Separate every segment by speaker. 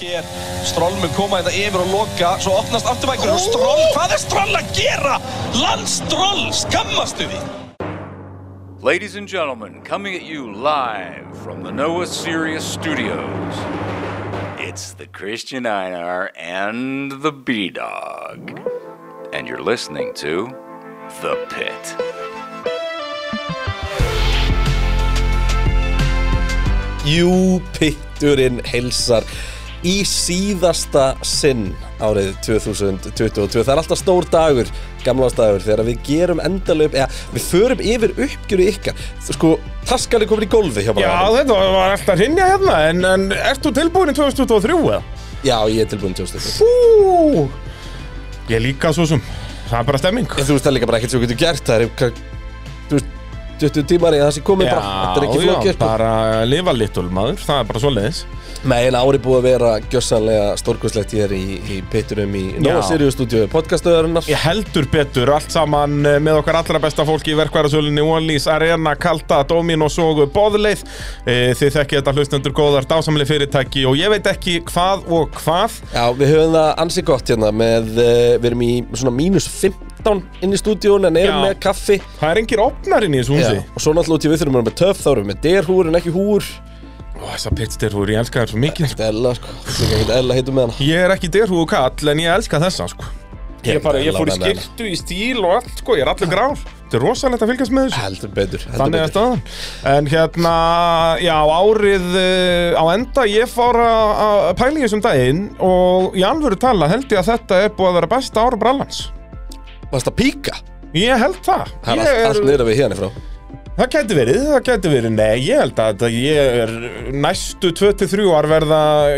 Speaker 1: Hér, Stroll mun koma þetta yfir og loka, svo opnast afturvækurinn og Stroll, hvað er Stroll að gera? Lance Stroll, skammastu því?
Speaker 2: Ladies and gentlemen, coming at you live from the Noah Sirius Studios, it's the Christian Einar and the B Dog. And you're listening to The Pit.
Speaker 3: Jú, pitturinn heilsar í síðasta sinn árið 2022. Það er alltaf stór dagur, gamláðsdagur, þegar við gerum endalöp, eða við förum yfir uppgjöru ykkar. Þú Sko, taskan er komin í golfi hjá
Speaker 4: Já,
Speaker 3: maður.
Speaker 4: þetta var- var alltaf hrinja hérna, en, en ert þú tilbúin í 2023 eða?
Speaker 3: Já, ég er tilbúin tjóðst þetta.
Speaker 4: Fú! Ég líka svo sem, það er bara stemming.
Speaker 3: En þú veist, það er líka bara ekkert sem við getum gert. Það er, hvað, þú veist, 20 tímar eða það sem komið bara, þetta er ekki flókið. sko.
Speaker 4: bara lifa litul maður, það er bara svoleiðis.
Speaker 3: Nei, en ári búið að vera gjössanlega stórkvæslegt hér í, í pitturum í Nóa
Speaker 4: Já.
Speaker 3: Sirius stúdíu podcastöðarinnar.
Speaker 4: Ég heldur betur allt saman eh, með okkar allra besta fólki í verkværasölunni Wallís, Arena, Kalda, Dominos og Bóðleið. Eh, Þið þekkið þetta hlustendur góðar, dásamli fyrirtæki og ég veit ekki hvað og hvað.
Speaker 3: Já, við höfum það ansi gott hérna með, uh, við erum í svona mínus 15 inn í stúdíun en erum
Speaker 4: Já.
Speaker 3: með kaffi
Speaker 4: Það er engir opnarinn í þessu húsi.
Speaker 3: Og svo náttúrulega út í við þurfum að vera með töff, þá erum við með derhúr en ekki húr
Speaker 4: Ó, þessar pittstyrfur, ég elska þær svo mikið.
Speaker 3: Þetta er Ella, sko, þetta er ekkert Ella heitum með hana
Speaker 4: Ég er ekki derhúðu kall en ég elska þessa sko Ég, bara, ég fór í
Speaker 3: Lánaði með
Speaker 4: skirtu, í stíl og allt sko, ég er allir grár Þetta er rosalegt að fylgjast með
Speaker 3: hana.
Speaker 4: þessu
Speaker 3: Heldur betur, heldur
Speaker 4: Þannig er
Speaker 3: Ah, betur
Speaker 4: staðan En hérna, já, árið uh, á enda ég fór að að pæla í þessum daginn og í alvöru tala held ég að þetta er búið að vera besta ár brallans
Speaker 3: Varst að píka?
Speaker 4: Ég held það
Speaker 3: Það er
Speaker 4: Ég
Speaker 3: allt, allt niður að við hérna frá
Speaker 4: Það gæti verið, það gæti verið, nei, ég held að þetta, ég er næstu 23 ár verða,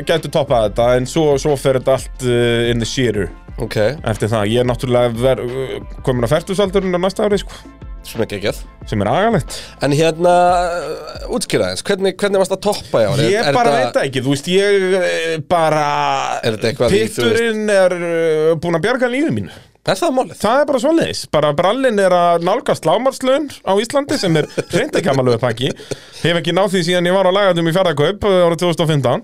Speaker 4: gæti toppað þetta, en svo, svo fer þetta allt uh, in the shearer.
Speaker 3: Ok,
Speaker 4: eftir það, ég er náttúrulega ver, komin á færtusaldurinn á næsta ári sko,
Speaker 3: svona geggjað
Speaker 4: sem er agalegt
Speaker 3: En hérna, eh, útskýra aðeins, hvernig, hvernig varst að toppa í ári?
Speaker 4: ég
Speaker 3: Er- er
Speaker 4: bara
Speaker 3: þetta-
Speaker 4: veit það ekki, þú veist ég eh, bara
Speaker 3: Er þetta eitthvað í, þú
Speaker 4: pitturinn er uh, búin að bjarga lífið mínu
Speaker 3: Er það málið?
Speaker 4: það er bara svoleiðis, bara brallinn er að nálgast lámarslaun á Íslandi sem er hreint ekki amalöðu pakki, hef ekki náð því síðan ég var á lagatum í fjárðakaup árið 2015,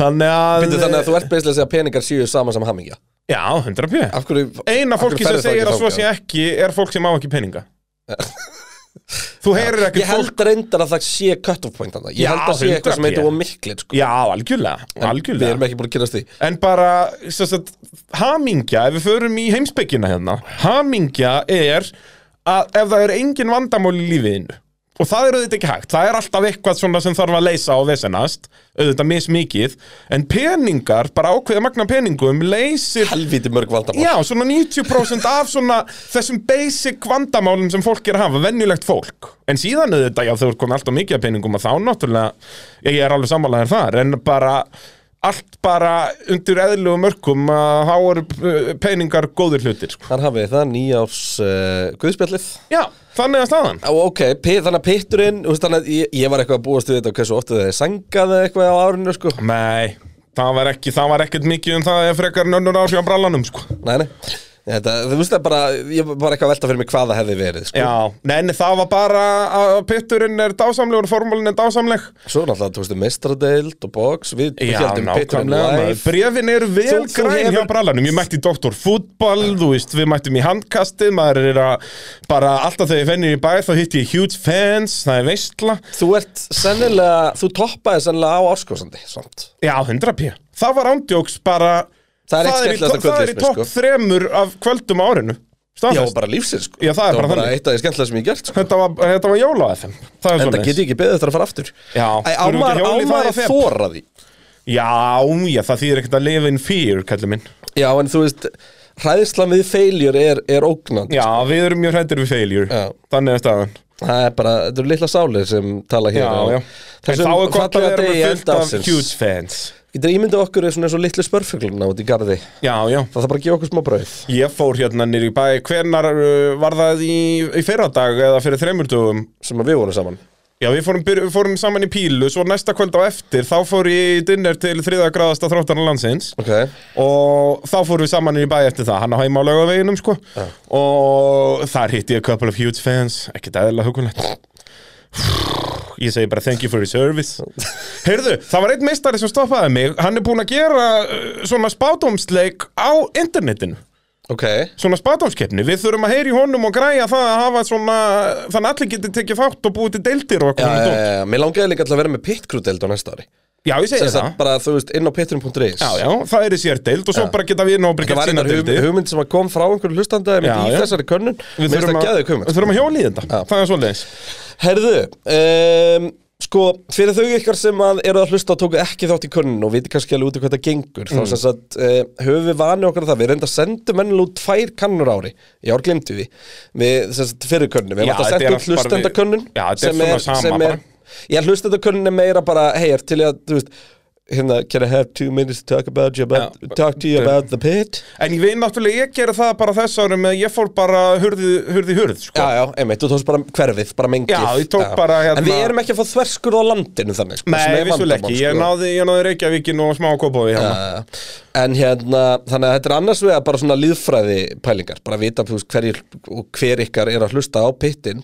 Speaker 4: þannig að
Speaker 3: Býttu þannig að þú ert beislega að segja að peningar séu sama sem hamingja
Speaker 4: já, 100 pjö
Speaker 3: Af hverju
Speaker 4: eina
Speaker 3: af hverju
Speaker 4: fólki sem
Speaker 3: ferðu þá
Speaker 4: segir
Speaker 3: ekki
Speaker 4: að svo
Speaker 3: þangað?
Speaker 4: sé ekki er fólk sem á ekki peninga þú heyrir
Speaker 3: Ég
Speaker 4: ekkert fólk
Speaker 3: held reyndar að það sé cut-off point þarna Ég
Speaker 4: Já,
Speaker 3: held að sé eitthvað sem
Speaker 4: 100%.
Speaker 3: heitir og miklið sko.
Speaker 4: Já, algjörlega,
Speaker 3: Við erum
Speaker 4: algjörlega.
Speaker 3: ekki búin að kynast því
Speaker 4: En bara, sem sagt, hamingja, ef við förum í heimspekina hérna, hamingja er að ef það er engin vandamál í lífiðinu, og það er auðvitað ekki hægt, það er alltaf eitthvað svona sem þarf að leysa og vesenast, auðvitað mismikið, en peningar, bara ákveða magna peningum, leysir
Speaker 3: Helvíti mörg vandamál
Speaker 4: Já, svona 90% af svona þessum basic vandamálum sem fólk er að hafa, venjulegt fólk. En síðan auðvitað, já, þau eru komið alltaf mikið að peningum að þá náttúrulega, ég er alveg sammálaðir þar, en bara allt bara undir eðlugum mörkum að þá eru uh, peningar góðir hlutir, sko.
Speaker 3: Þar hafið þið það nýjárs uh, guðspjallið
Speaker 4: Já, þannig að staðan.
Speaker 3: Ó, ok, pi- þannig að pitturinn þú veist, þannig að ég, ég var eitthvað að búast við þetta og hversu oft þið sangaði eitthvað á árinu sko.
Speaker 4: Nei, það var ekki, það var ekkert mikið um það ef frekar nönnur áhrif á brallanum, sko.
Speaker 3: Nei, nei Þetta, þú veist það bara, ég var bara eitthvað að velta fyrir mig hvað það hefði verið sko.
Speaker 4: Já, nei, nei, það var bara að pitturinn er dásamlegur, formúlinn er dásamleg.
Speaker 3: Svo náttúrulega tókstu mestradeild og box Við við héldum pitturinn
Speaker 4: maður.
Speaker 3: live
Speaker 4: Bréfin eru vel
Speaker 3: Þú- þú
Speaker 4: græn hjá
Speaker 3: hefur-
Speaker 4: brallanum Ég mætti í doktor fútball, þú veist Við mættum í handkastið, maður er að Bara alltaf þegar ég fennir í bæ Þá hitti ég huge fans, það er veistla
Speaker 3: Þú ert sennilega, þú toppaði sennilega á áskosandi samt.
Speaker 4: Já, 100 p Það var ándjóks bara
Speaker 3: Það er eitt
Speaker 4: í
Speaker 3: skemmtilegasta
Speaker 4: topp- Það er í
Speaker 3: kvöldið,
Speaker 4: topp
Speaker 3: sko.
Speaker 4: þremur af kvöldum á árinu
Speaker 3: Já,
Speaker 4: Staðfest
Speaker 3: bara lífsins sko.
Speaker 4: Já, það er
Speaker 3: var
Speaker 4: bara
Speaker 3: bara
Speaker 4: þannig.
Speaker 3: eitt af því skemmtilega sem ég hef gert sko.
Speaker 4: Þetta var, þetta var jóla FM Það er
Speaker 3: En það
Speaker 4: svoleiðis.
Speaker 3: get ég ekki beðið eftir að fara aftur
Speaker 4: Já, þurfum
Speaker 3: Æ,
Speaker 4: við ekki að
Speaker 3: ámar,
Speaker 4: hjóla í það
Speaker 3: ámar
Speaker 4: að
Speaker 3: að
Speaker 4: feb?
Speaker 3: þóra því
Speaker 4: Já, já, það þýðir ekkert að lifa in fear, kallið minn
Speaker 3: Já, en þú veist, hræðislan við feiljur er, er ógnandi
Speaker 4: Já, við erum mjög hrættir við failure
Speaker 3: Já.
Speaker 4: Þannig er staðan
Speaker 3: Það er bara, þetta eru litla sálir sem tala hér
Speaker 4: Já,
Speaker 3: á
Speaker 4: já En
Speaker 3: Þessum
Speaker 4: þá er gott að
Speaker 3: fallega
Speaker 4: vera
Speaker 3: degi
Speaker 4: með fullt
Speaker 3: enda
Speaker 4: af
Speaker 3: ársins
Speaker 4: huge fans
Speaker 3: Getur ímyndið okkur er svona eins og litlu spörfugluna út í garði Það
Speaker 4: Já, já
Speaker 3: þarf bara að gefa okkur smá brauð
Speaker 4: Ég fór hérna nýri í bæ, hvenar uh, var það í, í fyrradag eða fyrir þreymur dögum?
Speaker 3: sem að við vorum saman
Speaker 4: Já, við fórum, byr, við fórum saman í pílu, svo næsta kvöld á eftir, þá fór ég í dinner til þriðagráðasta þróttarna landsins
Speaker 3: Ok,
Speaker 4: og þá fórum við saman nýri í bæ eftir það, hann á heima á laugaveginum sko og þar hitti ég a couple of huge fans, ekkert eðla hugulegt. Ég segi bara thank you for your service Heyrðu, það var einn meistari sem stoppaði mig Hann er búinn að gera uh, svona spátumsleik á internetinu
Speaker 3: Ok,
Speaker 4: svona spátumskeppni, við þurfum að heyri honum og græja það að hafa svona þannig að allir geti tekið þátt og búið til deildir og
Speaker 3: já,
Speaker 4: eitthvað
Speaker 3: já,
Speaker 4: svona dót.
Speaker 3: já, já, Eh, mér langaði líka alltaf að vera með pitkrúdeld á næsta ári
Speaker 4: Já, ég segi
Speaker 3: Þess að
Speaker 4: það
Speaker 3: bara, þú veist, inn á pitturum.is
Speaker 4: Já, já, það er í sér deild og svo bara geta við nóbrið
Speaker 3: Það
Speaker 4: gett
Speaker 3: var
Speaker 4: sína
Speaker 3: einhver hugmynd,
Speaker 4: deildir
Speaker 3: hugmynd sem að kom frá einhverju hlustandaði
Speaker 4: Já,
Speaker 3: myndi í
Speaker 4: já.
Speaker 3: þessari könnun
Speaker 4: Við
Speaker 3: Mér finnst
Speaker 4: þurfum
Speaker 3: það
Speaker 4: að,
Speaker 3: geðið
Speaker 4: við
Speaker 3: hugmynd
Speaker 4: þurfum að hjóla í þetta, það er svoleiðis
Speaker 3: Herðu, um, sko, fyrir þau ykkar sem að eru að hlusta og tóku ekki þátt í könnun og viti kannski alveg út í hvað það gengur þá sem sagt, uh, höfum við vanið okkar að það við reynda að senda mennilega út tvær kannur á ári í ár glemdu við, við sem sagt, fyrir könnun, við
Speaker 4: Já,
Speaker 3: erum alltaf
Speaker 4: þetta er allt
Speaker 3: senda út
Speaker 4: bara við-
Speaker 3: hlustendakönnun
Speaker 4: Já, þetta er svona sama
Speaker 3: sem
Speaker 4: bara.
Speaker 3: er, já, hlustendakönnun er meira bara, hei, er til í að, þú veist hérna, can I have two minutes to talk about you about,
Speaker 4: Já,
Speaker 3: talk to you
Speaker 4: bara-
Speaker 3: about the pit
Speaker 4: En ég veit náttúrulega, ég gera það bara þess árum að ég fór bara hurði, hurði, hurð sko.
Speaker 3: Já, já, einmitt, þú tókst bara hverfið, bara mengið
Speaker 4: Já, ég tók bara, hérna-
Speaker 3: En við erum ekki að fá þverskur á landinu þannig sko, sem
Speaker 4: Nei,
Speaker 3: er
Speaker 4: vissuleg
Speaker 3: vandamál,
Speaker 4: ekki, ég
Speaker 3: sko.
Speaker 4: náði, ég náði Reykjavíkin og smá kopaði hjá
Speaker 3: Já, já. En hérna, þannig að þetta er annars vegar bara svona líðfræði pælingar bara að vita þú veist, hverjir og hver ykkar er að hlusta á pittin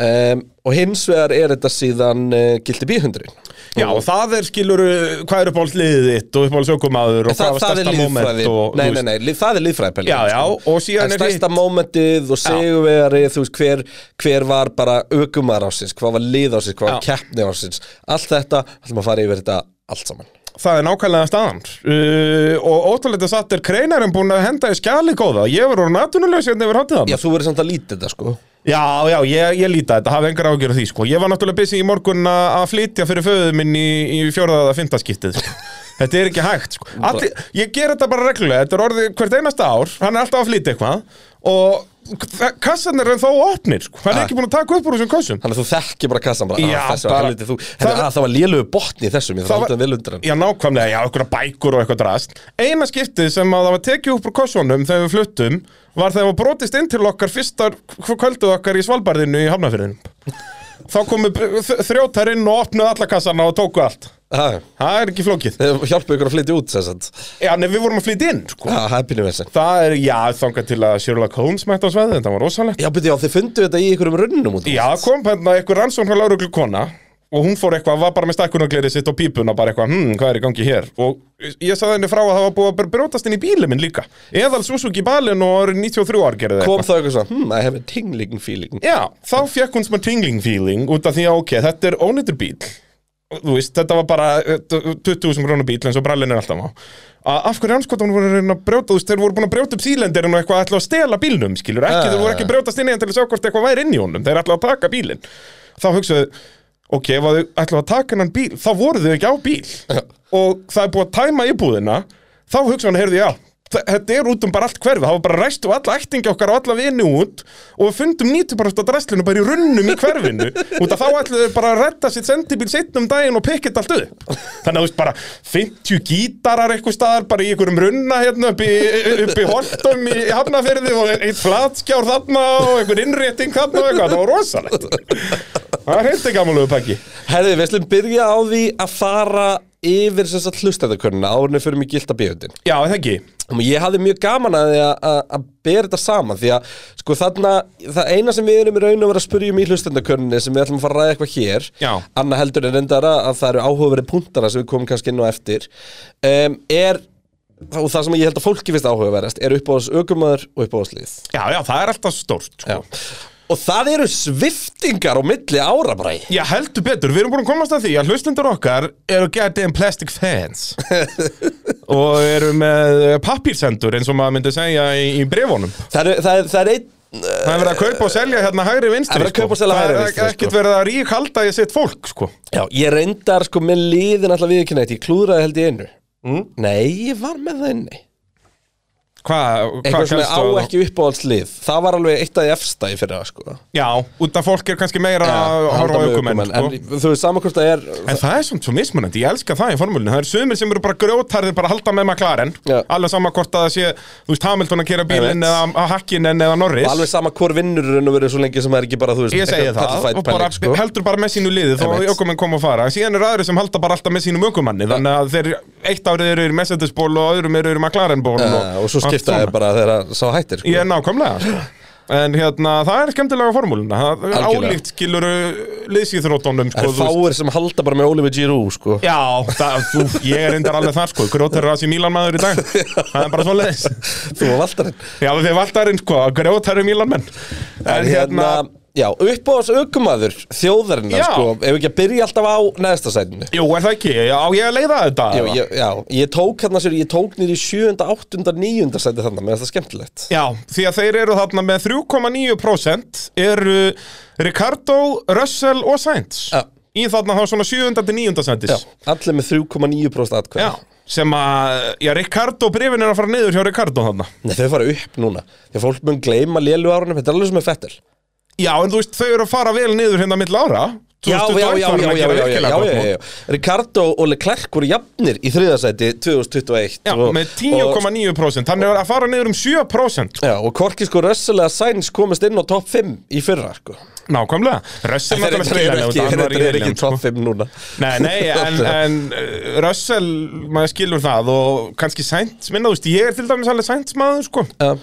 Speaker 3: um, og hins vegar er þetta síðan uh, gildi bíhundurinn
Speaker 4: Já, og það er skilur hvað er uppáhaldsliðið þitt og uppáhaldsaukumaður og hvað
Speaker 3: það,
Speaker 4: var
Speaker 3: það er
Speaker 4: stærsta moment
Speaker 3: líðfræði
Speaker 4: og,
Speaker 3: Nei,
Speaker 4: þú
Speaker 3: nei,
Speaker 4: veist.
Speaker 3: nei, líf, það er sko. líðfræði pælingar
Speaker 4: Já, já, og síðan er
Speaker 3: En
Speaker 4: hitt
Speaker 3: stærsta momentið og sigurveri þú veist, hver, hver var bara aukumar ásins, hvað var lið ásins, hvað var
Speaker 4: Já.
Speaker 3: keppni ásins allt þetta, ætlum að fara yfir þetta allt saman
Speaker 4: Það er nákvæmlega staðan uh, Og ótrúlega satt er kreinarinn búin að henda í skjali góða Ég var orðin atvinnulegs hérna yfir hátíðan
Speaker 3: Já, þú verður samt að lítið þetta sko
Speaker 4: Já, já, ég, ég líti að þetta, hafa engar ágjörð því sko. Ég var náttúrulega busy í morgun a- að flytja fyrir föðu minn í, í fjórðaða fintaskiptið sko. Þetta er ekki hægt sko. Alli, Ég ger þetta bara reglulega, þetta er orðið hvert einasta ár Hann er alltaf að flytja eitthvað Og þa- kassarnir er þó opnir sko. Hann er ekki búin að taka upp úr þessum kassum
Speaker 3: Þannig að þú þekki bara kassan bara
Speaker 4: Já,
Speaker 3: Já, þessu
Speaker 4: bara-
Speaker 3: bara helviti, þú, ah, það,
Speaker 4: Það-
Speaker 3: að, það var lélögu botni í þessum Ég þarf
Speaker 4: Það
Speaker 3: að
Speaker 4: var-
Speaker 3: halda vel undir hann
Speaker 4: Já, nákvæmlega, já, einhverja bækur og eitthvað drast Eina skiptið sem að það var tekið upp úr kossunum þegar við fluttum var þegar við brotist inn til okkar fyrsta kvölduð okkar í Svalbardinu í Hafnafyrðinum Þá komu b- þ- þrjótar inn og opnuðu alla kassana og tóku allt
Speaker 3: Já,
Speaker 4: Það er ekki flókið
Speaker 3: Þeir hjálpa ykkur að flytja út sem sagt. Ah,
Speaker 4: Já, nei, við vorum að flytja inn, sko
Speaker 3: Já, happinu við þessin
Speaker 4: Það er, já, þangað til að Sherlock Holmes mætti á sveðið, þetta var rosalegt
Speaker 3: Já, byrja, já, þið fundu þetta í ykkurum runnum út
Speaker 4: Já, kom hérna einhver rannsókn hjá lauruglu kona og hún fór eitthvað, var bara með stakkunaglerið sitt og pípuna bara eitthvað, hm, hvað er í gangi hér og ég sagði henni frá að það var búið að bara brjótast inn í bílið minn líka eðal Suzuki balin og árið 93 ár gerði
Speaker 3: Kom
Speaker 4: eitthvað
Speaker 3: það eitthvað svona, hmm, I have a tingling feeling
Speaker 4: Já, þá fekk hún smá tingling feeling út af því að ok, þetta er ónýttur bíl þú veist, þetta var bara eh, 20.000 krónu bíl eins og brallin er alltaf á Að af hverju anskotan voru að reyna að brjóta þú veist, þeir voru búin að brjóta upp sílendirinn og eitthvað ætla að stela bílnum, skilur, ekki,
Speaker 3: Ah.
Speaker 4: þeir voru ekki að brjótast inn í hann til að sjá hvort eitthvað væri inn í honum þeir ætla að taka bílinn þá hugsaðu, ok, ef að þau ætla að taka hennan bíl þá voru þau ekki á bíl og það er búið að tæma íbúðina þá hugsaðu, heyrðu, já, þe- þetta er út um bara allt hverfi, það var bara ræst og alla ættingi okkar og alla vini út og við fundum 90% af dræslinu bara í runnum í hverfinu út af þá ætluðu þau bara að redda sitt sendibíl setnum daginn og pikkit allt upp þannig að þú veist bara 50 gítarar eitthvað staðar bara í einhverjum runna hérna upp í, upp í holtum í hafnaferði og eitt flatskjár þarna og einhver innrétting þarna og eitthvað, það var rosalegt það var hindi gammalögu pakki
Speaker 3: Herði, við slum byrja á því að fara yfir sem sagt hlustendakörnuna árunni fyrir mig gilda bíhundin
Speaker 4: Já, er það ekki
Speaker 3: Og ég hafði mjög gaman að því að- að að bera þetta saman því að sko þarna, það eina sem við erum í raun og vera að spyrja um í hlustendakörninni sem við ætlum að fara að ræða eitthvað hér
Speaker 4: Já.
Speaker 3: Anna heldur en reyndar að að það eru áhugaverið punktana sem við komum kannski inn á eftir um, er, og það sem ég held að fólki finnst áhugaverðast er uppáðs aukumæður og uppáðs lið
Speaker 4: Já, já, það er alltaf stórt sko.
Speaker 3: Og það eru sviftingar á milli ára bara í.
Speaker 4: Já, heldur betur, við erum búin að komast að því að hlustendur okkar eru goddamn plastic fans og eru með pappírsendur eins og maður myndi segja í, í brefunum
Speaker 3: Það er, það er, það er einn
Speaker 4: Það er verið að kaupa og selja hérna hægri vinstri
Speaker 3: Það er verið að kaupa og selja hægri vinstri,
Speaker 4: Það er ekkert
Speaker 3: sko.
Speaker 4: verið að ríkhalda í sitt fólk sko.
Speaker 3: Já, ég reyndar sko með liðin alltaf við ekki neitt, ég klúðraði held ég einu mm. Nei, ég var með það inni
Speaker 4: Hvað hva
Speaker 3: eitthvað svona á ekki uppáhaldslið það var alveg eitt af því efsta í fyrra sko.
Speaker 4: Já, út af fólk er kannski meira að horfa
Speaker 3: Halda með
Speaker 4: aukumenn
Speaker 3: ökumenn.
Speaker 4: sko.
Speaker 3: en þú veist saman hvort það er
Speaker 4: En það er svona svo mismunandi, ég elska það í formúlinu Það eru sömur sem eru bara grjótarðir, bara að halda með McLaren
Speaker 3: Já.
Speaker 4: Alveg sama hvort að það sé, þú veist, Hamilton að kera bílinn
Speaker 3: Einmitt.
Speaker 4: eða að Hakkinen eða Norris
Speaker 3: alveg sama hvort vinnur raun og verið svo lengi sem það er ekki bara þú veist
Speaker 4: Ég segi
Speaker 3: eitthvað
Speaker 4: það
Speaker 3: petrified
Speaker 4: og bara
Speaker 3: panic, sko.
Speaker 4: heldur bara með sínu liði þó að
Speaker 3: Einmitt.
Speaker 4: ökumenn kom að fara síðan eru aðri sem halda bara alltaf með sínum ökumanni þannig að þeir eitt árið eru í Mercedes-ból og öðrum eru í McLaren-ból
Speaker 3: Eh, og svo
Speaker 4: allt
Speaker 3: skipta
Speaker 4: svona.
Speaker 3: það bara þegar að sá hættir sko.
Speaker 4: Ég er nákvæmlega sko. En hérna, það er skemmtilega formúluna Það er
Speaker 3: Algjörlega.
Speaker 4: álíkt skilur liðsíþróttunum sko,
Speaker 3: Það
Speaker 4: þú
Speaker 3: er
Speaker 4: veist.
Speaker 3: fáir sem halda bara með Oliver Giroud sko.
Speaker 4: Já, það, þú, ég er reyndar alveg þar sko Grótar er að sé Mílan maður í dag Það er bara svo leiðis
Speaker 3: Þú var valdarinn
Speaker 4: Já, við erum alltaf reynd sko, Grótar er Mílan menn
Speaker 3: En hérna, já, uppáðs aukumadur þjóðarinnar
Speaker 4: Já.
Speaker 3: sko Ef ekki að byrja alltaf á neðsta sætinu
Speaker 4: Jú, er það ekki? Já, á ég að leiða þetta
Speaker 3: Já,
Speaker 4: eða?
Speaker 3: ég, já, ég tók hérna sér, ég tók nýr í 7. 8. 9. sæti þannig, mér finnst það skemmtilegt
Speaker 4: Já, því að þeir eru þarna með 3,9% eru Ricardo, Russell og Sainz
Speaker 3: Já.
Speaker 4: í þarna þá svona 7. til 9.
Speaker 3: Já,
Speaker 4: sendis
Speaker 3: allir með 3,9% atkvæði
Speaker 4: sem að, já, Ricardo brefin er að fara niður hjá Ricardo þarna
Speaker 3: Nei, þau fara upp núna Þegar fólk mun gleyma lélu árunum, þetta er alveg sem er fettil
Speaker 4: Já, en þú veist, þau eru að fara vel niður hérna mill ára
Speaker 3: Já, já,
Speaker 4: 2021
Speaker 3: já, já,
Speaker 4: farin
Speaker 3: já,
Speaker 4: að gera
Speaker 3: já, já, já,
Speaker 4: virkilega
Speaker 3: já,
Speaker 4: gott mót.
Speaker 3: já, já. Ricardo og Leclerc voru jafnir í þriðasæti 2021
Speaker 4: Já,
Speaker 3: og,
Speaker 4: með 10,9% Þannig að fara niður um 7%
Speaker 3: Já, og Korki sko Russell eða Sainz komist inn á topp 5 í fyrra sko
Speaker 4: Nákvæmlega Russell
Speaker 3: Þeir
Speaker 4: náttúrulega skiljanlega,
Speaker 3: eru ekki,
Speaker 4: hann
Speaker 3: þeir
Speaker 4: var í
Speaker 3: eru ekki
Speaker 4: Williams,
Speaker 3: topp 5 núna
Speaker 4: Nei, nei, en, en uh, Russell, maður skilur það og kannski Sainz minna, þú veist, ég er til dæmis alveg Sainz maður, sko
Speaker 3: Já,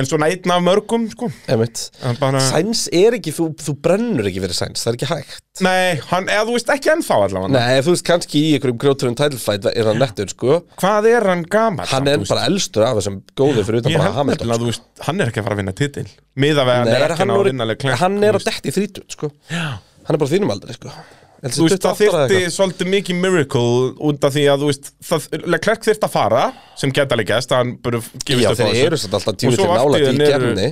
Speaker 4: en svona einn af mörgum, sko
Speaker 3: einmitt
Speaker 4: En bara-
Speaker 3: Sainz er ekki, þú, þú brennur ekki fyrir Sainz, það er ekki hægt
Speaker 4: Nei, hann, eða þú veist ekki ennþá allavega
Speaker 3: Nei, þú veist kannski í einhverjum grjóturum tælfætt er hann nettur, sko
Speaker 4: Hvað er hann gaman?
Speaker 3: Hann er bara elstur af þessum góðu fyrir utan
Speaker 4: Ég
Speaker 3: bara
Speaker 4: held
Speaker 3: Hamilton sko.
Speaker 4: nefnilega, þú veist, hann er ekki að fara að vinna titil Miða við að hann
Speaker 3: Nei,
Speaker 4: er ekki að ná
Speaker 3: hann,
Speaker 4: að
Speaker 3: orðið-
Speaker 4: vinna Leclerc,
Speaker 3: hann er
Speaker 4: þú
Speaker 3: að
Speaker 4: veist.
Speaker 3: detti í þrítut, sko Hann er bara á þínum aldrei, sko Elsi,
Speaker 4: Þú veist, það þyrfti svolítið mikið miracle út af því að, þú veist, það, Leclerc þyrfti að fara sem geta líkast, hann bara gefist
Speaker 3: Já,
Speaker 4: upp á
Speaker 3: þeir
Speaker 4: þessu.
Speaker 3: eru samt alltaf
Speaker 4: Og
Speaker 3: djúvillig
Speaker 4: svo allt
Speaker 3: nálægt í
Speaker 4: einu eru-
Speaker 3: keppninni.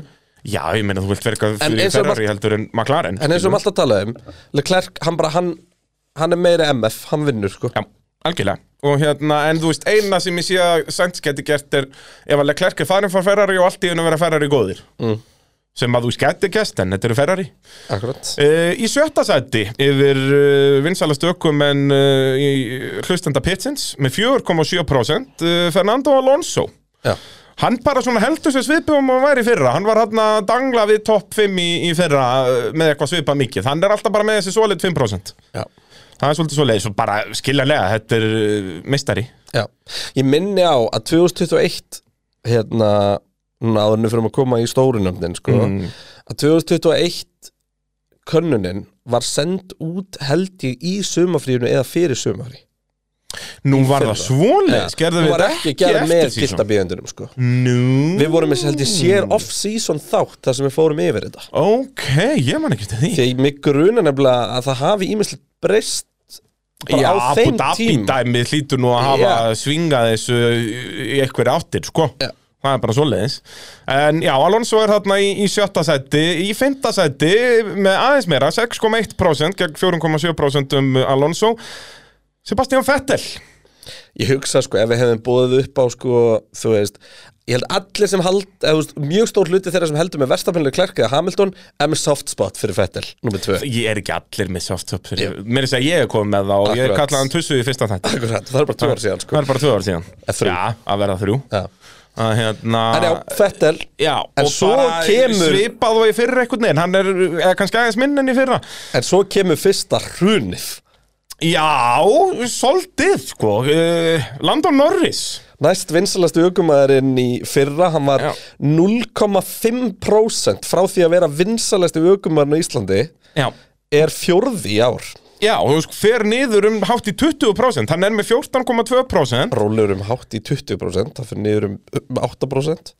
Speaker 4: Já, ég meina, þú vilt verka
Speaker 3: En
Speaker 4: fyrir
Speaker 3: eins og
Speaker 4: Ferrari heldur en McLaren
Speaker 3: En eins og
Speaker 4: skilur.
Speaker 3: við alltaf tala um Leclerc, hann bara, hann, hann er meira MF Hann vinnur, sko
Speaker 4: Já, algjörlega Og hérna, en þú veist, eina sem ég sé að Sainz geti gert er Ef að Leclerc er farin frá Ferrari og allt í hennu vera Ferrari góðir mm. Sem að þú veist geti gert, en þetta eru Ferrari
Speaker 3: Akkurat
Speaker 4: uh, Í sjötta sæti yfir uh, vinsalast ökum en uh, í hlustenda pitsins Með 4,7% uh, Fernando Alonso
Speaker 3: Já,
Speaker 4: Hann bara svona heldur sér svipum og væri í fyrra Hann var hann að dangla við topp 5 í, í fyrra uh, Með eitthvað svipa mikið Hann er alltaf bara með þessi solid 5%
Speaker 3: já
Speaker 4: Það er svolítið svo leiðis og bara skiljanlega, þetta er uh, mistari.
Speaker 3: Já, ég minni á að 2021 hérna, núna áður fyrir að koma í stórunöfnin sko,
Speaker 4: Mm.
Speaker 3: að 2021 könnunin var send út held ég í sumafríðinu eða fyrir sumafrí
Speaker 4: Nú var það
Speaker 3: fyrra.
Speaker 4: svoleiðis, gerðum
Speaker 3: Hún
Speaker 4: við
Speaker 3: var
Speaker 4: þetta
Speaker 3: ekki gerð með
Speaker 4: eftir síðan.
Speaker 3: gildabíðendunum sko.
Speaker 4: Nú,
Speaker 3: Við vorum með held ég sér
Speaker 4: Mm.
Speaker 3: off-season þátt þar sem við fórum yfir þetta
Speaker 4: ok, ég man ekki til því.
Speaker 3: Því að mig gruna nefnilega að það hafi ímislegt breyst bara
Speaker 4: Já,
Speaker 3: á
Speaker 4: Abu
Speaker 3: þeim
Speaker 4: Dhabi
Speaker 3: tíma
Speaker 4: dæmið hlýtur nú að hafa
Speaker 3: Já.
Speaker 4: svingað þessu í einhverja áttir, sko.
Speaker 3: Já.
Speaker 4: Það er bara svoleiðis. En já, Alonso er þarna í, í sjötta sæti, í fymta sæti með aðeins meira, 6,1% gegn 4,7% um Alonso. Sebastian Vettel.
Speaker 3: ég hugsa sko ef við hefðum búið upp á sko þú veist ég held allir sem hald eða, þú veist, mjög stór hluti þeirra sem heldur með verstafinlega klerk eða Hamilton er með soft spot fyrir Fettel nummer 2
Speaker 4: Ég er ekki allir með soft-top fyrir, mér er að segja ég er komið með það og ég
Speaker 3: Akkurat.
Speaker 4: kallaði hann tussu í fyrsta þætti.
Speaker 3: það er bara 2 ára síðan
Speaker 4: Það
Speaker 3: sko
Speaker 4: er bara tvö ár síðan
Speaker 3: Eða þrjú.
Speaker 4: Já, að verða þrjú
Speaker 3: Já.
Speaker 4: að, hérna,
Speaker 3: en já, Fettel
Speaker 4: Já,
Speaker 3: en
Speaker 4: og
Speaker 3: svo
Speaker 4: bara
Speaker 3: kemur-
Speaker 4: svipað og í fyrra einhvern veginn Hann er eða kannski aðeins minn en í fyrra
Speaker 3: en svo kemur fyrsta hrunið
Speaker 4: Já, soldið sko uh, Landon Norris
Speaker 3: næst vinsalastu aukumæðurinn í fyrra hann var
Speaker 4: Já.
Speaker 3: 0,5% frá því að vera vinsalastu aukumæðurinn á Íslandi
Speaker 4: Já
Speaker 3: er fjórði í ár
Speaker 4: Já, og þú sko, fer niður um hátt í 20% Hann er með 14,2%
Speaker 3: rólur um hátt í 20% það fyrir niður um um 8%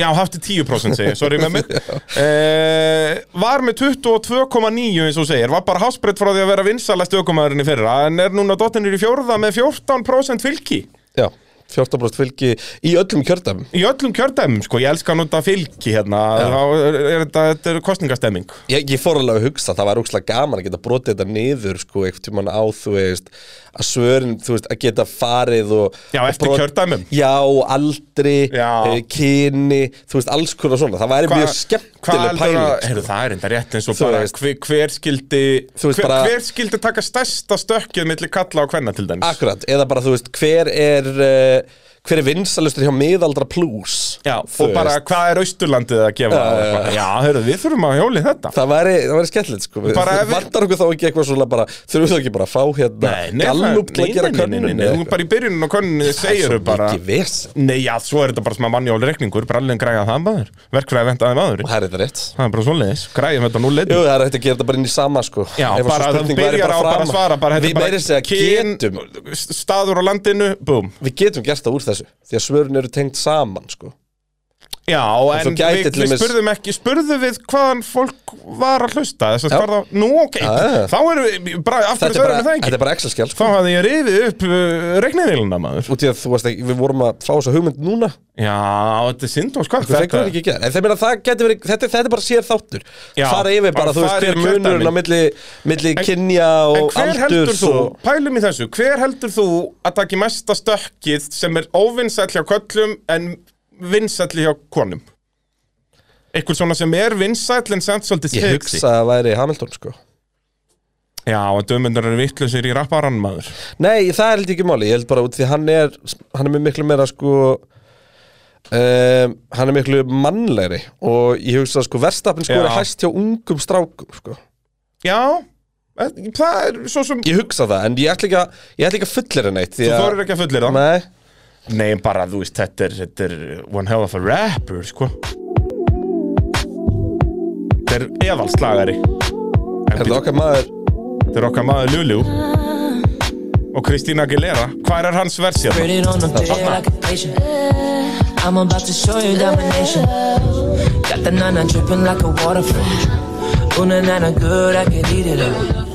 Speaker 4: Já, hátt í 10% segir, sorry með mig uh, Var með 22,9 eins og segir Var bara hásbreytt frá því að vera vinsalast ökumæðurinn í fyrra En er núna dottinir í fjórða með 14% fylki
Speaker 3: já 14% fylgi í öllum kjördæmum
Speaker 4: Í öllum kjördæmum, sko, ég elska að nota fylki hérna, þá er, er þetta, þetta er kostningastemming.
Speaker 3: Ég, ég fór alveg að hugsa, það var úkslega gaman að geta brotið þetta niður, sko, einhvern tímann á, þú veist, að svörin, þú veist, að geta farið og...
Speaker 4: Já,
Speaker 3: og
Speaker 4: eftir kjördæmum.
Speaker 3: Já, aldri,
Speaker 4: Já.
Speaker 3: eh, kyni, þú veist, alls konar svona. Það væri mjög skemmtileg pæling. sko.
Speaker 4: Heyrðu, það er enda rétt eins og
Speaker 3: Þú
Speaker 4: bara
Speaker 3: veist.
Speaker 4: hver, hver skildi,
Speaker 3: Þú veist
Speaker 4: hver,
Speaker 3: bara-
Speaker 4: hver skildi taka stærsta stökkið milli kalla og hvenna til dæmis?
Speaker 3: Akkurat, eða bara, þú veist, hver er... Uh, hver er vinsalustur hjá miðaldra plus
Speaker 4: Já,
Speaker 3: Þú
Speaker 4: og bara
Speaker 3: veist.
Speaker 4: hvað er austurlandið að gefa
Speaker 3: Já, já,
Speaker 4: Já, heyrðu, við þurfum að hjóli þetta
Speaker 3: Það væri, það væri skemmtilegt sko
Speaker 4: Bara ef við-
Speaker 3: Vandar okkur þá ekki eitthvað svona bara Þurfum við þá ekki bara að fá hérna Gallup til að gera
Speaker 4: nei,
Speaker 3: könnun
Speaker 4: nei, nei, Þú bara í byrjunum á könnunni segir þau bara
Speaker 3: Ekki vesen
Speaker 4: Nei, já, svo er þetta bara smá mannjál reikningur Bara alveg græða það maður, verkfræði ventaði maður
Speaker 3: Og það er þetta rétt
Speaker 4: Það er bara svoleiðis, græðum þetta nú
Speaker 3: Jú,
Speaker 4: leitt
Speaker 3: það er hægt að gera þetta bara inn í sama sko
Speaker 4: Já,
Speaker 3: Ef að
Speaker 4: bara
Speaker 3: sú
Speaker 4: að þú
Speaker 3: spurning væri
Speaker 4: byrjar á bara
Speaker 3: fram-
Speaker 4: að svara bara, þetta
Speaker 3: Við
Speaker 4: er bara
Speaker 3: meiri segja
Speaker 4: kyn,
Speaker 3: getum
Speaker 4: Staður á landinu, búm
Speaker 3: Við getum gert það úr þessu Því að svörin eru tengt saman sko
Speaker 4: Já, en
Speaker 3: þú gætir
Speaker 4: við,
Speaker 3: til
Speaker 4: við
Speaker 3: dæmis-
Speaker 4: spurðum ekki Spurðum við hvaðan fólk var að hlusta Þess að var það, nú ok
Speaker 3: já.
Speaker 4: Þá erum við, bara, af hverju
Speaker 3: Þetta
Speaker 4: svörum við
Speaker 3: er bara,
Speaker 4: það
Speaker 3: þetta
Speaker 4: ekki
Speaker 3: er bara Excel-skjál
Speaker 4: Þá
Speaker 3: sko
Speaker 4: hafði ég rifið upp uh, reikniðilina maður
Speaker 3: Út í að þú veist ekki, við vorum að fá þessa hugmynd núna
Speaker 4: Já, þetta er synd og sko
Speaker 3: Hvað fekkum við ekki gera? En það meina það geti verið, þetta, þetta er bara sér þáttur
Speaker 4: Já,
Speaker 3: Fara yfir bara,
Speaker 4: bara
Speaker 3: þú veist,
Speaker 4: fara
Speaker 3: hver
Speaker 4: yfir
Speaker 3: munurinn
Speaker 4: kjördæmin.
Speaker 3: á milli, milli
Speaker 4: En-
Speaker 3: kynja
Speaker 4: En
Speaker 3: og
Speaker 4: hver heldur
Speaker 3: aldurs
Speaker 4: þú,
Speaker 3: og
Speaker 4: pælum í þessu Hver heldur þú að taki mesta stökkið sem er óvinsæll hjá köllum en vinsæll hjá konum? Einhver svona sem er vinsæll en samt svolítið
Speaker 3: Ég
Speaker 4: sexy.
Speaker 3: hugsa að það væri Hamilton sko
Speaker 4: Já, og dömundur eru vittlusir í rapparann maður
Speaker 3: Nei, það er held ég ekki máli, ég held bara út því hann er hann er með miklu meira sko um, hann er miklu mannlegri og ég hugsa sko verstafn sko
Speaker 4: Já.
Speaker 3: er hæst hjá ungum strákum sko
Speaker 4: Já, eh, það er svo sem
Speaker 3: Ég hugsa það, en ég ætla ekki að ég ætla ekki að fullir en eitt
Speaker 4: Þú þorir ekki að fullir það
Speaker 3: Nei,
Speaker 4: Nei, bara þú veist, þetta er, þetta er one hell of a rapper, sko Þetta er eðalslagari
Speaker 3: er það okkar maður
Speaker 4: Þetta er okkar maður Lulu Og Kristína Aguilera Hvað er hans hérna? versið?
Speaker 5: Spread it on the bed like a patient. I'm about to show you domination. Got the nana dripping like a waterfall. Una nana good, I can eat it up.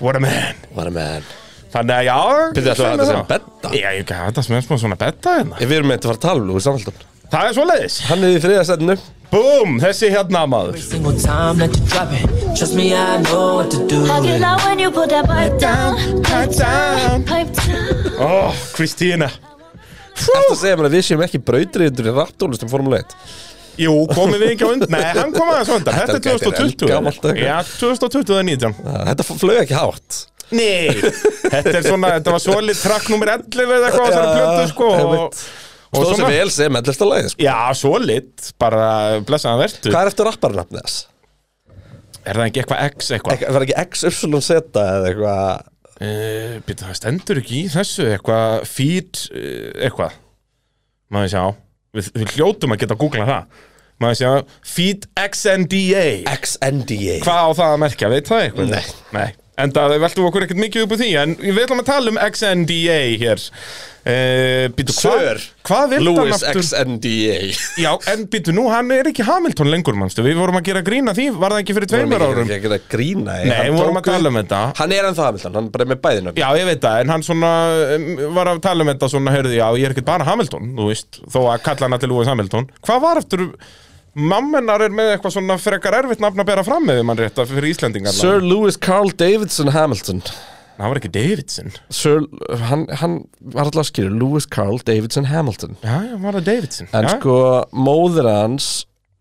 Speaker 4: What a man
Speaker 3: What a man
Speaker 4: Þannig að já
Speaker 3: Byrðu, ætlum við að
Speaker 4: svona
Speaker 3: þetta sem
Speaker 4: þá.
Speaker 3: betta?
Speaker 4: Já, ég gæti þetta sem er smá svona betta hérna
Speaker 3: Ef við erum með þetta að fara að tala um Lúi Samhaldun
Speaker 4: Það er svoleiðis
Speaker 3: Hann er í þriðastættinu
Speaker 4: Búm, þessi hérna maður
Speaker 5: Single time that you drop it. Trust me, I know what to do.
Speaker 6: I get loud when you put that pipe down, pipe down, pipe down.
Speaker 4: Ó, Kristína
Speaker 3: Eftir að segja mér að við séum ekki brautriður í raptólustum Formule 1
Speaker 4: Jú, komið við ekki á undan Nei, hann kom aðeins á undan Þetta er
Speaker 3: Þetta gæti verið
Speaker 4: 2020
Speaker 3: eldgamalt eitthvað.
Speaker 4: Já, 2020 er 19
Speaker 3: Þetta flög ekki hátt
Speaker 4: Nei Þetta er svona, þetta var svolít trakk nummer 11 eða eitthvað á þessari plötu sko og, og
Speaker 3: Stóð sem
Speaker 4: svona
Speaker 3: vel sem ellista lagið sko.
Speaker 4: Já, svolít, bara blessaðan vertu
Speaker 3: Hvað er eftir rapparnafni þess?
Speaker 4: Er það ekki eitthvað X eitthvað?
Speaker 3: Ek- Það er ekki XYZ eða eitthvað
Speaker 4: Uh, Býta, það stendur ekki í þessu eitthvað feed uh, eitthvað Maður sjá við, við hljótum að geta að googla það Maður sjá feed XNDA
Speaker 3: XNDA
Speaker 4: Hvað á það að merkja, veit það eitthvað?
Speaker 3: Nei.
Speaker 4: Nei. En það veltum okkur ekkert mikið upp úr því En við ætlum að tala um XNDA hér uh, Býtu,
Speaker 3: Sir
Speaker 4: hvað, hvað vilt hann
Speaker 3: Lewis
Speaker 4: aftur?
Speaker 3: XNDA
Speaker 4: Já, en býtu, nú hann er ekki Hamilton lengur, mannstu Við vorum að gera grína því, var það ekki fyrir
Speaker 3: Við
Speaker 4: tveimur
Speaker 3: erum
Speaker 4: árum?
Speaker 3: ekki að gera grína ég.
Speaker 4: Nei,
Speaker 3: Hann
Speaker 4: við vorum
Speaker 3: tók
Speaker 4: að tala um
Speaker 3: upp-
Speaker 4: þetta.
Speaker 3: Hann er ennþá Hamilton, hann er bara með bæðinu
Speaker 4: Já, ég veit það, en hann svona um, var að tala um þetta svona, heyrðu, já, ég er ekkert bara Hamilton, þú veist, þó að kalla hana til Lewis Hamilton. Hvað var eftir, mammenar er með eitthvað svona frekar erfitt nafn að bera fram með, mann rétt, fyrir Íslendingar.
Speaker 3: Sir Lewis Carl Davidson Hamilton
Speaker 4: Það var ekki Davidson.
Speaker 3: Sir, hann, hann var alltaf að skilja Lewis Carl Davidson Hamilton
Speaker 4: Já, já, var það Davidson.
Speaker 3: En
Speaker 4: já.
Speaker 3: sko, móður hans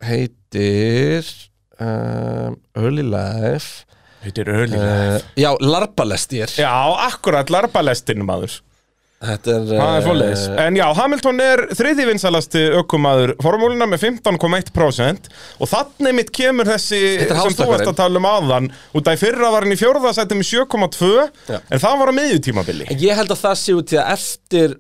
Speaker 3: heitir um, Early Life
Speaker 4: Þetta er ölilega.
Speaker 3: uh, Já, Larbalestir
Speaker 4: Já, akkurat larbalestinn, maður.
Speaker 3: Þetta er,
Speaker 4: Það er svoleiðis.
Speaker 3: eh,
Speaker 4: En já, Hamilton er þriði vinsalasti ökumaður formúluna með 15,1% og þannig mitt kemur þessi
Speaker 3: Þetta er
Speaker 4: sem þú varst
Speaker 3: hástakkarinn.
Speaker 4: að tala um áðan út af í fyrra var hann í fjórðasætti með 7,2
Speaker 3: Já.
Speaker 4: en það var á miðjutímabili.
Speaker 3: En ég held að það sé út í að eftir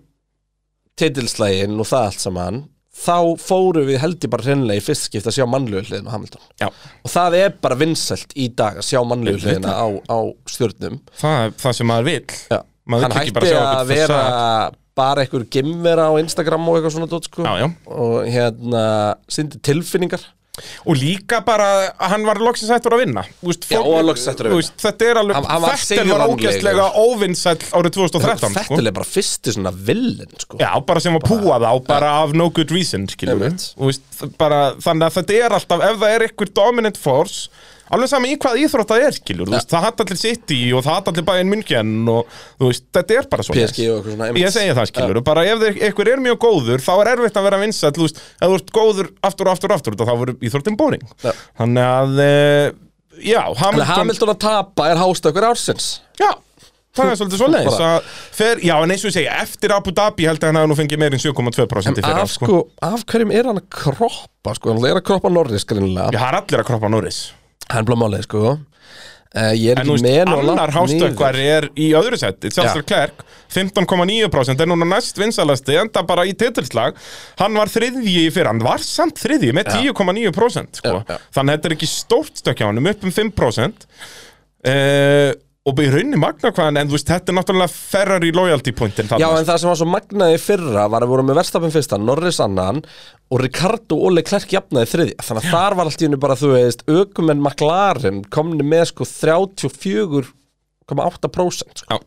Speaker 3: titilslægin og það allt saman þá fóru við held ég bara hreinlega í fyrst skipt að sjá mannlegu hliðin á Hamilton
Speaker 4: Já.
Speaker 3: og það er bara vinsælt í dag að sjá mannlegu hliðina á, á stjörnum
Speaker 4: Það er það sem maður vill.
Speaker 3: Já.
Speaker 4: Maður
Speaker 3: hann
Speaker 4: vill ekki bara
Speaker 3: hætti
Speaker 4: sjá
Speaker 3: að
Speaker 4: einhvern
Speaker 3: vera
Speaker 4: fasad.
Speaker 3: bara einhver gimvera á Instagram og eitthvað svona dót sko
Speaker 4: Já, já.
Speaker 3: og hérna syndi tilfinningar
Speaker 4: Og líka bara að hann var loksins hættur að vinna Úst,
Speaker 3: Já, og loksins hættur að vinna.
Speaker 4: Þetta er alveg,
Speaker 3: Hann- hann var
Speaker 4: þetta var
Speaker 3: sigurvonlegur.
Speaker 4: ógæstlega óvinsæll árið 2013
Speaker 3: þetta er bara fyrsti svona villin sko
Speaker 4: sko. Já, bara sem var púað á, bara af no good reason, skiljum við.
Speaker 3: Einmitt.
Speaker 4: Þú veist, bara, þannig að þetta er alltaf, ef það er einhver dominant force, alveg saman í hvað íþrótt það er, skiljum við, það hatt allir City og það hatt allir Bayern München og þú veist, þetta er bara svona.
Speaker 3: PSG og eitthvað svona, einmitt.
Speaker 4: Ég segi það, skiljum við, bara ef þeir- einhver er mjög góður, þá er erfitt að vera vinsæll, þú veist, ef þú ert góður aftur og aftur og aftur, þá verður íþróttin boring.
Speaker 3: Já.
Speaker 4: Þannig að, eh, já,
Speaker 3: Þannig
Speaker 4: Hamilton,
Speaker 3: að Hamilton að tapa er hástökkur ársins
Speaker 4: já, það er svolítið svo leiðis fer, já en eins og ég segja, eftir Abu Dhabi held ég að hann hafi nú fengið meirinn 7,2% í fyrra,
Speaker 3: af, sko, af hverjum er hann að kroppa sko, hann er að kroppa Norris
Speaker 4: Já,
Speaker 3: greinilega
Speaker 4: það er allir að kroppa Norris
Speaker 3: hann er blá málið sko uh, ég er
Speaker 4: En þú
Speaker 3: ekki
Speaker 4: veist,
Speaker 3: með nú
Speaker 4: annar
Speaker 3: langt
Speaker 4: hástökkvar er sko. í öðru sett Sjálfstur Klerk, 15,9% er núna næst vinsalasti, enda bara í titilslag Hann var þriðji í fyrra, hann var samt þriðji með 10,9% sko.
Speaker 3: Já, já.
Speaker 4: Þannig að þetta er ekki stórt stökkja hann, um upp um 5% uh, Og í rauninni magna hvaðan, en þú veist, þetta er náttúrulega Ferrari loyalty pointin
Speaker 3: Já, en það sem var svo magnaði í fyrra var að voru með Verstafinn fyrsta, Norris annan og Ricardo Ole Klerk jafnaði þriðja þannig að þar var allt í hennu bara, þú veist aukumenn McLaren komni með sko 34,8% sko.
Speaker 4: Já.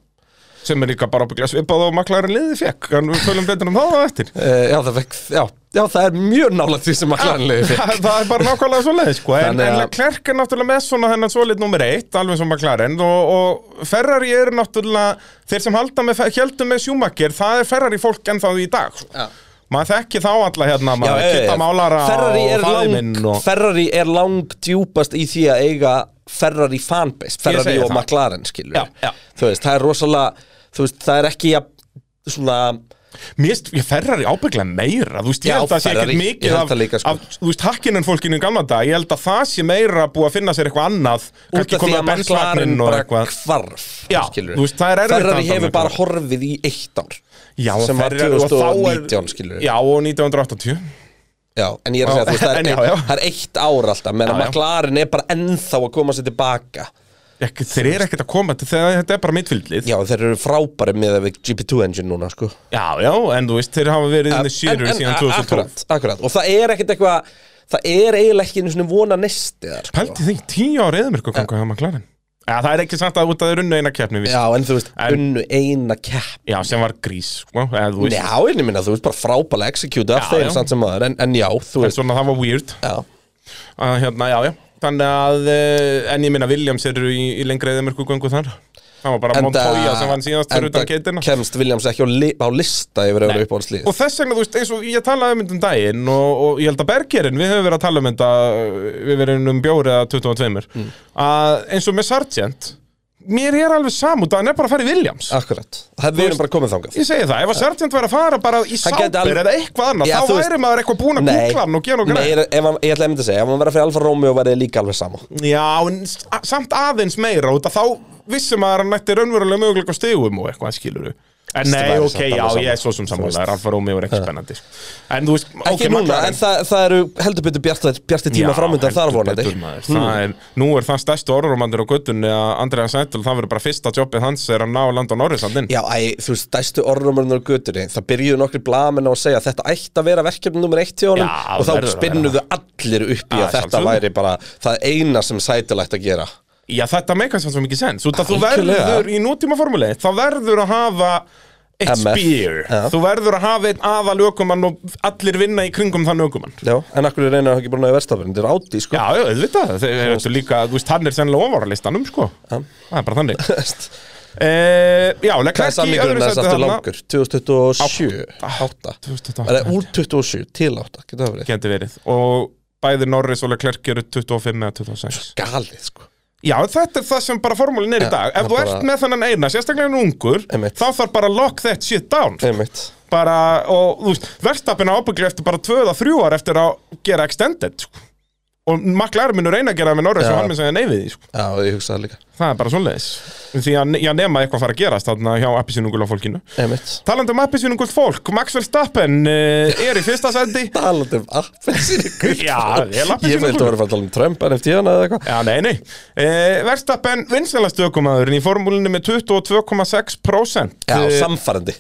Speaker 4: Sem er líka bara ábyggilega svipað og maklarinn liðið fekk En við fölum betur um það á eftir
Speaker 3: uh, já, það fekk, já, já, það er mjög nálægt því sem McLaren liði fyrir
Speaker 4: það það er bara nákvæmlega svo leið sko. en,
Speaker 3: Þannig að-
Speaker 4: en Leclerc er náttúrulega með svona þennan svolít nummer eitt, alveg sem McLaren og, og Ferrari eru náttúrulega þeir sem halda með, heldum með Schumacher það er Ferrari fólk ennþá í dag sko.
Speaker 3: Já.
Speaker 4: maður þekki þá alla hérna maður
Speaker 3: já, já.
Speaker 4: kitta málara
Speaker 3: Ferrari er
Speaker 4: og faðir minn
Speaker 3: lang,
Speaker 4: og
Speaker 3: Ferrari er lang djúpast í því að eiga Ferrari fanbase, Ferrari
Speaker 4: segi
Speaker 3: og
Speaker 4: það.
Speaker 3: McLaren skilur
Speaker 4: Já, já.
Speaker 3: þú veist, það er rosalega þú veist, það er ekki ja, svona
Speaker 4: Mér finnst, ég ferrar í ábygglega meira Þú veist, ég
Speaker 3: Já,
Speaker 4: held að það sé
Speaker 3: Ferrari,
Speaker 4: ekkert
Speaker 3: ég
Speaker 4: mikið
Speaker 3: held
Speaker 4: af,
Speaker 3: það líka, sko.
Speaker 4: af, þú veist, hakkinin fólkinu í gamla dag Ég held að það sé meira búið að finna sér eitthvað annað
Speaker 3: út
Speaker 4: kannski
Speaker 3: af því
Speaker 4: komið
Speaker 3: að
Speaker 4: að bensvagnin
Speaker 3: McLaren
Speaker 4: og
Speaker 3: bara
Speaker 4: eitthvað
Speaker 3: kvarf
Speaker 4: Já,
Speaker 3: skilurðu.
Speaker 4: þú veist, það er erfitt að
Speaker 3: Ferrari
Speaker 4: halda
Speaker 3: hefur
Speaker 4: með
Speaker 3: bara
Speaker 4: Ferrari.
Speaker 3: horfið í eitt ár
Speaker 4: Já, og
Speaker 3: sem var
Speaker 4: Ferrari- og þá er-
Speaker 3: 2019 skilur
Speaker 4: Já, og 1980
Speaker 3: já, en ég er að segja, þú veist, það er,
Speaker 4: En já, já.
Speaker 3: eitt- það er eitt ár alltaf meðan
Speaker 4: Já, já.
Speaker 3: McLaren er bara ennþá að koma sér tilbaka
Speaker 4: Ekki, þeir eru ekkert að koma, þegar, þetta er bara mittfildlið
Speaker 3: já, þeir eru frábæri með við GP2 engine núna sko
Speaker 4: Já, já, en þú veist, þeir hafa verið inn í sýru síðan 2012
Speaker 3: akkurat, akkurat, og það er ekkert eitthvað það er eiginlega ekki einu svona vona nesti þar sko.
Speaker 4: Pælti þig, tíu ára eðamirku að koma hjá McLaren Já, það er ekki samt að út að þeir unna eina keppni víst.
Speaker 3: já, en þú veist,
Speaker 4: En-
Speaker 3: unnu eina kepp
Speaker 4: já, sem var grís, sko, eða þú veist
Speaker 3: já, en ég minna, þú veist, bara frábæri execute af
Speaker 4: Já,
Speaker 3: þeir
Speaker 4: já.
Speaker 3: samt sem maður, en, en já, þú
Speaker 4: En
Speaker 3: veist
Speaker 4: svona, það var weird
Speaker 3: já.
Speaker 4: að, hérna, já, já. Þannig að, eh, en ég minna Williams eru í, í lengri eðamirku göngu þar Það var bara Montoya sem vann síðast fyrir utan keitina
Speaker 3: kemst Williams ekki á, li, á lista yfir öðru uppáhaldslið
Speaker 4: Og þess vegna, þú veist, eins og ég talaði um þetta um daginn og, og ég held að Bergerinn, við höfum verið að tala um þetta við verðum um bjóri eða 22
Speaker 3: Mm.
Speaker 4: að eins og með Sargent mér er alveg samútt að hann er bara að fara í Williams
Speaker 3: Akkurat, það við erum bara komið þangað
Speaker 4: Ég segi það, ef að Sargent væri að fara bara í
Speaker 3: Hann gæti
Speaker 4: Sáber
Speaker 3: alveg-
Speaker 4: eða eitthvað annað,
Speaker 3: Já,
Speaker 4: þá
Speaker 3: þú
Speaker 4: væri
Speaker 3: veist-
Speaker 4: maður eitthvað búin að kúkla hann og gera og
Speaker 3: nei,
Speaker 4: greið
Speaker 3: ég, ef hann- ég ætla einmitt að segja, ef hann verið að fyrir Alfa Romeo verið líka alveg sama
Speaker 4: Já, en s- a- samt aðeins meira út að þá vissi maður að hann nætti raunverulega möguleika á stigum og eitthvað, skilur En nei,
Speaker 3: væri
Speaker 4: ok,
Speaker 3: samt alveg
Speaker 4: já,
Speaker 3: sama.
Speaker 4: ég er svo sem
Speaker 3: Þú
Speaker 4: sammála,
Speaker 3: veist.
Speaker 4: Ralfa Rómi var ekki spennandi sko. En þú veist,
Speaker 3: Ekki
Speaker 4: ok,
Speaker 3: núna,
Speaker 4: McLaren-
Speaker 3: en það, það eru heldur betur bjartir, bjartir tíma framöndan þar
Speaker 4: heldur
Speaker 3: vonandi Hmm.
Speaker 4: betur, maður. Það er, nú er það stærstu orðurumandir á guttunni að Andrea Sætl, það verður bara fyrsta jobbið hans er að ná Landon Norrisandinn
Speaker 3: Já, æ, þú veist, stæstu orðrumurinn á götunni Það byrjuðu nokkri blamenn á að segja Þetta ætti að vera verkefni nummer eitt til honum
Speaker 4: Já,
Speaker 3: Og
Speaker 4: verður
Speaker 3: þá
Speaker 4: að
Speaker 3: spinnuðu allir upp í
Speaker 4: Já,
Speaker 3: að þetta
Speaker 4: sjálfsögðu.
Speaker 3: væri bara Það eina sem sætilægt að gera
Speaker 4: Já, þetta meikar sem svo mikið sens Út að þú
Speaker 3: Algjörlega.
Speaker 4: verður í nútíma formule þá verður að hafa eitt
Speaker 3: MF,
Speaker 4: spýr
Speaker 3: já.
Speaker 4: Þú verður að hafa einn aðal ökumann og allir vinna í kringum þann ökumann
Speaker 3: Já, en akkur reynir hann ekki búin að verðstafurinn Þetta er átti, sko
Speaker 4: Já, já, auðvitað, þeir eru þetta líka, þú veist, hann er sennilega ofar á listanum, sko Það er bara þannig e, Já,
Speaker 3: Hvað er
Speaker 4: Leclerc í
Speaker 3: samlingurinn
Speaker 4: öðru
Speaker 3: þess
Speaker 4: sæti
Speaker 3: aftur
Speaker 4: þarna
Speaker 3: langur? 2027? 8
Speaker 4: 2028.
Speaker 3: Það er úr 27 til 8 Getur það verið?
Speaker 4: Gæti verið Og bæði Norris og Leclerc eru 25 eða 26
Speaker 3: Galið sko
Speaker 4: Já, þetta er það sem bara formúlin er í
Speaker 3: Ja,
Speaker 4: dag Ef
Speaker 3: það
Speaker 4: þú
Speaker 3: bara-
Speaker 4: ert með þennan eina, sérstaklega en ungur
Speaker 3: Einmitt.
Speaker 4: Þá þarf bara að lock that shit down
Speaker 3: Einmitt
Speaker 4: Bara, og þú veist, verðstapin ábyggli eftir bara tvöða þrjú ár eftir að gera extended sko. Og maklar minn reyna að gera það með Norris
Speaker 3: Ja.
Speaker 4: og hann minn segja nei við því sko.
Speaker 3: Já, ég hugsaði líka
Speaker 4: Það er bara svoleiðis Því að ne- ég nema eitthvað fara að gerast þarna hjá appisvinungul á fólkinu
Speaker 3: Einmitt
Speaker 4: Talandi um appisvinungul fólk, Max Verstappen eh, er í fyrsta sendi
Speaker 3: Talandi um appelsinu gult
Speaker 4: Já, vel appelsínugult.
Speaker 3: Ég veit að vera að fara að tala um Trump en eftir hana eða eitthvað
Speaker 4: Já, nei, nei. E, Verstappen vinsælast ökumæðurinn í formúlinu með 22,6%.
Speaker 3: Já,
Speaker 4: Eh,
Speaker 3: samfærandi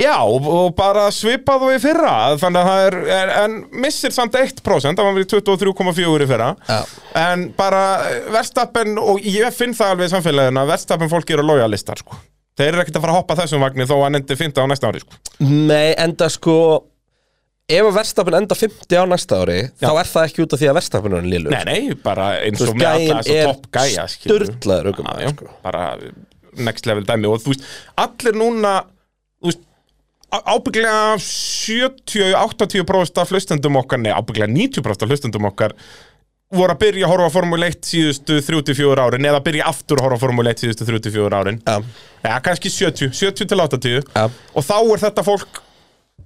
Speaker 4: Já, og, og bara svipað og í fyrra, þannig að það er, er en missir samt 1%, það var verið 23,4 í fyrra.
Speaker 3: Já.
Speaker 4: En bara eh, Verstappen, og ég finn það alveg í samfélaginu að Verstappen fólk eru lojalistar, sko. Þeir eru ekkert að fara að hoppa þessum vagnir þó að hann endi 15 á næsta ári, sko.
Speaker 3: Nei, enda sko Ef að verðstafin enda 50 á næsta ári Þá er það ekki út af því að verðstafin er lillur
Speaker 4: Nei, nei, bara eins og
Speaker 3: Þú veist,
Speaker 4: með alla
Speaker 3: gæinn
Speaker 4: þess
Speaker 3: er
Speaker 4: að topp gæja,
Speaker 3: sturlaður ökumaður,
Speaker 4: Já, já,
Speaker 3: sko.
Speaker 4: bara next level dæmi og þú veist, allir núna þú veist, á- ábyggilega 70-80% af hlustendum okkar, nei, ábyggilega 90% af hlustendum okkar voru að byrja að horfa á Formule 1 síðustu 34 árin eða byrja aftur að horfa á Formule 1 síðustu 34 árin
Speaker 3: Já.
Speaker 4: ja, kannski 70, 70 til 80
Speaker 3: Já.
Speaker 4: og þá er þetta fólk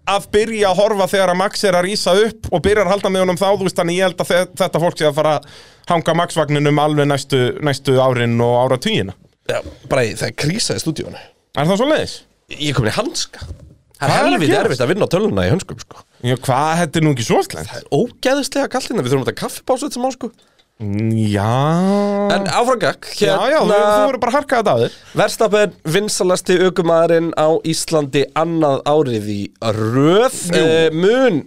Speaker 4: að byrja að horfa þegar að Max er að rísa upp og byrjar að halda með honum þá þú veist þannig ég held að þe- þetta fólk sé að fara að hanga Max-vagninum alveg næstu, næstu árin og áratugina
Speaker 3: Já, bara í- það er krísa í stúdíónu
Speaker 4: Er það svo leiðis?
Speaker 3: Ég er komin í hanska Það
Speaker 4: Hvað er
Speaker 3: er
Speaker 4: að
Speaker 3: helvið
Speaker 4: gerast?
Speaker 3: erfitt að vinna á töluna í hönskum sko.
Speaker 4: Já, hvað, þetta er nú ekki svo slengt?
Speaker 3: Ógæðislega kalt hérna, við þurfum að þetta kaffipásu þetta smá sko
Speaker 4: Já
Speaker 3: En áfrangak,
Speaker 4: Já,
Speaker 3: hérna
Speaker 4: já, þú, þú verður bara að harka þetta að þér
Speaker 3: Verstappen, vinsalasti aukumæðurinn á Íslandi annað árið í röð e, mun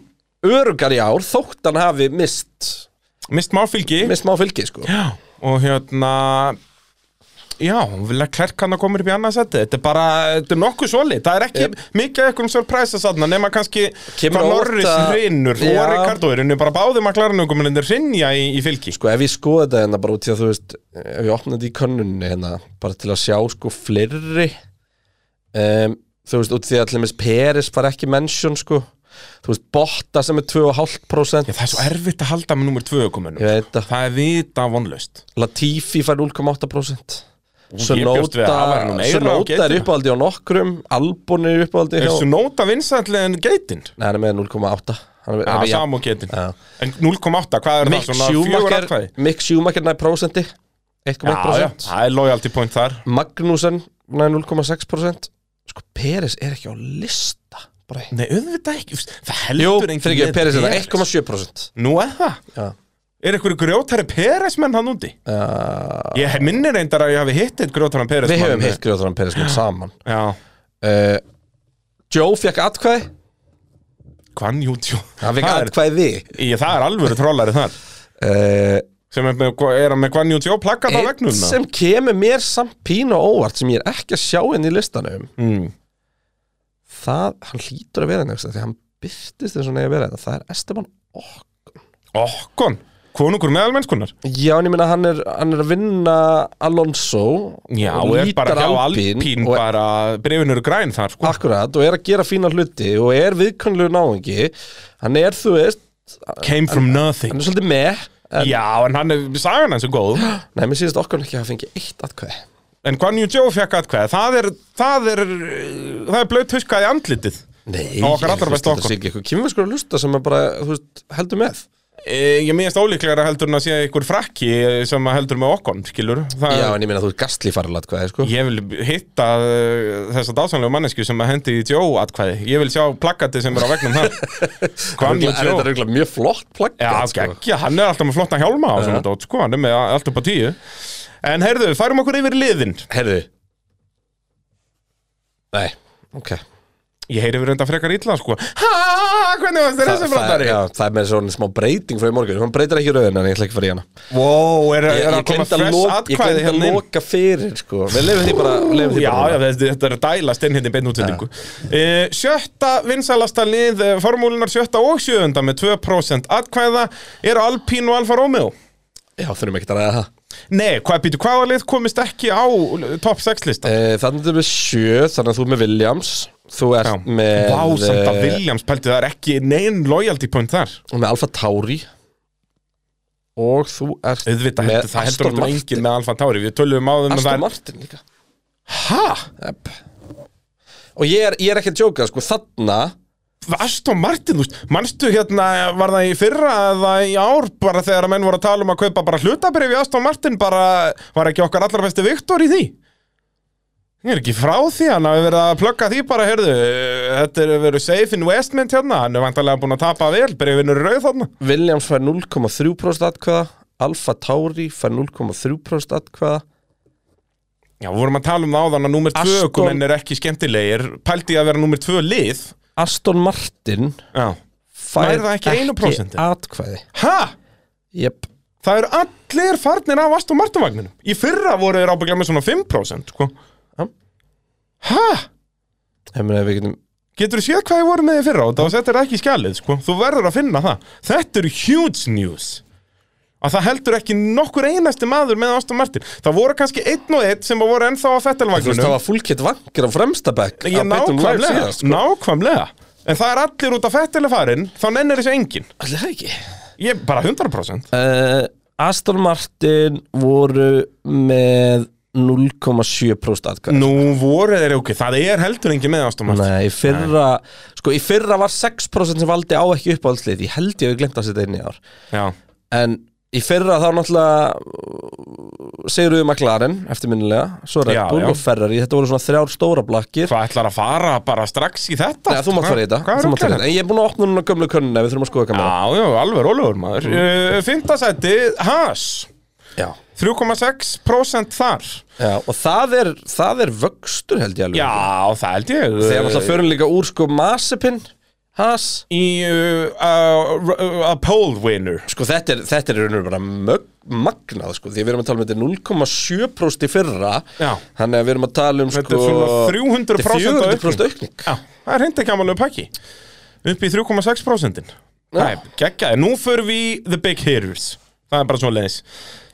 Speaker 3: örugar í ár þótt hann hafi mist
Speaker 4: Mist máfylgi
Speaker 3: mist má fylgi sko
Speaker 4: Já, og hérna Já, vilja klerk hann að koma upp í annað seti Þetta er bara, þetta er nokkuð svolít Það er ekki
Speaker 3: Yep.
Speaker 4: mikið eitthvað um surpræsa sanna nema kannski
Speaker 3: Kemur
Speaker 4: hvað
Speaker 3: á
Speaker 4: Norris
Speaker 3: ótta-
Speaker 4: hrinur
Speaker 3: Já.
Speaker 4: og Ricardo er bara báði maklarnugumennir hrinja í, í fylki
Speaker 3: Sko ef ég skoði þetta hérna bara út í að þú veist ef ég opnaði þetta í könnunni hérna bara til að sjá sko fleiri um, þú veist út í að til dæmis Peris var ekki mention sko þú veist Botta sem er 2,5%
Speaker 4: Já, það er svo erfitt að halda með nummer 2 kominu
Speaker 3: Ég veit það.
Speaker 4: Það er vita vonlaust
Speaker 3: Latifi fær 0,8%
Speaker 4: ég bjóst við að það væri nú
Speaker 3: Sunoda
Speaker 4: meira
Speaker 3: Sunoda
Speaker 4: á
Speaker 3: er
Speaker 4: geitina.
Speaker 3: uppáhaldi á nokkrum Albon er uppáhaldi
Speaker 4: Er
Speaker 3: hjá
Speaker 4: þessu nóta vinsætli en geitin?
Speaker 3: Nei, hann er með 0,8 Hann er
Speaker 4: Já,
Speaker 3: með- hann er-
Speaker 4: sam og geitin
Speaker 3: Já.
Speaker 4: En 0,8, hvað er
Speaker 3: Mick
Speaker 4: það? Svona fjögur
Speaker 3: Schumacher
Speaker 4: atkvæði?
Speaker 3: Mick Schumacher næði prósenti
Speaker 4: Já, já,
Speaker 3: 1,1%
Speaker 4: það er loyalty point þar
Speaker 3: Magnussen næði 0,6% Sko, Peres er ekki á lista bara
Speaker 4: Nei, auðvitað ekki, það
Speaker 3: Jú,
Speaker 4: heldur enginn
Speaker 3: fyrir ekki,
Speaker 4: með
Speaker 3: Peres er það
Speaker 4: Perez.
Speaker 3: 1,7%
Speaker 4: Nú er það?
Speaker 3: Já.
Speaker 4: Er einhverju grjótari Peresmenn hann úti?
Speaker 3: uh,
Speaker 4: Ég minnir reyndar að ég hafi hitt eitt grjótari Peresmenn
Speaker 3: Við hefum hitt Grjóðan Peres minn saman
Speaker 4: Já,
Speaker 3: uh, Joe fekk atkvæði
Speaker 4: hvann jútjú
Speaker 3: Hann fekk
Speaker 4: það, er-
Speaker 3: atkvæði
Speaker 4: Ég, það er alvöru trollari þar
Speaker 3: uh,
Speaker 4: sem er, með- er hann með hvann jútjú plakkat á
Speaker 3: Einn
Speaker 4: vegnum
Speaker 3: sem kemur mér samt pínu á óvart sem ég er ekki að sjá henni í listanum
Speaker 4: mm.
Speaker 3: það, hann hlýtur að vera henni því hann byrtist eins og neyja að vera henni það er Esteban Okk
Speaker 4: Okkon, konungur meðalmennskunar
Speaker 3: Já, en ég meina hann er, hann er að vinna Alonso
Speaker 4: Já,
Speaker 3: og
Speaker 4: og er bara hjá
Speaker 3: Alpine
Speaker 4: Alpín
Speaker 3: og,
Speaker 4: bara brefin eru græn þar sko.
Speaker 3: Akkurat, og er að gera fína hluti og er viðkvæmlegu náungi hann er, þú veist,
Speaker 4: Came from
Speaker 3: hann
Speaker 4: nothing
Speaker 3: er svolítið með en,
Speaker 4: Já, en hann er, sagan hans er góð
Speaker 3: Nei, mér sýnist okkur ekki að hafa fengið eitt atkvæði
Speaker 4: En Guan Yu Zhou fekk atkvæða Það er, það er, það er blöð tuskað í andlitið
Speaker 3: Nei,
Speaker 4: Á okkar allra
Speaker 3: þú veist,
Speaker 4: besta
Speaker 3: þetta
Speaker 4: Ocon.
Speaker 3: sé ekki eitthvað kynverskur að hlusta sem er bara, þú veist, heldur með
Speaker 4: E, ég minnst ólíklegra heldur en að sé einhver frakki eh, sem að heldur með okkon, skilur Þa,
Speaker 3: Já, en ég meina þú veist gastli farlega atkvæði, sko
Speaker 4: Ég vil hitta eh, þessa dásanlega mannesku sem að hendi í Jó atkvæði Ég vil sjá plakkati sem er á vegnum þar Guan Yu
Speaker 3: Örugglega- er
Speaker 4: Zhou
Speaker 3: þetta röglega mjög flott sko.
Speaker 4: Já,
Speaker 3: plaggat,
Speaker 4: geggja, hann er alltaf með flotta hjálma á svona dót, sko, hann er með allt upp á tíu En heyrðu, færum okkur yfir liðin
Speaker 3: Herðu Nei, ok
Speaker 4: Ég heyri við reynda frekar illa, sko Ha, hvernig varst þér
Speaker 3: Þa,
Speaker 4: þessi
Speaker 3: það, er,
Speaker 4: brandari?
Speaker 3: já, það er með svona smá breyting frá í morgun Hún breytir ekki rauðin en ég ætla ekki að fara í hana
Speaker 4: Wow, er,
Speaker 3: Ég,
Speaker 4: er að
Speaker 3: ég
Speaker 4: koma
Speaker 3: glemt að,
Speaker 4: fresh
Speaker 3: loka- ég
Speaker 4: atkvæði
Speaker 3: gleymdi að
Speaker 4: hérna inn
Speaker 3: loka fyrir sko. Við lefum því bara, leyfum því
Speaker 4: Já,
Speaker 3: bara
Speaker 4: já, þetta, þetta er að dælast inn hérna í beinu útsendingu uh, Sjötta vinsælasta lið eh, Formúlunar sjötta og sjöunda með 2% atkvæða eru Alpín og Alfa Romeo
Speaker 3: já, þurfum ekki að ræða það
Speaker 4: Nei, hvað býtu, hvaða lið komist ekki á top 6 lista?
Speaker 3: Eh, Þannig að þú er með sjö, þannig að þú er með Williams Þú ert með
Speaker 4: Vá, samt að
Speaker 3: eh,
Speaker 4: Williams pælti það er ekki neinn loyalty point þar
Speaker 3: með Alfa Tauri Og þú ert
Speaker 4: Auðvitað, heldur, það heldur
Speaker 3: Aston
Speaker 4: þetta
Speaker 3: Martin
Speaker 4: enginn með Alfa Tauri Við töluðum á þeim að
Speaker 3: Aston
Speaker 4: það er
Speaker 3: Martin líka
Speaker 4: Hæ?
Speaker 3: Epp. Og ég er, ég er ekki að djóka sko, þarna
Speaker 4: Aston Martin, þú veist, manstu hérna var það í fyrra eða í ár bara þegar að menn voru að tala um að kaupa bara hlutabrif í Aston Martin, bara var ekki okkar allra besti Viktor í því Ég er ekki frá því, hann hafi verið að plugga því bara, heyrðu, þetta er verið safe investment hérna, hann er vantarlega búin að tapa vel, breyfinu rauð þarna.
Speaker 3: Williams fær 0,3% atkvæða Alfa Tauri fær 0,3% atkvæða
Speaker 4: Já, við vorum að tala um það áðan að númer 2
Speaker 3: Aston-
Speaker 4: ökumenn er ekki skemmtilegir, pældi ég að vera númer 2 lið.
Speaker 3: Aston Martin
Speaker 4: Já.
Speaker 3: fær
Speaker 4: Nær það ekki einu prósenti?
Speaker 3: atkvæði
Speaker 4: Hæ?
Speaker 3: Jep.
Speaker 4: Það eru allir farnir af Aston Martin vagninum. Í fyrra voru þeir ábygglega með svona 5%, sko.
Speaker 3: Já.
Speaker 4: Hæ?
Speaker 3: Ég meina, við getum
Speaker 4: Getur þú séð hvað ég voru með í fyrra og þá settir ekki í skjalið, sko. Þú verður að finna það. Þetta eru huge news. Að það heldur ekki nokkur einasti maður með Aston Martin. Það voru kannski einn og einn sem voru ennþá á
Speaker 3: Þú veist, það
Speaker 4: Fettelvagninu.
Speaker 3: var fúlkett vangir á fremsta bekk
Speaker 4: Ég
Speaker 3: á Beitun Live
Speaker 4: nákvæmlega,
Speaker 3: síðast, sko.
Speaker 4: nákvæmlega. En það er allir út af Fettelfarin, þá nennir þessu enginn.
Speaker 3: Ætli það ekki
Speaker 4: Ég bara 100%.
Speaker 3: uh, Aston Martin voru með 0,7% atkvæða
Speaker 4: Nú voru þeir ok, það er heldur engin með Aston Martin
Speaker 3: Nei, í fyrra, sko í fyrra var 6% sem valdi á ekki uppáhaldslið Ég held ég að við glemt að setja inn í ár
Speaker 4: Já,
Speaker 3: En í fyrra þá náttúrulega segir við McLaren, eftirminnilega Svo Red
Speaker 4: Já,
Speaker 3: Bull
Speaker 4: já.
Speaker 3: og Ferrari, þetta voru svona þrjár stóra blakkir
Speaker 4: hvað ætlar að fara bara strax í þetta?
Speaker 3: Nei, þú mátt fara í þetta,
Speaker 4: Hvað
Speaker 3: þú
Speaker 4: er
Speaker 3: mátt fara í
Speaker 4: okkur?
Speaker 3: þetta En ég er búin að opna núna gömlu könnuna, við þurfum að skoða kamera
Speaker 4: Já, já, alveg rólegur maður mm. Fymtasæti, Haas
Speaker 3: Já.
Speaker 4: 3,6% þar
Speaker 3: Já, og það er, það er vöxtur held ég alveg
Speaker 4: Já, það held ég eh,
Speaker 3: Þegar náttúrulega förum líka úr sko Masipin Haas
Speaker 4: Í uh, uh, uh, a poll winner
Speaker 3: Sko þetta er, þetta er í rauninu bara mög, magnað sko Því við erum að tala um þetta er 0,7% í fyrra
Speaker 4: Já.
Speaker 3: Þannig að við erum að tala um
Speaker 4: Þetta er
Speaker 3: sko
Speaker 4: svona 300%
Speaker 3: Þetta er 400%
Speaker 4: aukning.
Speaker 3: aukning
Speaker 4: Já, það er hindi kamalegu pakki Upp í 3,6% Það er geggjaði Nú förum við í The Big Heroes Það er bara svona leðis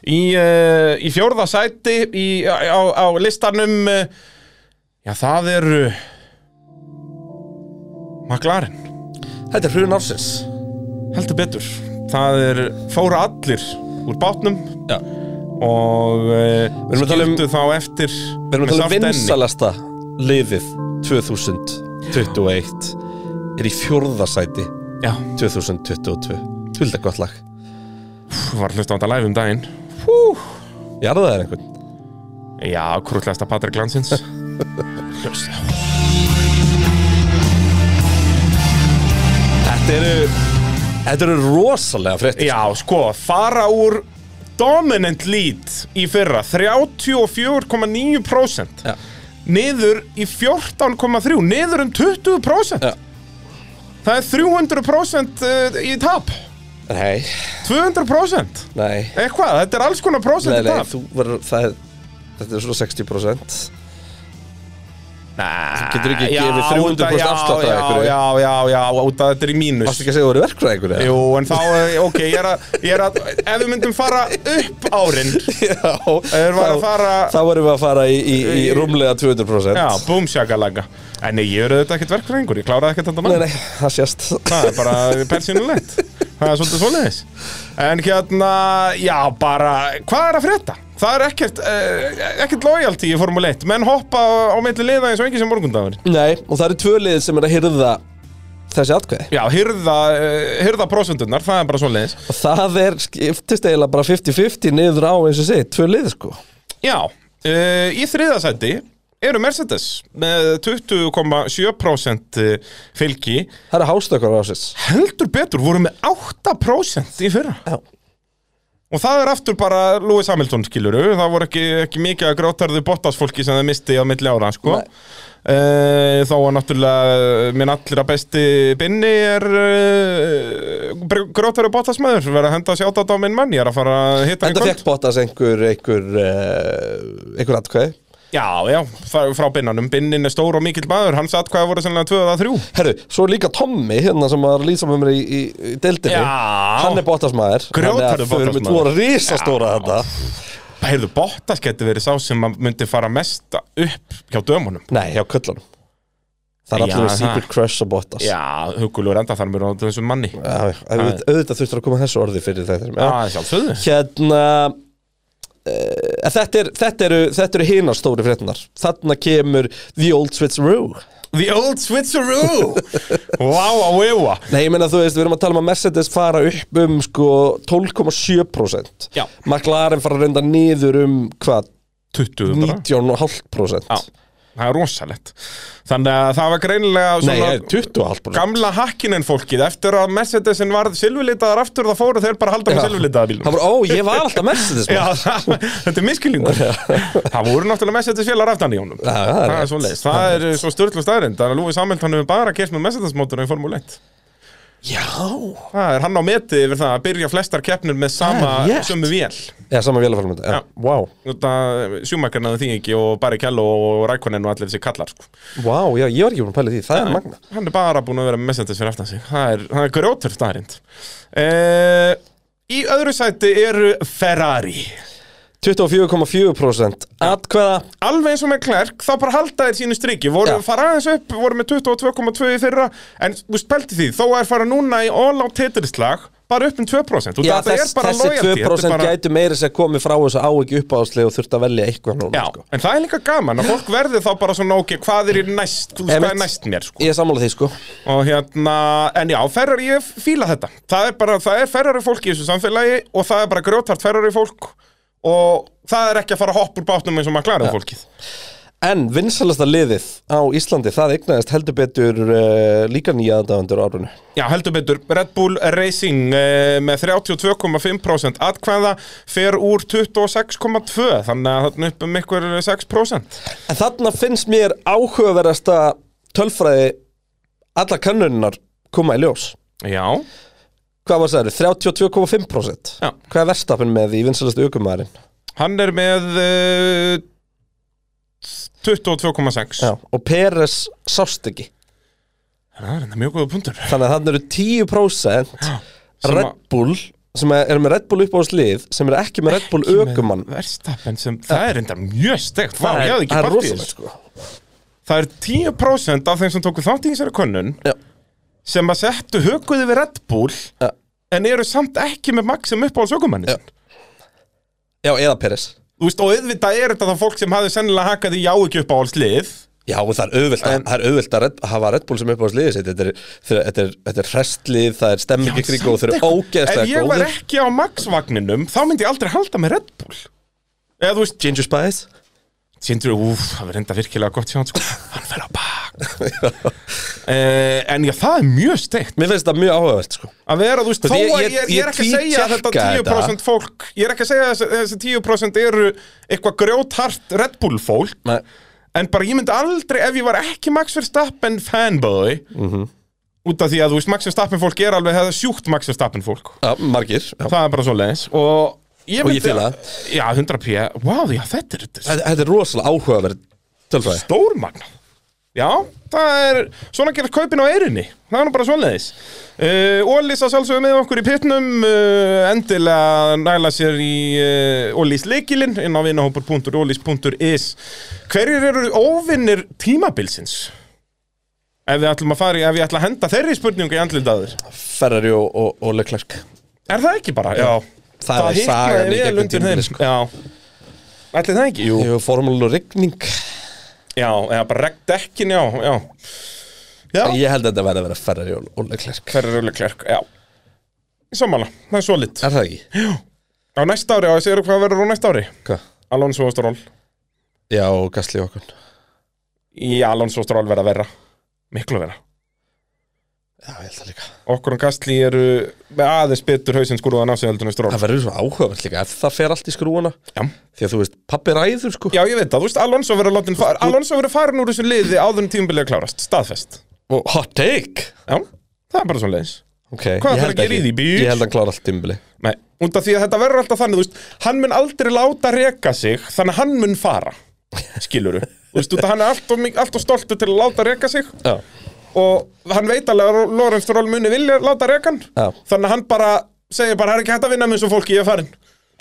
Speaker 4: Í, uh, í fjórða sæti í, á, á listanum uh, Já, það er uh, McLaren
Speaker 3: Þetta er hrun ársins
Speaker 4: Heldur betur Það er fóra allir úr bátnum
Speaker 3: Já.
Speaker 4: Og uh,
Speaker 3: Við erum að tala um-
Speaker 4: skildu þá eftir
Speaker 3: Við erum
Speaker 4: með
Speaker 3: að tala um
Speaker 4: sárt enni.
Speaker 3: vinsalasta liðið 2021 Er í fjórðasæti
Speaker 4: Já,
Speaker 3: 2022 Tvilda gott lag
Speaker 4: þú var að hlusta á þetta live um daginn
Speaker 3: Jarðaðið er einhvern
Speaker 4: Já, krútlegasta Patrik Landsins
Speaker 3: Þetta eru Þetta eru rosalega fréttir
Speaker 4: Já, sko, fara úr dominant lead í fyrra 34,9%
Speaker 3: Já.
Speaker 4: niður í 14,3 niður um 20%
Speaker 3: Já.
Speaker 4: Það er 300% uh, í tap
Speaker 3: Nei,
Speaker 4: 200%
Speaker 3: nei
Speaker 4: Eitthvað, þetta er alls konar
Speaker 3: Nei,
Speaker 4: prosent í
Speaker 3: nei,
Speaker 4: tap
Speaker 3: þú verður, það er Þetta er svona 60%
Speaker 4: Þú
Speaker 3: getur ekki gefið 300% afslátt af
Speaker 4: Ah, já,
Speaker 3: einhverju.
Speaker 4: já, já, já, út að þetta er í mínus
Speaker 3: Varstu ekki að segja að þú eru verkfræðingur eða?
Speaker 4: Jú, en þá, eh, ok, ég er að, ég er að ef við myndum fara upp árin
Speaker 3: Já,
Speaker 4: erum við að fara-
Speaker 3: Þá erum við að fara í, í, í rúmlega 200%
Speaker 4: Já, búm shakalaga En nei, ég er auðvitað ekkert verkfræðingur, ég kláraði ekkert þetta
Speaker 3: Nei,
Speaker 4: mann
Speaker 3: nei, það sést
Speaker 4: Það er bara persínulegt Það er svolítið svoleiðis En hérna, já, bara, hvað er að frétta? Það er ekkert, uh, ekkert lojalty í Formule 1 Menn hoppa á milli liða eins og engin sem morgundagur
Speaker 3: Nei, og það eru tvö liðið sem er að hyrða þessi atkvæði
Speaker 4: Já, hyrða, uh, hyrða prosentunar, það er bara svoleiðis
Speaker 3: Og það er skiptist eiginlega bara 50-50 niður á eins og segið, tvö liðið sko
Speaker 4: Já, uh, í þriðasæti eru Mercedes með 20,7% eh, fylgi
Speaker 3: Það eru hástökkar ásins
Speaker 4: Heldur betur, voru með 8% í fyrra
Speaker 3: Já
Speaker 4: Og það er aftur bara Lewis Hamilton skiluru Það voru ekki, ekki mikið að grátarðu Bottas fólki sem það misti á milli ára sko.
Speaker 3: Nei.
Speaker 4: uh, Þá var náttúrulega eh, minn allra besti binni er uh, grátarðu Bottas maður verið að henda sjátt á minn mann ég er að fara að hitta hann í
Speaker 3: Enda
Speaker 4: kvöld.
Speaker 3: fekk Bottas einhver einhver, uh, einhver atkvæði
Speaker 4: Já, já, frá, frá binnanum Binnin er stór og mikill maður, hans atkvæða voru sennilega 2 eða 3
Speaker 3: Herru, svo er líka Tommy hérna sem var að lýsa með mér í, í, í deildinni
Speaker 4: Já.
Speaker 3: Hann er Bottas maður
Speaker 4: Grjótharður
Speaker 3: Þannig að
Speaker 4: Bottas
Speaker 3: Þú
Speaker 4: maður.
Speaker 3: voru risastóra þetta
Speaker 4: Heyrðu, Bottas getur verið sá sem að myndi fara mest upp hjá dömunum
Speaker 3: Nei, hjá köllunum Það er
Speaker 4: Já,
Speaker 3: allir með
Speaker 4: það.
Speaker 3: secret crush á Bottas
Speaker 4: Já, hugulur enda þar mér á þessum manni
Speaker 3: Já, já, auðvitað, auðvitað þurftur að koma þessu orði fyrir þetta já.
Speaker 4: Já, sjálfsögðu
Speaker 3: Hérna uh, þetta, er, þetta eru, þetta eru hinar stóri fréttinar Þarna kemur The Old Switcheroo
Speaker 4: The old switcheroo Wow, wow, wow
Speaker 3: Nei, ég meina þú veist, við erum að tala um að Mercedes fara upp um sko 12,7%
Speaker 4: Já.
Speaker 3: McLaren fara að reynda niður um hvað,
Speaker 4: 20 bara
Speaker 3: 19,5%
Speaker 4: Já, það er rosalegt Þannig að það var greinilega
Speaker 3: Nei,
Speaker 4: svona
Speaker 3: 20,5%
Speaker 4: Gamla hakkinin fólkið Eftir að Mercedesin varð silfurlitaðar aftur Það fóru þeir bara að halda með
Speaker 3: Já.
Speaker 4: silfurlitaða bílum
Speaker 3: Það var, ó, ég var alltaf Mercedes
Speaker 4: Já,
Speaker 3: maður.
Speaker 4: það, þetta er miskilingur Það voru náttúrulega Mercedes félagar aftan í honum
Speaker 3: Já, það
Speaker 4: það
Speaker 3: er rétt.
Speaker 4: er svo leist Það er svo störtlu staðrind Þannig að Lúi Samhjöldon hefur bara kert með Mercedes mótorinn í Formule 1
Speaker 3: Já,
Speaker 4: Það er hann á meti yfir það að byrja flestar keppnir með sama
Speaker 3: Það er rétt.
Speaker 4: sömu vél
Speaker 3: já Eh, saman vélafarmönda Já,
Speaker 4: Já.
Speaker 3: vá,
Speaker 4: sjúmakarna því ekki og Barry Kello og Rækonen og allir þessi kallar sko.
Speaker 3: vá, já, ég var ekki búin að pæla í því, það er magna
Speaker 4: hann er bara búin að vera með Mercedes fyrir aftan sig það er, það er grjótur staðarind uh, í öðru sæti eru Ferrari
Speaker 3: 24,4% atkvæða
Speaker 4: alveg eins og með Klerk þá bara halda þeir sínu striki voru
Speaker 3: Já.
Speaker 4: fara aðeins upp, voru með 22,2 í fyrra en þú spelti því, þó er fara núna í all á titilslag bara upp um 2% Út
Speaker 3: Já,
Speaker 4: af þetta
Speaker 3: þess,
Speaker 4: er bara
Speaker 3: þessi
Speaker 4: loyalty,
Speaker 3: 2%
Speaker 4: þetta er bara-
Speaker 3: gætu meira sér komið frá þessu á ekki uppáðslega og þurft að velja eitthvað núna
Speaker 4: Já,
Speaker 3: sko.
Speaker 4: en það er líka gaman að fólk verði þá bara svona ok, hvað er í næst, þú veist, hvað er
Speaker 3: Einmitt.
Speaker 4: næst mér sko.
Speaker 3: Ég er sammála því sko
Speaker 4: og hérna, en já, ferrar ég fíla þetta, það er bara, það er ferrar fólk í þessu samfélagi og það er bara grjótart ferrar fólk og það er ekki að fara að hoppa úr bátnum eins og maður klarið fólkið
Speaker 3: En vinsalasta liðið á Íslandi það eignaðist heldur betur uh, líka nýja aðdáðundur árunni
Speaker 4: Já, heldur betur, Red Bull Racing eh, með 32,5% atkvæða fer úr 26,2 þannig að þarna upp um ykkur 6%
Speaker 3: En þarna finnst mér áhugaverðasta tölfræði alla kannuninar koma í ljós
Speaker 4: Já,
Speaker 3: Hvað var það? 32,5%
Speaker 4: Já.
Speaker 3: Hvað er verstafinn með í vinsalasta aukumæðurinn?
Speaker 4: hann er með uh, 22,6
Speaker 3: Og Peres sást ekki
Speaker 4: Það er enda mjög góða punktur
Speaker 3: Þannig að þarna eru 10%
Speaker 4: sem
Speaker 3: Red
Speaker 4: að-
Speaker 3: Bull sem er með Red Bull uppáðslið sem er ekki með Red Bull aukumann
Speaker 4: Verstappen sem, það er enda mjög stegt Vá, ég hafði ekki
Speaker 3: það er
Speaker 4: partið
Speaker 3: rosalegt sko
Speaker 4: Það er 10% af þeim sem tóku þátt í þessari könnun
Speaker 3: Já.
Speaker 4: sem að settu hökuði við Red Bull
Speaker 3: Já.
Speaker 4: en eru samt ekki með Max sem uppáhalds aukumanni sinn
Speaker 3: Já, eða Peres
Speaker 4: Þú veist, og auðvitað er þetta þá fólk sem hafði sennilega hakað í já ekki uppáhalds lið
Speaker 3: Já, og það er auðvelt að, það er auðvelt að red, hafa Red Bull sem upp á sliðið sitt Þetta er, þeir- þetta er, þetta er hrestlið, það er stemming í kringu og þeir eru
Speaker 4: Ef
Speaker 3: ógeðslega
Speaker 4: ég var
Speaker 3: góðir
Speaker 4: ekki á Max-vagninum þá myndi ég aldrei halda með Red Bull Eða þú veist,
Speaker 3: Ginger Spice
Speaker 4: Sindri, úf, það verður enda virkilega gott hjá hann sko Hann fer á bak uh, En já, það er mjög steikt
Speaker 3: Mér finnst það mjög áhugavert sko.
Speaker 4: Að vera, þú veist,
Speaker 3: Þú
Speaker 4: þó
Speaker 3: veist,
Speaker 4: að
Speaker 3: ég-
Speaker 4: ég,
Speaker 3: ég-
Speaker 4: ég, er
Speaker 3: ég
Speaker 4: ekki að segja
Speaker 3: tvítékka
Speaker 4: þetta 10% fólk Ég er ekki að segja þessi, þessi 10% eru eitthvað grjóthart Red Bull fólk
Speaker 3: Nei.
Speaker 4: En bara ég myndi aldrei, ef ég var ekki Max Verstappen fanboy Út af því að, þú veist, Max Verstappen fólk er alveg hefða sjúkt Max Verstappen fólk
Speaker 3: Já, margir já.
Speaker 4: Það er bara svo leiðis Og ég
Speaker 3: Og
Speaker 4: myndi
Speaker 3: ég fíla það.
Speaker 4: Já, 100p, wow, já, þetta er, þetta er
Speaker 3: Þetta þetta er rosalega áhugaverð tölfræði
Speaker 4: Stórmagn Já, það er svona að gera kaupin á eirinni Það er nú bara svoleiðis uh, Ólís að sjálfsögum með okkur í pitnum uh, Endilega næla sér í uh, Ólís leikilinn inn á vinahópur.ólís.is Hverjir eru óvinnir tímabilsins? Ef við ætlum að fara í, ef ég ætla að henda þeirri spurningu í andlitaður
Speaker 3: Ferrari og, og, og Leclerc
Speaker 4: Er það ekki bara? Já,
Speaker 3: Það er sagan í
Speaker 4: hitnaði
Speaker 3: gegnum
Speaker 4: vel undir
Speaker 3: tímabilið,
Speaker 4: þeim
Speaker 3: sko.
Speaker 4: Já Ætli það ekki?
Speaker 3: Jú, formúlu og rigning
Speaker 4: Já, eða bara regn dekkin, já, já Já,
Speaker 3: Ég held að þetta verði að vera Ferrari og, og Leclerc
Speaker 4: Ferri Rögle Klerk, já Sammála, það er svo lit
Speaker 3: Er það ekki?
Speaker 4: Á næsta ári, á þessi eru hvað verður á næsta ári
Speaker 3: Hva?
Speaker 4: Alonso og Stról
Speaker 3: Já, og Gasly og okkur
Speaker 4: Í Alonso og Stról verða verra Miklu verra
Speaker 3: Já, ég held það líka
Speaker 4: Okkur og Gastli eru með aðeins betur hausinn skurðan á sig heldur en Stról
Speaker 3: Það verður svo áhugaverð líka ef það fer allt í skrúuna
Speaker 4: Já.
Speaker 3: Því að þú veist, pappi ræður sko
Speaker 4: Já, ég veit það, þú veist, Alonso verður látin far, Alonso verður farin úr þessu liði áður en tímabilið er klárast Staðfest
Speaker 3: Og hot take
Speaker 4: Já, það er bara svo leiðis
Speaker 3: okay.
Speaker 4: Hvað þarf
Speaker 3: ég held
Speaker 4: að gera í
Speaker 3: ekki.
Speaker 4: því, bitch?
Speaker 3: Ég held að hann klára allt tímbili
Speaker 4: Nei, út af því að þetta verður alltaf þannig, þú veist, hann mun aldrei láta reka sig, þannig að hann mun fara, skiluru. þú veist, út af hann er allt og, allt og stoltur til að láta reka sig
Speaker 3: Já.
Speaker 4: og hann veit alveg að Lorenz Stroll muni vilja láta rekan,
Speaker 3: Já.
Speaker 4: þannig að hann bara segir bara, það er ekki hægt að vinna með þessu fólki, ég er farin.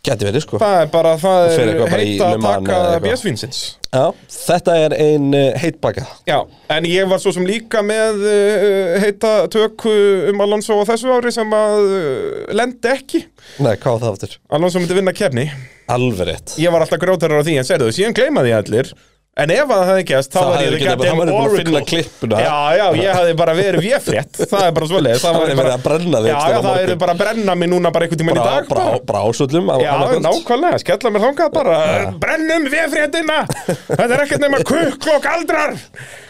Speaker 3: Gæti verið sko
Speaker 4: Það er bara, það
Speaker 3: fer
Speaker 4: er
Speaker 3: eitthvað bara í
Speaker 4: heita að
Speaker 3: Le Mans
Speaker 4: taka
Speaker 3: eða eitthvað.
Speaker 4: bjösvinsins.
Speaker 3: Já, þetta er ein uh, heitbaka
Speaker 4: Já, en ég var svo sem líka með uh, heita tökku um Alonso á þessu ári sem að uh, lendi ekki.
Speaker 3: Nei, hvað var það aftur?
Speaker 4: Alonso myndi vinna kefni.
Speaker 3: Alveg rétt
Speaker 4: ég var alltaf grótarar á því en segðu þú, síðan gleymaði ég allir en ef að það hefði gæst, þá
Speaker 3: Það
Speaker 4: var
Speaker 3: hefði
Speaker 4: ég
Speaker 3: getað-
Speaker 4: goddamn
Speaker 3: hann væri búinn að
Speaker 4: oracle.
Speaker 3: finna klippuna.
Speaker 4: já, já, ég hafði bara verið véfrétt það er bara svoleiðis það
Speaker 3: Hann
Speaker 4: væri
Speaker 3: hefði verið að brenna þig
Speaker 4: já, já,
Speaker 3: einhvers staðar á
Speaker 4: það
Speaker 3: morgun.
Speaker 4: eru bara að brenna mig núna bara einhvern tímann í
Speaker 3: Brá,
Speaker 4: dag
Speaker 3: brá,
Speaker 4: bara.
Speaker 3: brásöllum á
Speaker 4: já,
Speaker 3: annað kvöld.
Speaker 4: nákvæmlega, skella mér þangað bara brennum véfréttina þetta er ekkert nema kukl og galdrar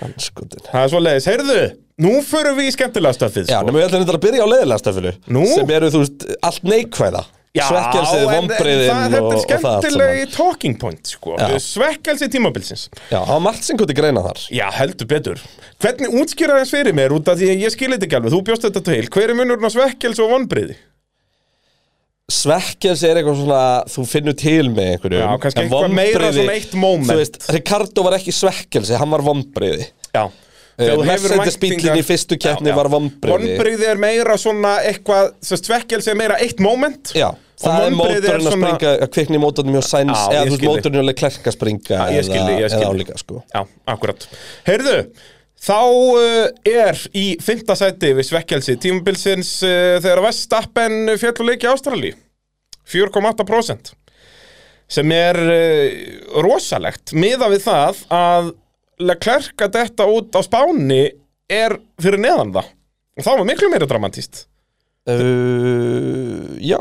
Speaker 3: Andskotin.
Speaker 4: það er svoleiðis, heyrðu nú förum við í skemmtilega stöfið sko.
Speaker 3: Já, nema við ætlum þetta að byrja á leiðilega stefinu
Speaker 4: Nú?
Speaker 3: Sem eru, þú veist, allt neikvæða
Speaker 4: Já,
Speaker 3: Svekkelsið,
Speaker 4: en- en það-
Speaker 3: vonbriðin og,
Speaker 4: Þetta er
Speaker 3: og það allt
Speaker 4: skemmtilegi
Speaker 3: saman.
Speaker 4: talking point sko.
Speaker 3: Já.
Speaker 4: Svekkelsi tímabilsins
Speaker 3: Já, það var margt sem gott í greina þar
Speaker 4: Já, heldur betur. Hvernig útskýra þess fyrir mér út af því að ég skil þetta ekki alveg, þú bjóst þetta til. Hver er munurinn á svekkels og vonbriði?
Speaker 3: Svekkelsi er eitthvað svona, þú finnur til með einhverju
Speaker 4: Já, kannski eitthvað meira svona eitt moment.
Speaker 3: Þú veist, Ricardo var ekki svekkelsi, hann var vonbriði
Speaker 4: Já.
Speaker 3: Eh, Mercedes bíllinn í fyrstu keppni var vonbrigði.
Speaker 4: Vonbriði er meira svona eitthvað, þess svekkels er meira eitt moment.
Speaker 3: Já, það
Speaker 4: vonbrigði er
Speaker 3: er mótorinn að
Speaker 4: svona-
Speaker 3: springa að kvikna í mótornum hjá Sainz
Speaker 4: Já,
Speaker 3: eða
Speaker 4: ég
Speaker 3: þú veist
Speaker 4: skil þig.
Speaker 3: mótorinn að klerka springa
Speaker 4: Já, ég skil þig, ég skil
Speaker 3: eða
Speaker 4: þig.
Speaker 3: álíka sko
Speaker 4: Já, akkurat. Heyrðu, Þá uh, er í fymta sæti við svekkelsi tímabilsins uh, þegar Vestappen féll og leiki Ástralíu 4,8% sem er uh, rosalegt miða við það að Leclerc að detta út á Spáni er fyrir neðan það og þá var miklu meira dramatíst
Speaker 3: Uh, já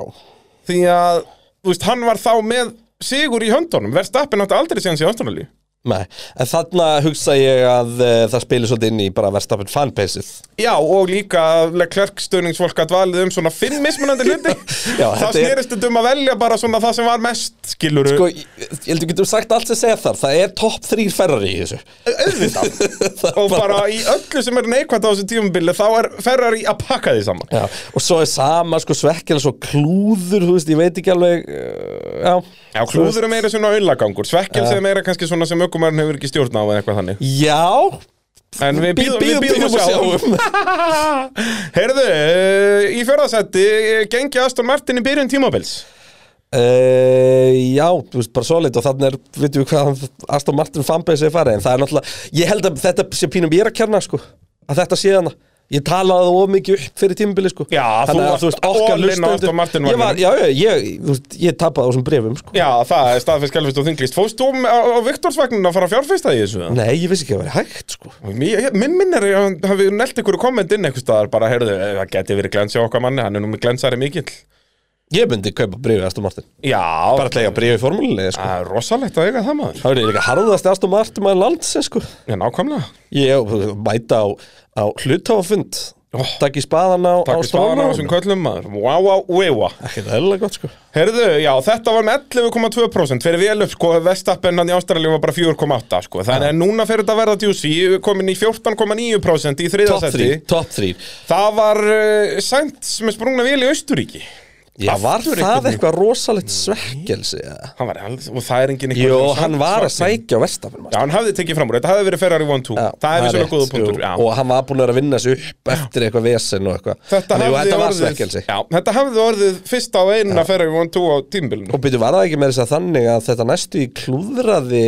Speaker 4: því að þú veist, hann var þá með sigur í höndunum Verstappen átti aldrei síðan síðan Ástralíu
Speaker 3: Nei, en þarna hugsa ég að uh, það spilir svolítið inn í bara verðstafn fanbase-ið
Speaker 4: Já, og líka Leclerc stöðningsfólk að valið um svona fimm mismunandi hluti
Speaker 3: Já,
Speaker 4: þá
Speaker 3: þetta er-
Speaker 4: snerist þetta um að velja bara svona það sem var mest skiluru
Speaker 3: Sko, ég ég held við getum sagt allt sem segja þar Það er topp þrýr ferrari í þessu
Speaker 4: auðvitað
Speaker 3: Það
Speaker 4: og bara í öllu sem er neikvæmt á þessu tímabili þá er Ferrari að pakka því saman
Speaker 3: Já, og svo er sama, sko, svekkjala svo klúður, þú veist, ég veit ekki alveg uh, Já,
Speaker 4: Já, klúður er meira svona auðlagangur svekkelse er meira kannski svona sem ökumærin hefur ekki stjórn á eða eitthvað þannig
Speaker 3: Já,
Speaker 4: en við býðum
Speaker 3: býðum, býðum og sjáum
Speaker 4: Heyrðu, eh, í fjörðasetti gengi Aston Martin í byrjun tímabils
Speaker 3: Uh, já, þú veist, bara solid og þannig er, veitum við hvað Aston Martin fanbase er farið, en það er náttúrulega ég held að þetta sé pínum ég er að kjanna sko, að þetta sé hana ég talaði það of mikið upp fyrir tímubili sko
Speaker 4: Já, þú
Speaker 3: Þannig að,
Speaker 4: varst
Speaker 3: þú veist, okkar
Speaker 4: all in á
Speaker 3: lustendur-
Speaker 4: Aston Martin
Speaker 3: ég var,
Speaker 4: vagninn.
Speaker 3: já, já, ég, þú veist, ég tapaði á þessum brefum sko
Speaker 4: Já, það er staðfest skjálfist og þinglist Fóst þú á, á Viktorsvagnin að fara að fjárfesta í þessu?
Speaker 3: nei, ég vissi ekki að það væri hægt sko
Speaker 4: Mér- Minn minn er að hafi nelt ykkur komment inn einhvers staðar bara, heyrðu, eh, það geti verið glens hjá okkar manni, hann er nú með glensari mikill
Speaker 3: ég myndi kaupa brefið Aston Martin
Speaker 4: Já,
Speaker 3: bara að lega brefið í formúlinni sko
Speaker 4: það er rosalegt að eiga það maður
Speaker 3: það er líka harðast Aston Martin maður landsins sko
Speaker 4: Já, nákvæmlega
Speaker 3: ég þú veist, mæta á, á hlutáfund
Speaker 4: Ó.
Speaker 3: takk í spaðan á,
Speaker 4: Oh.
Speaker 3: á
Speaker 4: Takk spáðan á
Speaker 3: stólnum.
Speaker 4: þessum köllum maður Vá, vá, wewa
Speaker 3: Ekkert eðlilega gott sko
Speaker 4: Herðu, já, þetta var með 11,2% fyrir vel upp, sko, Vestappen hann í Ástralíu var bara 4,8, sko Þannig að núna fyrir þetta að verða djúsi, komin í 14,9% í
Speaker 3: Top
Speaker 4: þriðasetti
Speaker 3: 3, top 3
Speaker 4: Það var uh, Sainz með sprungna vél í Austuríki
Speaker 3: Já, var
Speaker 4: Aftur
Speaker 3: það
Speaker 4: einhvern
Speaker 3: eitthvað rosalegt svekkelsi? eða?
Speaker 4: Hann var alls, og það er engin
Speaker 3: Jó,
Speaker 4: sem-
Speaker 3: hann var að
Speaker 4: svartinn.
Speaker 3: sækja á Vestafinn
Speaker 4: Já, hann hafði tekið fram úr, þetta hafði verið Ferrari 1-2 Það er vissulega góða punktur já.
Speaker 3: Og hann var búin að vera að vinna sig upp eftir eitthvað vesen og eitthvað
Speaker 4: Þetta
Speaker 3: Þannig, jú,
Speaker 4: hafði,
Speaker 3: Þetta var
Speaker 4: orðið,
Speaker 3: svekkelsi
Speaker 4: já, þetta hafði orðið fyrst á eina Ferrari 1-2 á tímbilinu
Speaker 3: Og byrju, var það ekki með þess að þannig að þetta næstu í klúðraði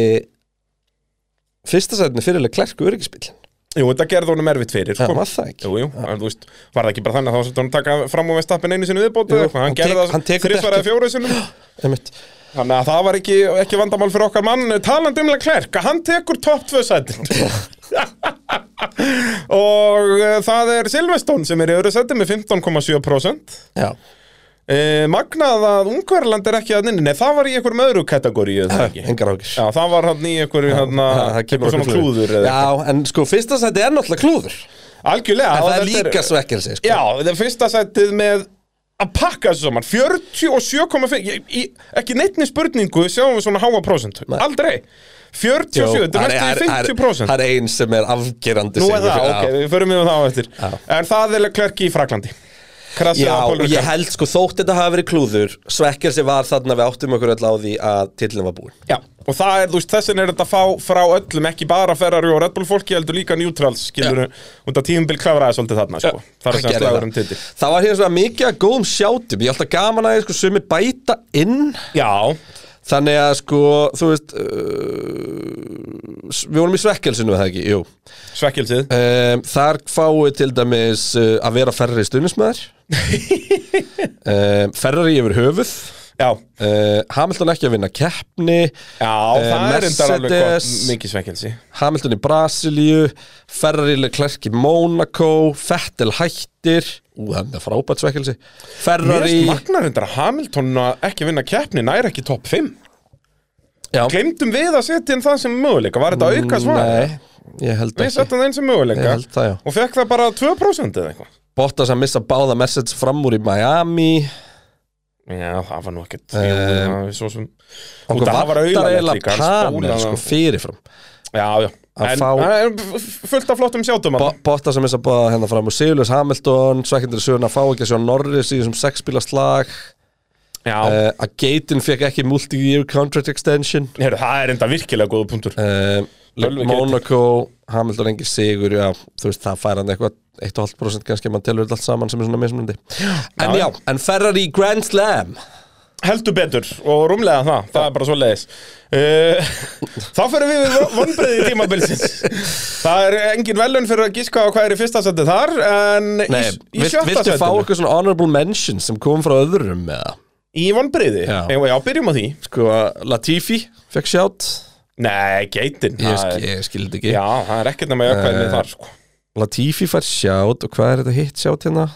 Speaker 3: fyrsta sætni fyrirlega klerku öryggisbílin
Speaker 4: Jú, þetta gerði honum erfitt fyrir sko.
Speaker 3: Það var það ekki
Speaker 4: Jú, jú, en þú veist, var það ekki bara þannig að þá svolítið hann taka fram og vestappin einu sinni viðbót eða
Speaker 3: Jú,
Speaker 4: eitthvað, hann
Speaker 3: hann tek-
Speaker 4: gerði
Speaker 3: hann
Speaker 4: það
Speaker 3: tekur
Speaker 4: þrísvar eða
Speaker 3: dekkin.
Speaker 4: fjóru sinni
Speaker 3: Einmitt.
Speaker 4: Þannig að það var ekki, ekki vandamál fyrir okkar mann eh, talandi umlega klærk, hann tekur topp tvö sætin og uh, það er Silveston sem er í öðru sæti með 15,7%
Speaker 3: Já,
Speaker 4: uh, Magnað að Ungverland er ekki að nynni, nei það var í einhverjum öðru kategóríu eða ekki
Speaker 3: Ah, engar ákir
Speaker 4: Já, það var hann í einhverju hérna, einhver svona klúður eða eitthvað.
Speaker 3: Já, en sko, fyrsta sæti er náttúrulega klúður
Speaker 4: Algjörlega
Speaker 3: En
Speaker 4: og
Speaker 3: það er
Speaker 4: þetta
Speaker 3: líka svekkelsi sko.
Speaker 4: Já, þetta er fyrsta sætið með að pakka þessu saman 47,5 ég- í- ekki neittni spurningu sjáum við svona háa prósent aldrei 47, þetta er næstu í 50%
Speaker 3: Það er einn sem er afgerandi
Speaker 4: Nú er
Speaker 3: sigur
Speaker 4: það,
Speaker 3: fyrir-
Speaker 4: ok,
Speaker 3: Já.
Speaker 4: við förum yfir það á eftir
Speaker 3: Já.
Speaker 4: en það er klerki í Fraklandi Krasið
Speaker 3: Já,
Speaker 4: á
Speaker 3: og ég
Speaker 4: Pólurkan
Speaker 3: held sko þótt þetta hafa verið klúður Svekkelsi var þarna við áttum okkur öll á því að tillin var búin
Speaker 4: Já, og það er, þú veist, þessin er þetta að fá frá öllum, ekki bara Ferrari og Red Bull fólki, heldur líka neutrals, skilur út að tíðumbil klavraði svolítið þarna, sko það er sem
Speaker 3: gerði
Speaker 4: að slagur um titil
Speaker 3: Það var hérna svona mikið að góðum sjátum Ég held að gaman að ég sko sumi bæta inn
Speaker 4: Já,
Speaker 3: Þannig að sko, þú veist uh, s- Við vorum í svekkelsinu, er það ekki, jú
Speaker 4: svekkelsið
Speaker 3: um, Þar fáið til dæmis uh, að vera ferri stuðnismæður um, Ferrari yfir höfuð
Speaker 4: Já,
Speaker 3: uh, Hamilton ekki að vinna keppni
Speaker 4: já,
Speaker 3: Eh,
Speaker 4: það er endar alveg gott,
Speaker 3: Mercedes.
Speaker 4: mikið svekkelsi
Speaker 3: Hamilton í Brasilíu Ferrari Leclerc í Monaco Fettel hættir Ú, það er frábært svekkelsi
Speaker 4: Mér
Speaker 3: Ferrari
Speaker 4: finnst magnar hundar að Hamilton að ekki vinna keppni nær ekki topp 5
Speaker 3: Já,
Speaker 4: Glemdum við að setja inn það sem möguleika Var þetta auka svar?
Speaker 3: Nei, ég held
Speaker 4: Við
Speaker 3: ekki
Speaker 4: setjum það inn sem
Speaker 3: Ég
Speaker 4: möguleika
Speaker 3: held það, já.
Speaker 4: Og fekk það bara 2% eða eitthvað
Speaker 3: Bottas að missa báða message fram úr í Miami
Speaker 4: Já, það var nú ekkert
Speaker 3: Eh,
Speaker 4: Jú, það er Svo sem Og
Speaker 3: Okkur
Speaker 4: það var
Speaker 3: vantar
Speaker 4: auðvitað
Speaker 3: eiginlega
Speaker 4: líka hann
Speaker 3: panel
Speaker 4: spólaði
Speaker 3: sko
Speaker 4: það.
Speaker 3: fyrirfram
Speaker 4: Já, já
Speaker 3: að
Speaker 4: En
Speaker 3: fá-
Speaker 4: það er fullt af flottum sjátum
Speaker 3: Bo
Speaker 4: hann
Speaker 3: Bottas að missa báða hérna fram úr Sigurljus Hamilton Svekkendur í söguna fá ekki að sjá Norris í þessum sexbíla slag
Speaker 4: Já,
Speaker 3: uh, Að Geitin fekk ekki multi-year contract extension
Speaker 4: Heyrðu, það er enda virkilega góða punktur
Speaker 3: um,
Speaker 4: Tölvu
Speaker 3: Monaco, Hamilton engi sigur já, þú veist, það fær hann eitthvað 1,5% kannski, ef mann telur þetta allt saman sem er svona mismunandi en já, en Ferrari Grand Slam
Speaker 4: heldur betur og rúmlega það, það er bara svo leiðis uh, Þá fyrir við við vonbreiði tímabilsins Það er engin velun fyrir að gíska á hvað er í fyrsta seti þar en
Speaker 3: Nei,
Speaker 4: í, í
Speaker 3: vilt,
Speaker 4: sjötta
Speaker 3: viltu fá
Speaker 4: setinu
Speaker 3: okkur svona honorable mentions sem kom frá öðrum með það?
Speaker 4: Í vonbreiði,
Speaker 3: Já.
Speaker 4: já. já, byrjum á því
Speaker 3: Sko, Latifi fekk sjátt
Speaker 4: Nei, geitin
Speaker 3: Ég,
Speaker 4: það
Speaker 3: skil, Eh.
Speaker 4: er-
Speaker 3: ég skildi ekki
Speaker 4: Já, það er ekkert nema jökvæðinni þar sko
Speaker 3: Latifi fær sjátt og hvað er þetta hitt sjátt hérna?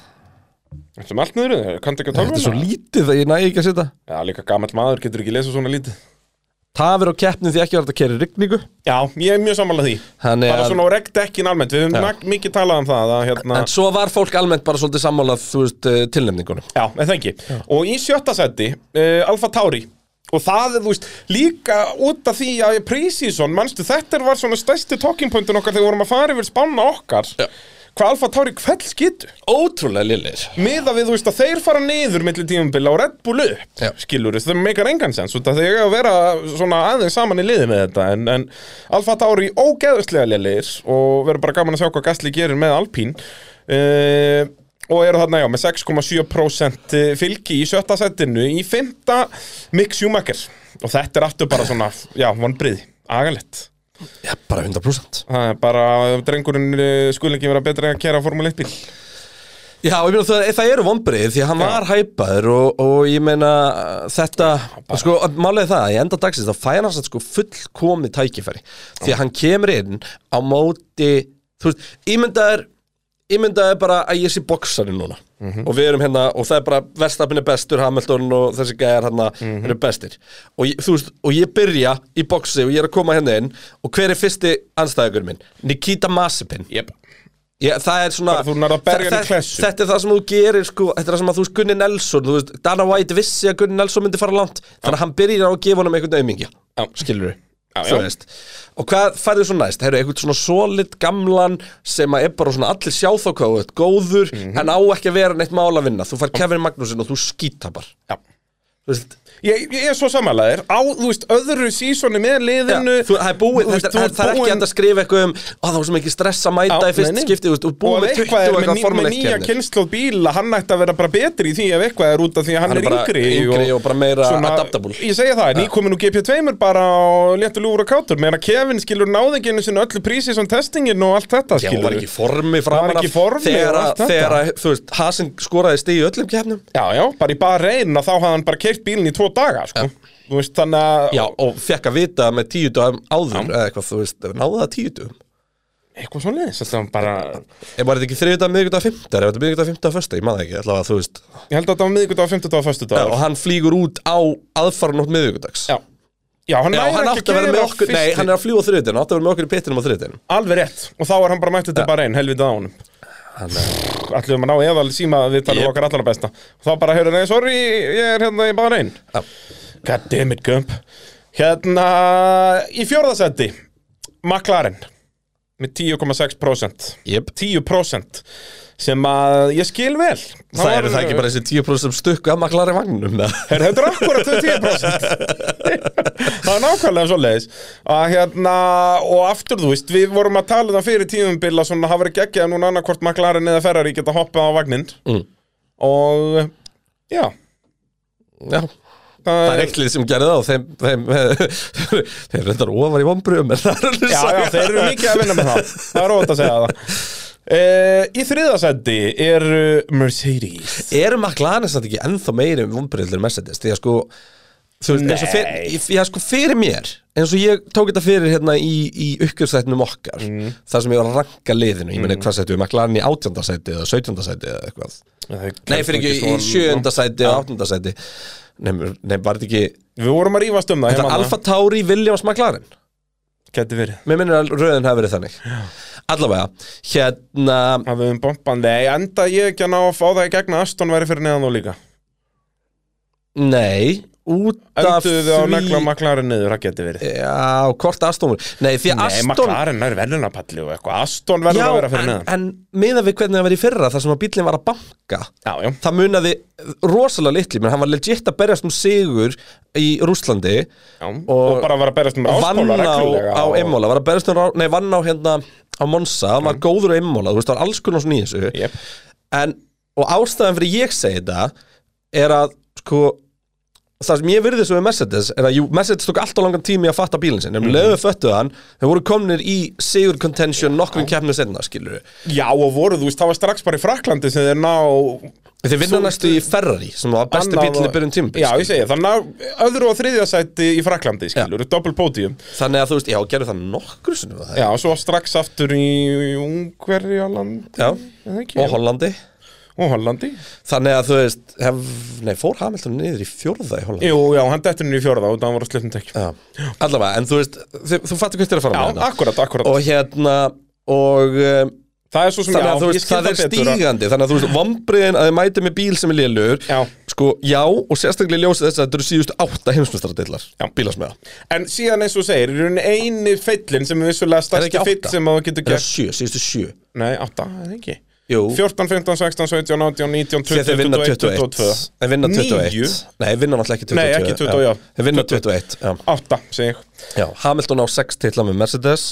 Speaker 4: Þetta er allt niður, þau kanntu ekki að
Speaker 3: Þetta
Speaker 4: tala
Speaker 3: er svo
Speaker 4: um það
Speaker 3: lítið að ég næ ekki að setja
Speaker 4: Já, líka gamall maður getur ekki lesað svona lítið
Speaker 3: Tafir á keppnum því ekki var þetta að kæra rigningu
Speaker 4: Já, ég er mjög sammála því
Speaker 3: Þannig
Speaker 4: Bara
Speaker 3: að-
Speaker 4: svona á reggdekkin almennt, við höfum
Speaker 3: Já.
Speaker 4: nak- mikið talað um það að, hérna,
Speaker 3: En svo var fólk almennt bara svolítið sammálað, þú veist, eh, tilnefningunum
Speaker 4: Já, en það ekki Og í sjötta seti, uh, Alfa Tauri Og það, er, þú veist, líka út af því að Prísísson, manstu, þetta var svona stærsti talking pointin okkar þegar við vorum að fara yfir spanna okkar
Speaker 3: Já.
Speaker 4: Hvað Alfa Tauri kveld skitu
Speaker 3: Ótrúlega lillir
Speaker 4: Miða við, þú veist, að þeir fara niður milli tímabila og Red Bull upp
Speaker 3: Já.
Speaker 4: Skilur, þú veist, það meikar engan sens Út af því að vera svona aðeins saman í liði með þetta En, en Alfa Tauri ógeðuslega lélegir Og verður bara gaman að sjá hvað Gastli gerir með Alpín uh, Og eru þarna, já, með 6,7% eh, fylgi í sjötta setinu Í fymta Mick Schumacher Og þetta er aftur bara svona, já, vonbriði Agalett
Speaker 3: Já, bara 100%
Speaker 4: Það er bara, drengurinn eh, skuli ekki vera betri að kera Formule 1 bíl
Speaker 3: Já, ég meina það, það eru vonbrið því að hann var hæpaður og, og ég meina þetta, sko, málega það í enda dagsins þá fær hann satt sko fullkomið tækifæri því að hann kemur inn á móti, þú veist, ímyndaður ímyndaður bara að ég sé boksarinn núna og við erum hérna og það er bara Verstapin er bestur, Hamilton og þessi gæjar hérna eru bestir og ég, þú veist, og ég byrja í boksi og ég er að koma hérna inn og hver er fyrsti anstæðugur minn? Nikita Masipin
Speaker 4: Jep
Speaker 3: Já, það er svona
Speaker 4: Bara þú nærð að berja hann í
Speaker 3: Þe-
Speaker 4: klessu.
Speaker 3: Þetta er það sem þú gerir sko Þetta er það sem að þú veist Gunni Nelson Þú veist, Dana White vissi að Gunni Nelson myndi fara langt Þannig að hann byrjar á að gefa honum einhvern aumingja
Speaker 4: Já.
Speaker 3: Skilur við
Speaker 4: Já, já.
Speaker 3: Þú veist Og hvað færðu svo næst? Herru, einhvern svona solid gamlan sem að er bara svona allir sjá þá hvað þú ert góður
Speaker 4: Mhm.
Speaker 3: en á ekki að vera neitt mál að vinna Þú fær Kevin Magnúsin og þú skítabar
Speaker 4: Já
Speaker 3: Þú veist,
Speaker 4: Ég, ég er svo samanlegaðir á, þú veist, öðru sísoni með
Speaker 3: Já,
Speaker 4: liðinu
Speaker 3: þú, það er búið,
Speaker 4: þú
Speaker 3: þetta, það, það er ekki hægt að skrifa eitthvað um "Ó, það var sem ekki stress að mæta í fyrst skipti þú veist, og búið með 20
Speaker 4: eitthvað
Speaker 3: og
Speaker 4: er með,
Speaker 3: eitthvað
Speaker 4: með nýja
Speaker 3: formuleikernir
Speaker 4: kynnslóð bíla hann ætti að vera bara betri í því ef eitthvað er út af því að hann,
Speaker 3: Hann er
Speaker 4: er
Speaker 3: bara
Speaker 4: yngri
Speaker 3: yngri og bara meira adaptable.
Speaker 4: ég segja það, en ég komin úr GP2 bara á léttu lúfur og kátur meðan að Kevin skilur náðinginu sinni öllu prísi sem testingin og allt þetta
Speaker 3: Já, hún
Speaker 4: skilur
Speaker 3: var ekki í formi framan
Speaker 4: Var ekki í formi
Speaker 3: þegar,
Speaker 4: og allt þetta.
Speaker 3: þegar að, þú veist, Hasin skoraði stig í öllum kefnum
Speaker 4: já, já, bara í bara reyn að þá hafði hann bara keirt bílinn í tvo daga sko. þú veist, þannig að
Speaker 3: Já, og fekk að vita með tíu dagum áður eða eitthvað, þú veist, náðu það tíu dagum
Speaker 4: eitthvað svo leiðis, þetta var bara
Speaker 3: Ég var þetta ekki þriðu dag, miðvíkuð dag, fymtar Ef þetta miðvíkuð dag, fymtar, fyrsta, ég maður ekki allavega, þú veist
Speaker 4: ég held að þetta var miðvikudag, fimmtudag og föstudag
Speaker 3: Og hann flýgur út á aðfarnótt miðvíkudags
Speaker 4: Já, já hann,
Speaker 3: Já,
Speaker 4: nær
Speaker 3: hann
Speaker 4: ekki
Speaker 3: átti að vera
Speaker 4: gera
Speaker 3: með okkur Nei,
Speaker 4: fyrsti-
Speaker 3: hann er að flýga á þriðutin, átti að vera með okkur í pitinum á þriðutin
Speaker 4: Alveg rétt, og þá er hann bara mættið til bara einn, helvitað á honum Allir um að ná eðal síma við talum
Speaker 3: Jep.
Speaker 4: yep. okkar allan að besta Og þá bara, heyrðu, nei, sorry, ég er hérna í bara einn
Speaker 3: Já.
Speaker 4: God damn it, Gump Hérna, í fjórðasendi McLaren Með 10,6%
Speaker 3: Jep
Speaker 4: 10% Sem að ég skil vel
Speaker 3: Það eru það ekki bara þessi 10% sem stukku að maklar í vagnum eða?
Speaker 4: Her, þetta er akkurat þau 10% Það er nákvæmlega svo leiðis að hérna, og aftur þú veist við vorum að tala um það fyrir tíðumbila svona hafa verið geggjað núna annarkvort McLaren eða Ferrari geta hoppað á vagninn
Speaker 3: Mm.
Speaker 4: og já
Speaker 3: Já Það er eitt lið sem gerði það og þeim, þeim þeir reyndar ofar í vombriðum en það er alveg
Speaker 4: Já, já,
Speaker 3: saga.
Speaker 4: þeir eru mikið að vinna með það Það er óvægt að segja það e, Í þriðasendi er Mercedes
Speaker 3: Eru McLaren samt ekki ennþá meiri um vombriðlur Mercedes því að sko þú veist, eins og fyrir, já, sko fyrir mér eins og ég tók þetta fyrir hérna í, í uppgjörstætnum okkar þar sem ég var að ranka liðinu, ég meni hvað sættu McLaren í átjöndasæti eða sautjöndasæti eða eitthvað Nei, fyrir ekki í sjöundasæti eða áttundasæti Nei, nei, var þetta ekki
Speaker 4: Við vorum að rífast um það ég
Speaker 3: Þetta
Speaker 4: man
Speaker 3: er
Speaker 4: það.
Speaker 3: Alfa Tauri Williams McLaren
Speaker 4: Gæti verið
Speaker 3: Mér minnir að röðin hafi verið þannig Allavega, hérna
Speaker 4: Að við um bomban, nei, enda ég ekki að ná að fá það í gegna Aston væri fyrir neðan þú líka
Speaker 3: Nei, út af
Speaker 4: Enduðu þið á
Speaker 3: því
Speaker 4: negla McLaren niður, það geti verið
Speaker 3: Já, hvort Aston voru Nei, því að
Speaker 4: Nei,
Speaker 3: Aston
Speaker 4: McLaren er velunapalli og eitthvað Aston verður
Speaker 3: Já,
Speaker 4: að vera fyrir
Speaker 3: en,
Speaker 4: neðan
Speaker 3: en miða við hvernig það var í fyrra þar sem að bíllinn var að banka
Speaker 4: Já, já,
Speaker 3: Það munaði rosalega litli menn hann var legit að berjast um sigur í Rússlandi
Speaker 4: já. Og,
Speaker 3: og
Speaker 4: bara var að berast um
Speaker 3: og vann
Speaker 4: ráspóla
Speaker 3: á,
Speaker 4: reglulega
Speaker 3: á
Speaker 4: og-
Speaker 3: Imola var að berjast um rá, Nei, vann á hérna á Monza, hann var góður á Imola þú veist, það var alls konar svona í þessu
Speaker 4: Jep.
Speaker 3: en, og ástæðan fyrir ég segi þetta er að sko það sem ég virði þessu við Mercedes er að jú, Mercedes tók alltaf langan tími að fatta bílinn
Speaker 4: Mhm.
Speaker 3: sinni, mm. lögðu föttuð hann þeir voru komnir í sigur contention nokkrum keppnum senna, skilur við
Speaker 4: Já, og voru, þú veist, það var strax bara í Fraklandi sem þeir ná
Speaker 3: þeir vinna næstu í Ferrari sem var besti
Speaker 4: annað-
Speaker 3: bílinn í byrjun tímbil
Speaker 4: Já, ég segi, þannig að öðru og þriðja sæti í Fraklandi, skilur, doppel pódium
Speaker 3: þannig að þú veist, já, gerðu það nokkru sinni var það
Speaker 4: Já, og svo strax aftur í Ungverjaland
Speaker 3: Já.
Speaker 4: eða ekki?
Speaker 3: og Hollandi
Speaker 4: og Hollandi
Speaker 3: þannig að þú veist, hef, nei, fór Hamilton niður í fjórða í Hollandi
Speaker 4: Jú, já, hann dettur henni í fjórða og það var að slefnum tekjum
Speaker 3: Já. allavega, en þú veist, þið, þú fattir hvert þér að fara
Speaker 4: Já,
Speaker 3: með hérna.
Speaker 4: akkurat, akkurat
Speaker 3: og hérna og um,
Speaker 4: Það er svo sem,
Speaker 3: þannig að
Speaker 4: já,
Speaker 3: þú
Speaker 4: ég
Speaker 3: veist,
Speaker 4: skil
Speaker 3: það er
Speaker 4: betur að-
Speaker 3: stígandi þannig að þú veist, vombriðin að þið mæti með bíl sem er lélur
Speaker 4: Já.
Speaker 3: sko, já, og sérstaklega í ljósi þess að þetta eru síðustu átta heimsmyndstaradillar
Speaker 4: Já.
Speaker 3: bílasmiða,
Speaker 4: En síðan eins og þú segir, í rauninni eini feillin sem er vissulega
Speaker 3: það er
Speaker 4: stærsti
Speaker 3: ekki
Speaker 4: feill
Speaker 3: átta
Speaker 4: sem að þú getur
Speaker 3: það er
Speaker 4: gert
Speaker 3: sjö, síðustu sjö
Speaker 4: Nei, átta, er það ekki
Speaker 3: Jú.
Speaker 4: 14, 15, 16, 17, 18, 19, 20,
Speaker 3: því að þeir vinna
Speaker 4: 21,
Speaker 3: 21 þeir vinna
Speaker 4: 9,
Speaker 3: 21, nei, þeir vinna náttúrulega ekki 22
Speaker 4: Nei, ekki 22, já.
Speaker 3: þeir vinna 21, já,
Speaker 4: 8, segi ég
Speaker 3: já. Hamilton á 6 titla með Mercedes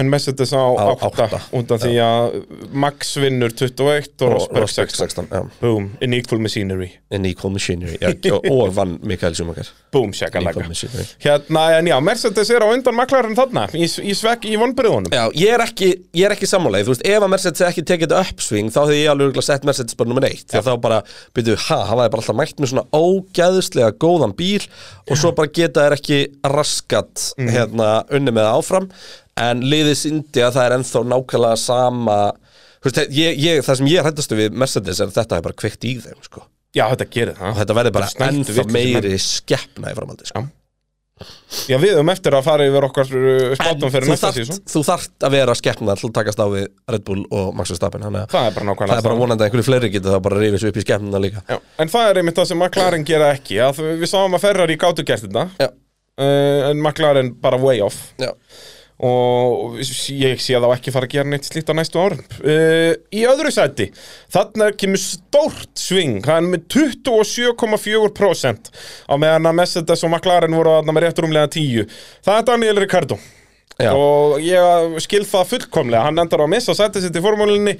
Speaker 4: En Mercedes á
Speaker 3: Á
Speaker 4: 8,
Speaker 3: átta.
Speaker 4: undan því að Max vinnur 21 og
Speaker 3: og
Speaker 4: Rosberg
Speaker 3: Rosberg
Speaker 4: 16
Speaker 3: 16 já,
Speaker 4: Boom, in equal machinery
Speaker 3: en Nicole Machinery já, og- og vann Mikael Schumacher
Speaker 4: Boom, shakalega
Speaker 3: Nicole Machinery
Speaker 4: Hérna, en já, Mercedes er á undan maklarinn þarna Í, í svekk í vonbriðunum
Speaker 3: Já, ég er ekki, ég er ekki sammálaðið, þú veist, ef að Mercedes hefði ekki tekið þetta uppsving, þá hefði ég alveg örugglega sett Mercedes bara nummer eitt, því að þá bara, byrju, ha, hann var bara alltaf mætt með svona ógæðislega góðan bíl og svo bara geta þær ekki raskat, hérna, unni með það áfram, en liðið síndi að það er ennþá nákvæmlega sama, þú veist, ég, ég, það sem ég hrættastu við Mercedes er að þetta hefði bara kveikt í þeim, sko,
Speaker 4: Já, þetta gerir það
Speaker 3: og þetta verði bara
Speaker 4: Snældu
Speaker 3: ennþá
Speaker 4: vitleysur menn.
Speaker 3: meiri skeppna í framhaldi, sko.
Speaker 4: Já, við höfum eftir að fara yfir okkar uh, spátum fyrir
Speaker 3: þú
Speaker 4: næsta
Speaker 3: þarft-
Speaker 4: sísón
Speaker 3: þú þarft að vera skeppna til að takast á við Red Bull og Max Verstappen þannig að
Speaker 4: Það er bara nákvæmlega
Speaker 3: það er bara
Speaker 4: það.
Speaker 3: vonandi að einhverju fleiri geta það bara rífið svo upp í skeppnuna líka
Speaker 4: Já, en það er einmitt það sem McLaren gera ekki að við sáum að Ferrari gátu gert þetta
Speaker 3: Já.
Speaker 4: uh, en McLaren bara way off
Speaker 3: Já.
Speaker 4: og ég sé þá ekki fara að gera neitt slíkt á næstu árum uh, í öðru sæti þarna kemur stórt sving hann er með 27,4% á meðan að Mercedes og McLaren voru þarna með rétt rúmlega 10 það er Daniel Ricardo
Speaker 3: Já.
Speaker 4: og ég skil það fullkomlega hann endar á að missa sæti sitt í formúlinni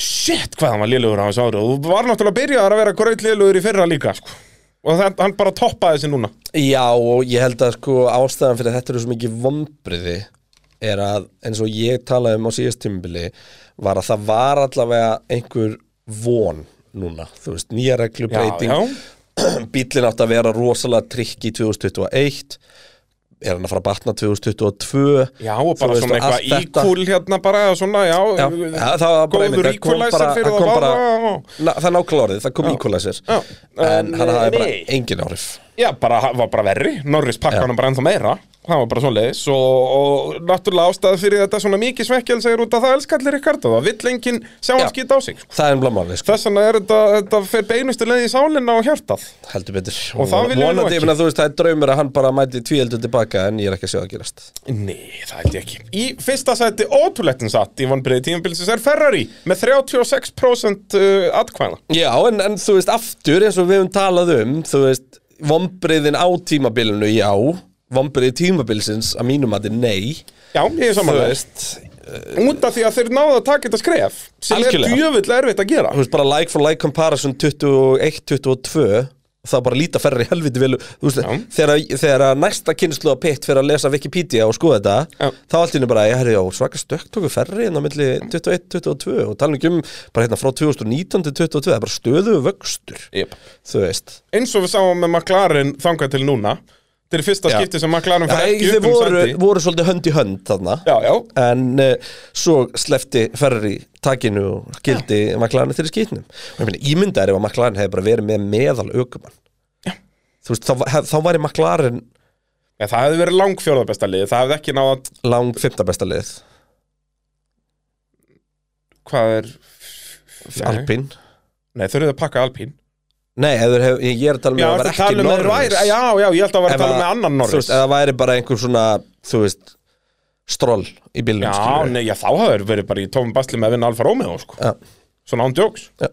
Speaker 4: shit hvað hann var lélugur á þessu ári og var náttúrulega byrjaðar að vera gröð lélugur í fyrra líka sko. og það, hann bara toppaði þessi núna
Speaker 3: Já og ég held að sko ástæðan fyrir að þetta eru svo mikið vombriði er að eins og ég talaði um á síðast tímubili var að það var allavega einhver von núna, þú veist, nýja reglubreiting
Speaker 4: já.
Speaker 3: bíllinn átti að vera rosalega trikk í 2021 er hann að fara að batna 2022
Speaker 4: Já, og
Speaker 3: Þú
Speaker 4: bara
Speaker 3: veist,
Speaker 4: svona
Speaker 3: og allt
Speaker 4: eitthvað
Speaker 3: þetta-
Speaker 4: íkúl hérna bara, eða svona, já,
Speaker 3: Já, ja, það var bara einmitt,
Speaker 4: góður
Speaker 3: það kom
Speaker 4: íkúlæsir
Speaker 3: bara-
Speaker 4: fyrir það
Speaker 3: það kom
Speaker 4: bara,
Speaker 3: bara-
Speaker 4: og-
Speaker 3: Na, það er nákvæmlega orðið, það kom íkvælæsir
Speaker 4: Já.
Speaker 3: En
Speaker 4: En,
Speaker 3: hann hafði bara
Speaker 4: nei.
Speaker 3: engin áhrif
Speaker 4: já, bara, hann var bara verri, Norris pakka
Speaker 3: Já.
Speaker 4: hann bara ennþá meira, það var bara svoleiðis, og, og náttúrulega ástæði fyrir þetta svona mikið svekkjál segir út að það elskallir Ricardo, það vill enginn sjá
Speaker 3: Já.
Speaker 4: hann skýta á sig.
Speaker 3: Það er um blamálið, sko,
Speaker 4: Þess vegna er þetta, þetta fer beinustu leið í sálinna og hjartað.
Speaker 3: heldur betur
Speaker 4: Og það viljum við nú
Speaker 3: Vonandi,
Speaker 4: ekki.
Speaker 3: ég meina, þú veist, það er draumur að hann bara mæti tvíeldur tilbaka En ég er ekki að sjá það gerast
Speaker 4: Nei, það held ég ekki. Í fyrsta sæti ótrúlegtin satt í vonbreiði tímabilsins er Ferrari með 36% uh, atkvæða.
Speaker 3: Já, en, en þú veist, aftur, eins og við höfum talað um Þú veist, vombriðin á tímabilinu, já Vombriði tímabilsins, að mínum að þið nei
Speaker 4: Já, ég er
Speaker 3: Þú
Speaker 4: samanlega.
Speaker 3: veist,
Speaker 4: Út af því að þeir náðu að taka þetta skref sem
Speaker 3: Algjörlega.
Speaker 4: er djöfull erfitt að gera
Speaker 3: þú veist, bara like for like comparison 21-22 það bara líta ferri helviti vel þú veist, þegar, þegar að næsta kynnslu að pitt fyrir að lesa Wikipedia og skoða þetta
Speaker 4: Já.
Speaker 3: þá allt í henni bara, ég herri, já, svaka stökk tóku ferri en á milli 21-22 og tala ekki um bara hérna frá 2019 til 22 það er bara stöðu vöxtur
Speaker 4: yep.
Speaker 3: þú veist
Speaker 4: eins og við sáum með McLaren þangað til núna þetta er fyrsta
Speaker 3: Já.
Speaker 4: skipti sem McLaren
Speaker 3: Já,
Speaker 4: fær ekki
Speaker 3: þeir
Speaker 4: upp um
Speaker 3: voru,
Speaker 4: sæti
Speaker 3: voru svolítið hönd í hönd þarna
Speaker 4: já, já,
Speaker 3: en uh, svo slefti Ferrari takinu og gildi McLaren til skýtnum og ég meina, ímyndaður ef að McLaren hefði bara verið með meðal aukumann þú veist, þá, hef, þá væri McLaren
Speaker 4: ja, það hefði verið lang fjórðabesta lið það hefði ekki náða,
Speaker 3: lang fymta besta lið
Speaker 4: hvað er Nei.
Speaker 3: Alpín
Speaker 4: nei, þau eru að pakka Alpín
Speaker 3: Nei, ef þeir hef, ég er að tala um
Speaker 4: já,
Speaker 3: ef
Speaker 4: ertu
Speaker 3: það
Speaker 4: að
Speaker 3: var
Speaker 4: tala
Speaker 3: ekki
Speaker 4: um að þeir
Speaker 3: Norris
Speaker 4: væri- já, já, ég held að vera að
Speaker 3: Ef
Speaker 4: tala um með annan
Speaker 3: Þú
Speaker 4: Norris
Speaker 3: veist, eða væri bara einhver svona þú veist, stról í bílnum
Speaker 4: já,
Speaker 3: skilurðu.
Speaker 4: nei, já, þá hefur þeir verið bara í tómum basli með að vinna Alfa Romeo sko.
Speaker 3: Já.
Speaker 4: svona án djóks
Speaker 3: Já.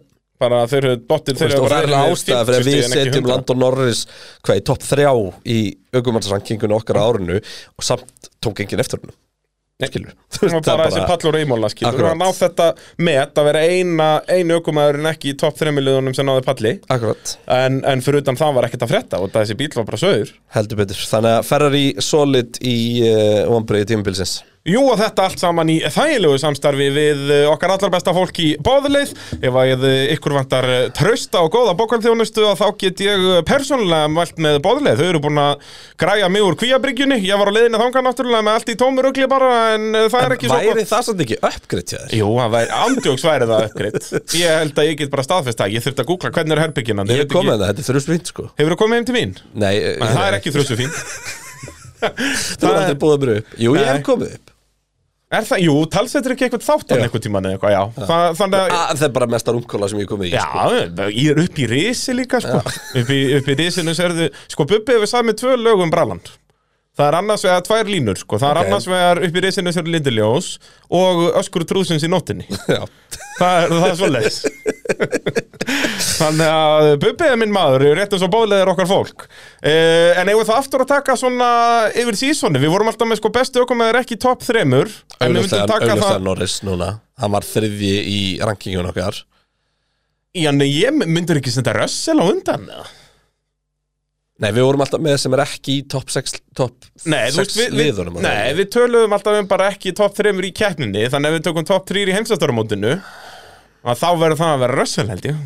Speaker 4: bara þeir eru dottir
Speaker 3: Þú
Speaker 4: þeir
Speaker 3: veist,
Speaker 4: eru
Speaker 3: og það er
Speaker 4: bara
Speaker 3: ástæða fyrir
Speaker 4: 50
Speaker 3: að við
Speaker 4: en ekki
Speaker 3: setjum
Speaker 4: 100.
Speaker 3: Landon Norris hvað í topp þrjá í aukumannsrankingunni okkar á árinu og samt tók enginn eftir hennum skilur
Speaker 4: Það var bara þessi pall og reymóla skilur
Speaker 3: Akkurat.
Speaker 4: Akkurat. Hann á þetta met að vera eina, einu ökumæðurinn ekki í topp þremmiluðunum sem náði palli
Speaker 3: Akkurat,
Speaker 4: en, en fyrir utan það var ekkert að frétta og þessi bíl var bara sögur
Speaker 3: heldur betur Þannig að Ferrari solid í uh, vonbreiði tímabilsins
Speaker 4: Jú og þetta allt saman í þægilegu samstarfi við eh, okkar allar besta fólk í bóðleið. Ef að eh, ykkur vantar eh, trausta og góða bókvælþjónustu að þá get ég eh, persónulega mælt með bóðleið. Þau eru búin að græja mig úr kvíabryggjunni. Ég var á leiðinu þangað náttúrulega með allt í tómur ugli bara en eh, það er ekki svo
Speaker 3: Væri það samt ekki uppgritt hjá þér?
Speaker 4: Jú, það væri andjóks væri það uppgreitt. Ég held að ég get bara staðfest það. Ég þurfti að googla hvernig er herbygginan.
Speaker 3: Ég kom með það, þetta er þrjusbrýnt sko
Speaker 4: Hefur þú komið heim til mín?
Speaker 3: Nei, eh,
Speaker 4: Það er
Speaker 3: nei,
Speaker 4: ekki þrjusu fín.
Speaker 3: þú er aldrei búið að byrja upp Jú, ég hef
Speaker 4: Nei.
Speaker 3: komið upp
Speaker 4: Er það, jú, talsettur ekki eitthvað þáttan
Speaker 3: Já. Ah.
Speaker 4: eitthvað tíman eða eitthvað, já. Þa, þannig að
Speaker 3: A, Það er bara mesta rúmkóla sem ég hef komið í
Speaker 4: Já,
Speaker 3: sko.
Speaker 4: ég er upp í risi líka sko. upp, í, upp í risinu serðu sko Bubbi hefur sagði með tvö lög um Braland það er annars vegar tvær línur sko. það er
Speaker 3: Ok.
Speaker 4: annars vegar upp í risinu serðu Lindiljós og öskur trúðsins í nóttinni
Speaker 3: Já.
Speaker 4: það er, það er svo leis þannig að Bubbi er minn maður rétt eins og bóðlega er okkar fólk uh, en eigum við það aftur að taka svona yfir sísoni, við vorum alltaf með sko bestu ökum eða ekki topp þremur en við myndum
Speaker 3: Augljóslega
Speaker 4: taka
Speaker 3: augljóslega
Speaker 4: það
Speaker 3: Norris núna Hann var þriðji í rankingun okkar
Speaker 4: já, nei, ég myndur ekki senda rössel á undan eða
Speaker 3: Nei, við vorum alltaf með sem er ekki í top 6 top
Speaker 4: Nei, þú
Speaker 3: 6
Speaker 4: veist, við, við,
Speaker 3: liðunum
Speaker 4: nei, við töluðum alltaf um bara ekki top 3 í keppninni Þannig að við tökum top 3 í heimsastarumótinu að Þá verður það að vera Russell held ég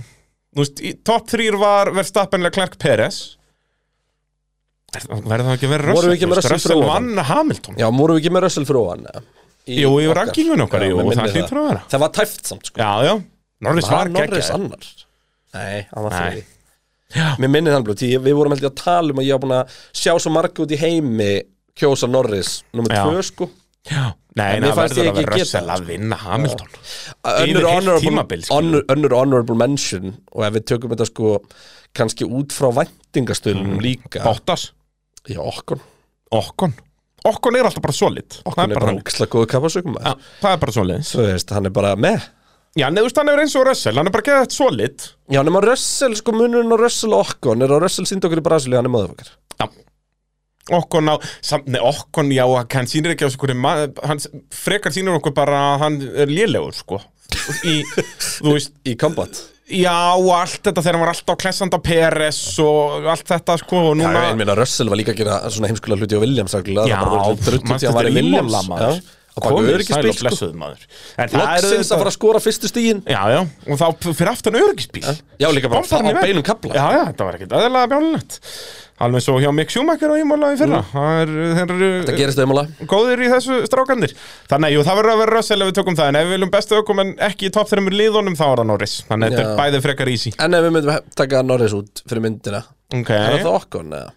Speaker 4: Þú veist, í- top 3 var verðstappenlega Clark Perez Er- Verður það ekki að vera
Speaker 3: Vorum
Speaker 4: Russell?
Speaker 3: við ekki með
Speaker 4: Þú veist,
Speaker 3: Russell fyrir ofan?
Speaker 4: vann Hamilton
Speaker 3: Já, vorum við ekki með Russell fyrir ofan eða? Í
Speaker 4: Jú, í
Speaker 3: okkar.
Speaker 4: rankingun okkar,
Speaker 3: Já,
Speaker 4: jú,
Speaker 3: mig
Speaker 4: það
Speaker 3: minnir
Speaker 4: hlýtur að vera.
Speaker 3: Það var tæft samt, sko
Speaker 4: Já, já, Norris
Speaker 3: Var
Speaker 4: var
Speaker 3: Norris
Speaker 4: geggjaður.
Speaker 3: annar? Nei, hann var
Speaker 4: Nei.
Speaker 3: þriði Mér minnir hann blóð, því við vorum heldur að tala um að ég var búin að sjá svo marga út í heimi kjósa Norris, nummer
Speaker 4: Já.
Speaker 3: 2 sko
Speaker 4: Já. Nei,
Speaker 3: En
Speaker 4: en
Speaker 3: mér
Speaker 4: það
Speaker 3: fannst ég
Speaker 4: verður að
Speaker 3: ekki
Speaker 4: vera
Speaker 3: geta
Speaker 4: Russell
Speaker 3: það,
Speaker 4: að vinna Hamilton
Speaker 3: önnur
Speaker 4: Yfir heilt
Speaker 3: honorable,
Speaker 4: tímabil, skilur.
Speaker 3: önnur, önnur honorable mention og ef við tökum þetta sko kannski út frá
Speaker 4: Mm.
Speaker 3: væntingastöðunum líka
Speaker 4: Bottas,
Speaker 3: já, okkon,
Speaker 4: Okkon Okkon er alltaf bara solid Það
Speaker 3: okkon er bara
Speaker 4: þannig.
Speaker 3: ógislega góðu kapasökum
Speaker 4: Já, Það er bara solid
Speaker 3: þú veist, hann er bara með
Speaker 4: Já, neðust hann er eins og Russell, hann er bara geðað solid
Speaker 3: já, nema Russell, sko munurinn á Russell og okkon er á Russell sínd okkur í Brasilíu, hann er maður okkar
Speaker 4: Já Okkon á, samt, nei, Okkon, já, hann sýnir ekki á hverju maður, hann frekar sýnir okkur bara að hann er lélegur, sko í, þú veist,
Speaker 3: í kombat
Speaker 4: já, og allt þetta þegar hann var alltaf klessand á PRS og allt þetta, sko, og
Speaker 3: já,
Speaker 4: núna
Speaker 3: ég meina Russell var líka að gera svona heimskulega hluti á Williams reglulega,
Speaker 4: Já,
Speaker 3: það bara voru druttu
Speaker 4: manstu
Speaker 3: til að hann var í
Speaker 4: þetta í
Speaker 3: Williams
Speaker 4: Imola, maður?
Speaker 3: já, og bara örgisbíl, sko
Speaker 4: blessuð, maður En það er
Speaker 3: loksins að fara að skora fyrstu stígin
Speaker 4: Já, já, og þá p- fyrir aftan örgisbíl
Speaker 3: já, líka bara
Speaker 4: Bombarnir
Speaker 3: á
Speaker 4: veg.
Speaker 3: beinum kafla.
Speaker 4: Já, já, þetta var ekkert aðeinslega bjálunett Alveg svo hjá Mick Schumacher og Ímóla í
Speaker 3: Mm.
Speaker 4: fyrra Það er, þeir
Speaker 3: það
Speaker 4: eru
Speaker 3: gerist auðmála
Speaker 4: góðir í þessu strákandir Þannig, að, jú, það verður að vera rössel ef við tökum það En ef við viljum bestu ökum en ekki í topp þreymur liðunum þá er það Norris Þannig, að þetta
Speaker 3: Já.
Speaker 4: er bæði frekar easy
Speaker 3: en ef við myndum he- taka Norris út fyrir myndina
Speaker 4: Ok,
Speaker 3: er það okkon, eða?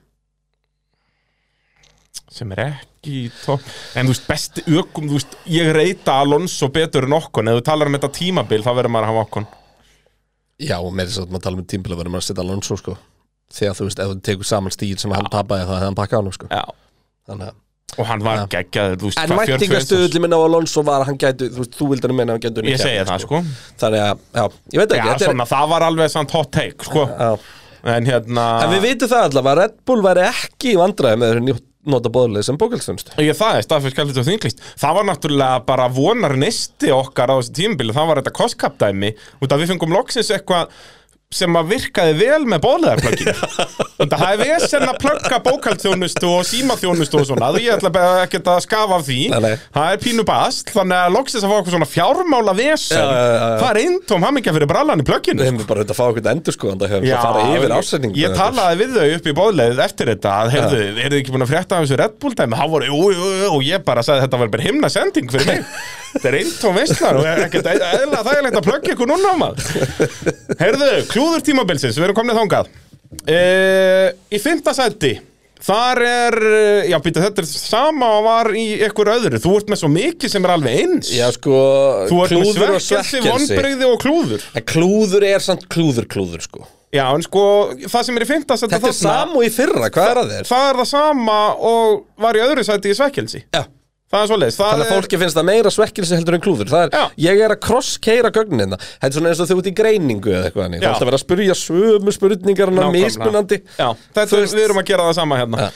Speaker 4: sem er ekki í topp En þú veist, besti ökum, þú veist, ég reyta Alonso betur en okkon Ef þú talar um þetta tímabil, þá verður maður að hafa okkon
Speaker 3: Já, og meira svo að maður tala um tímbil að vera maður að setja Alonso sko Þegar þú veist, ef þú tekur saman stíl sem hann tapaði þá hefði hann pakkað hann sko
Speaker 4: Já
Speaker 3: Þannig að
Speaker 4: Og hann var
Speaker 3: Já.
Speaker 4: geggjaður, þú veist,
Speaker 3: En
Speaker 4: hvað, 41
Speaker 3: væntingastöðli minna á Alonso var að hann gætu, þú veist, þú vildi hann meina að hann gætu
Speaker 4: Ég segi það, sko
Speaker 3: Þannig að, já, ég veit ekki,
Speaker 4: Já,
Speaker 3: þetta er
Speaker 4: svona, það var alveg samt hot take, sko
Speaker 3: já.
Speaker 4: En hérna
Speaker 3: En við vitum það allavega, að Red Bull væri ekki í vandræði með þessu nota bóðlega sem bókalstunstu
Speaker 4: Ég það er staðfyrst kallið og þinglist Það var náttúrulega bara vonar nesti okkar á þessu tímabili Það var þetta kostkapdæmi Út að við fengum loksins eitthvað sem að virkaði vel með bóðleðarplöggin Þetta það er vesen að plögga bókaldþjónustu og símaþjónustu og svona Ég ætla bara ekkert að skafa af því
Speaker 3: Nei, nei.
Speaker 4: Það er pínu bast Þannig að loksins að fá eitthvað svona fjármála vesen
Speaker 3: Já, já, já, já.
Speaker 4: Það er eintóm hamingja fyrir brallan í plögginu sko.
Speaker 3: Við hefum bara auðvitað að fá eitthvað endur sko Þannig að fara
Speaker 4: ég-
Speaker 3: yfir ásendingu
Speaker 4: Ég talaði við þau upp í bóðleið eftir þetta að heyrðu, eru þið ekki búin að frétta af þessu Red Bull dæmi? Há voru, jú, jú, jú, og ég bara sagði þetta var bara himna sending fyrir mig Þetta er eintóm veistlar og ekkert eðla þægilegt að plöggja ykkur núna á maður Heyrðu, klúður tímabilsins, við erum komnið þangað e, Í fymta sæti Þar er, eh, já býta þetta er sama og var í ykkur öðru Þú ert með svo mikið sem er alveg eins
Speaker 3: Já, sko,
Speaker 4: Þú ert með
Speaker 3: klúður og
Speaker 4: svekkelsi,
Speaker 3: svekkelsi
Speaker 4: vonbrigði og klúður
Speaker 3: En klúður er samt klúður, klúður sko
Speaker 4: Já, en sko, það sem er í fymta sæti
Speaker 3: Þetta er
Speaker 4: þarna-
Speaker 3: sam og í fyrra, hvað er að þér?
Speaker 4: það er það sama og var í öðru sæti í svekkelsi
Speaker 3: Já,
Speaker 4: það er svoleiðis það
Speaker 3: Þannig að
Speaker 4: er-
Speaker 3: fólki finnst það meira svekkelsi heldur en klúður Það er,
Speaker 4: Já.
Speaker 3: ég er að krosskeira gögnin hérna Þetta er svona eins og þau út í greiningu eða eitthvað þannig. Þú
Speaker 4: Já.
Speaker 3: ætti að vera að spyrja sömu spurningarna
Speaker 4: Nákvæmlega.
Speaker 3: mismunandi
Speaker 4: Já, þetta,
Speaker 3: Þú
Speaker 4: er-
Speaker 3: veist-
Speaker 4: við erum að gera það sama hérna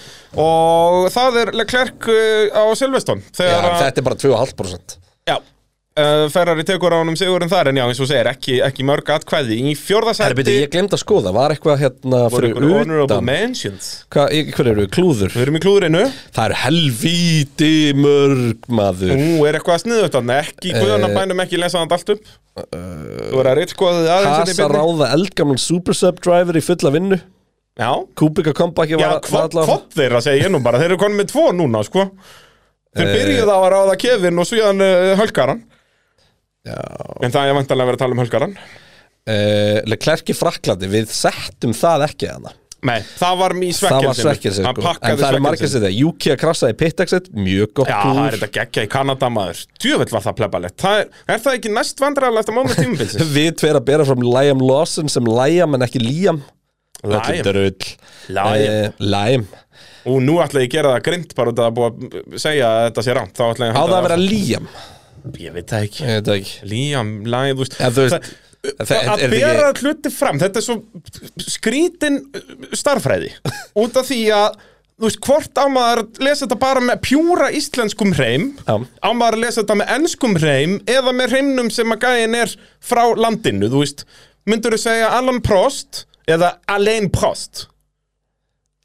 Speaker 4: Og það er Leclerc uh, á Silveston
Speaker 3: Já,
Speaker 4: Þegar að
Speaker 3: Þetta er bara 2,5%
Speaker 4: já, uh, Ferrari tekur á honum sigurinn þar En já, eins og segir, ekki, ekki mörg atkvæði Í
Speaker 3: Herra, byrju,
Speaker 4: fjórðasætti
Speaker 3: ég glemd að skoða, var eitthvað hérna
Speaker 4: voru
Speaker 3: fyrir
Speaker 4: ykkur honorable
Speaker 3: utan
Speaker 4: mentions
Speaker 3: Hvað í- hver eru, klúður?
Speaker 4: Við erum í klúðrinu
Speaker 3: Það eru helvíti mörg maður
Speaker 4: Nú er eitthvað að sniðu þetta Ekki,
Speaker 3: Eh,
Speaker 4: guðan að bænum ekki lesa þetta allt upp Þú voru að reytskoðið aðeins
Speaker 3: Hasa
Speaker 4: hérna í beinni.
Speaker 3: ráða eldgamlan Super Sub driver í fulla vinnu
Speaker 4: Já,
Speaker 3: Kubika kompaki
Speaker 4: Já,
Speaker 3: var, var
Speaker 4: hvort
Speaker 3: allavega-
Speaker 4: hvort þeirra segi ég nú bara Þeir eru konum með tvo núna, sko Þeir
Speaker 3: Eh.
Speaker 4: byrjuðu á að ráða kefin og síðan uh, hölkaran Já En það er vantanlega að vera að tala um hölkaran
Speaker 3: Eh, Leclerc í Fraklandi, við settum það ekki hana
Speaker 4: Nei, það var mjög
Speaker 3: Það var
Speaker 4: svekkelsin
Speaker 3: svekkelsi
Speaker 4: Hann
Speaker 3: sko.
Speaker 4: pakkaði
Speaker 3: En það er margir
Speaker 4: svekkelsi.
Speaker 3: sér það Juki að krasa í pit-exit, mjög gott
Speaker 4: Já, það er þetta geggja í Kanada maður Djöfell var það plebalegt það er, er það ekki næst vandræðalegt að máma tímabilsins?
Speaker 3: Við tveir að bera fram Liam Lawson sem Liam en ekki Liam
Speaker 4: Liam. Liam.
Speaker 3: Liam Liam
Speaker 4: Og nú ætla ég að gera það grind bara út af að búa að segja að þetta sé rámt Þá ætla ég
Speaker 3: Á
Speaker 4: halda
Speaker 3: það að vera Liam
Speaker 4: það Ég veit það ekki
Speaker 3: Ég veit það ekki
Speaker 4: Líam, Liam, þú veist
Speaker 3: En þú veist, það-
Speaker 4: að
Speaker 3: er
Speaker 4: að
Speaker 3: þetta ekki-
Speaker 4: bera hluti fram þetta er svo skrítin starfræði út af því að þú veist, hvort á maður að lesa þetta bara með pjúra íslenskum hreim
Speaker 3: Já.
Speaker 4: á maður að lesa þetta með enskum hreim eða með hreimnum sem að gæin er frá landinu, þú veist myndur þú segja Alan Prost eða Alain Prost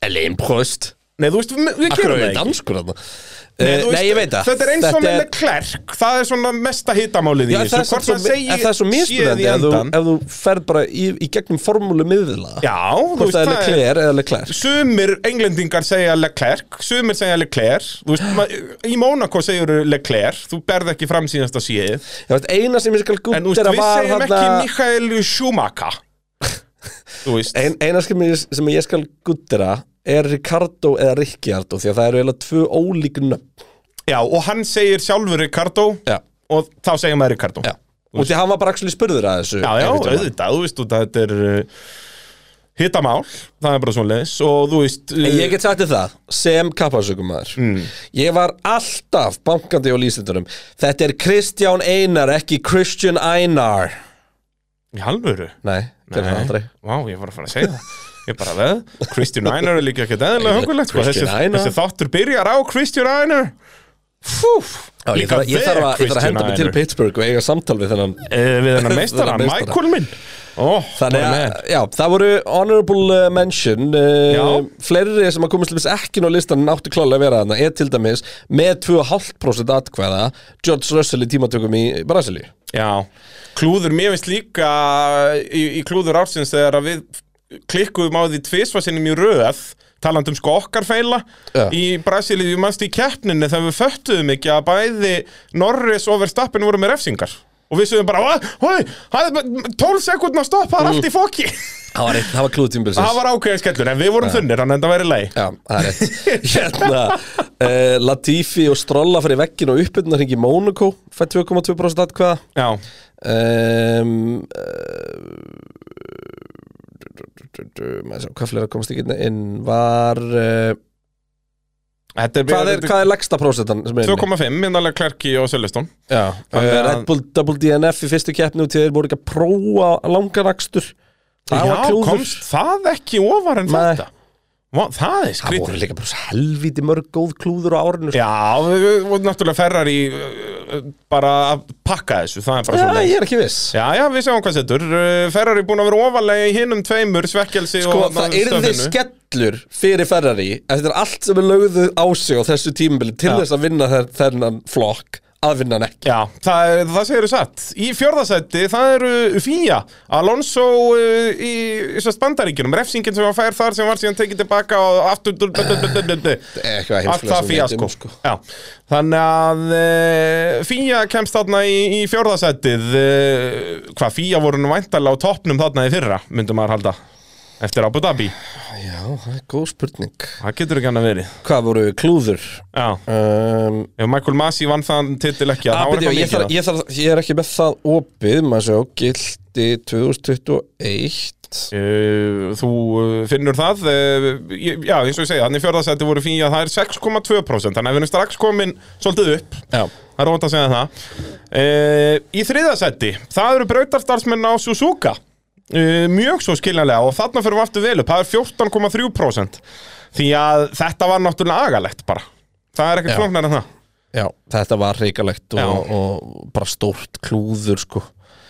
Speaker 3: Alain Prost
Speaker 4: Nei, þú veist, við við
Speaker 3: Akkur
Speaker 4: gerum það
Speaker 3: er þetta
Speaker 4: ekki
Speaker 3: danskur þarna
Speaker 4: Nei,
Speaker 3: Eh,
Speaker 4: þú veist,
Speaker 3: Nei, ég veit það
Speaker 4: Þetta er eins og með Leclerc Það er svona mesta hitamálið í
Speaker 3: Já, það
Speaker 4: Hvort
Speaker 3: er svo-
Speaker 4: maður segi
Speaker 3: en það er svo mismunandi ef þú,
Speaker 4: endan
Speaker 3: ef þú ferð bara í, í gegnum formúlu miðla
Speaker 4: Já, þú
Speaker 3: Hvort
Speaker 4: veist,
Speaker 3: það er
Speaker 4: það er
Speaker 3: Leclerc eða Leclerc
Speaker 4: sumir englendingar segja Leclerc, sumir segja Leclerc þú veist, ma- í Monaco segjur Leclerc, þú berð ekki fram síðasta síðið
Speaker 3: Ég veist, eina sem ég skal
Speaker 4: en þú
Speaker 3: gútt
Speaker 4: veist,
Speaker 3: er að
Speaker 4: við
Speaker 3: var
Speaker 4: segjum
Speaker 3: þarna
Speaker 4: ekki Mikael Schumacher þú veist,
Speaker 3: Ein, eina sem ég, sem ég skal guttera er Ricardo eða Ricciardo því að það eru eiginlega tvö ólík nöfn
Speaker 4: já, og hann segir sjálfur Ricardo
Speaker 3: Já.
Speaker 4: og þá segja maður Ricardo
Speaker 3: og því hann var bara actually spurður að þessu
Speaker 4: já, já,
Speaker 3: einhvern tímann.
Speaker 4: auðvitað, þú veist, út að þetta er uh, hitamál, það er bara svona leis og þú veist,
Speaker 3: En
Speaker 4: uh,
Speaker 3: ég get sagt þér það, sem kappasökumæður
Speaker 4: Mm.
Speaker 3: Ég var alltaf bankandi á lýsindunum Þetta er Kristján Einar, ekki Christian Einar
Speaker 4: í halvöru
Speaker 3: Nei, gerði það aldrei
Speaker 4: Vá, ég var að fara að segja það Ég bara veð, Christian Einar er líka ekkert eðlilega hungulegt sko. þessi,
Speaker 3: Christian Einar.
Speaker 4: þessi þáttur byrjar á Christian Einar Fúf,
Speaker 3: Já, ég, þarf, ég, þarf að, ég þarf að henda mig til Pittsburgh og eiga samtal Eh, við þennan
Speaker 4: Við hennar meistara,
Speaker 3: Þennan meistara.
Speaker 4: Michael minn Ó,
Speaker 3: Þannig
Speaker 4: maður
Speaker 3: að,
Speaker 4: minn.
Speaker 3: já, það voru honorable uh, mention uh,
Speaker 4: Já.
Speaker 3: Fleiri sem að komast til dæmis ekki ná listan en áttu klálega að vera þarna er til dæmis með 2,5% atkvæða George Russell í tímatökum í Brasilíu
Speaker 4: Já, klúður, mér finnst líka í, í klúður ársins þegar að við klikkuðum á því tvisvarsinnum í röð talandum sko okkar feila
Speaker 3: Já.
Speaker 4: í Brasilíu, við mannst í keppninni þegar við föttuðum ekki að bæði Norris og Verstappen voru með refsingar og við sögum bara, "Hva? Hoi, það er bara 12 sekundna stopp, það er allt í
Speaker 3: Mm.
Speaker 4: fóki
Speaker 3: Það var, eitt- það var klúðtímbilsins
Speaker 4: það var ákveðin skellur, en við vorum þunnir þannig að það væri leið
Speaker 3: Já, það er rétt Hérna, uh, Latifi og Strolla fyrir veggin og uppbyrnarhing í Monaco fætt 2,2% atkvæða
Speaker 4: Já,
Speaker 3: um, uh, Hvað fleira komast ekki inn- inn var uh,
Speaker 4: þetta er
Speaker 3: Hvað er, hvað er leggsta prósentan?
Speaker 4: 2,5, minnarlega hérna Klerki og Sölvestón
Speaker 3: Já,
Speaker 4: Þannig að-
Speaker 3: Red Bull Double DNF í fyrstu keppni og til þeir voru ekki að prófa langanakstur Það var klúður
Speaker 4: komst það ekki ofar en
Speaker 3: Nei.
Speaker 4: þetta Vá, Það er
Speaker 3: Það
Speaker 4: skrítið
Speaker 3: voru líka bara svo helvíti mörg góð klúður á árinu sko.
Speaker 4: Já, við- við vorum náttúrulega ferrar í uh, bara að pakka þessu, það er bara
Speaker 3: Já,
Speaker 4: svona
Speaker 3: ég er ekki viss
Speaker 4: Já, já, við sjáum hvað setur Uh, Ferrari búin að vera ofalega í hinum tveimur svekkelsi
Speaker 3: Sko,
Speaker 4: og
Speaker 3: það yrði
Speaker 4: stöfinu.
Speaker 3: skellur fyrir Ferrari að þetta er allt sem er lögðu á sig á þessu tímabili til
Speaker 4: Já.
Speaker 3: þess að vinna þe- þennan flokk að vinna hann ekki
Speaker 4: Já, það, er- það segir þú satt Í fjórðasætti, það eru Fía Alonso uh, í, í sérst bandaríkjunum Refsingin sem hann fær þar sem var síðan tekið tilbaka og aftur dul- dul- dul- dul- dul- dul.
Speaker 3: Eh, Eitthvað heimskulega
Speaker 4: Allt það
Speaker 3: sem við
Speaker 4: Fía
Speaker 3: vitum,
Speaker 4: sko
Speaker 3: sko.
Speaker 4: Já, þannig að uh, Fía kemst þarna í, í fjórðasættið uh, Hvað, Fía voru nú væntalega á toppnum þarna í fyrra myndum maður halda Eftir Abu Dhabi,
Speaker 3: Já, það er góð spurning
Speaker 4: það getur ekki hann að verið
Speaker 3: Hvað voru klúður?
Speaker 4: Já,
Speaker 3: Um,
Speaker 4: ef Michael Masi vann þann titil ekki að
Speaker 3: að,
Speaker 4: það var
Speaker 3: byrja,
Speaker 4: eitthvað
Speaker 3: Ah, ég,
Speaker 4: mikið
Speaker 3: þarf, ég, þarf, ég er ekki með það opið maður sjá, gildi 2021 Einmitt
Speaker 4: Uh, þú uh, finnur það uh, ég- Já, eins og ég segja, þannig fjörðasætti voru fíja það er 6,2% þannig að við erum strax komin svolítið upp
Speaker 3: Já.
Speaker 4: það er ótt að segja það uh, Í þriðasætti, það eru brautarstarfsmenn á Suzuka uh, mjög svo skiljanlega og þarna fyrir við aftur vel upp það er 14,3% því að þetta var náttúrulega agalegt bara það er
Speaker 3: Já.
Speaker 4: ekkert flóknar en það
Speaker 3: Já, þetta var reikalegt
Speaker 4: Já.
Speaker 3: og, og bara stórt klúður sko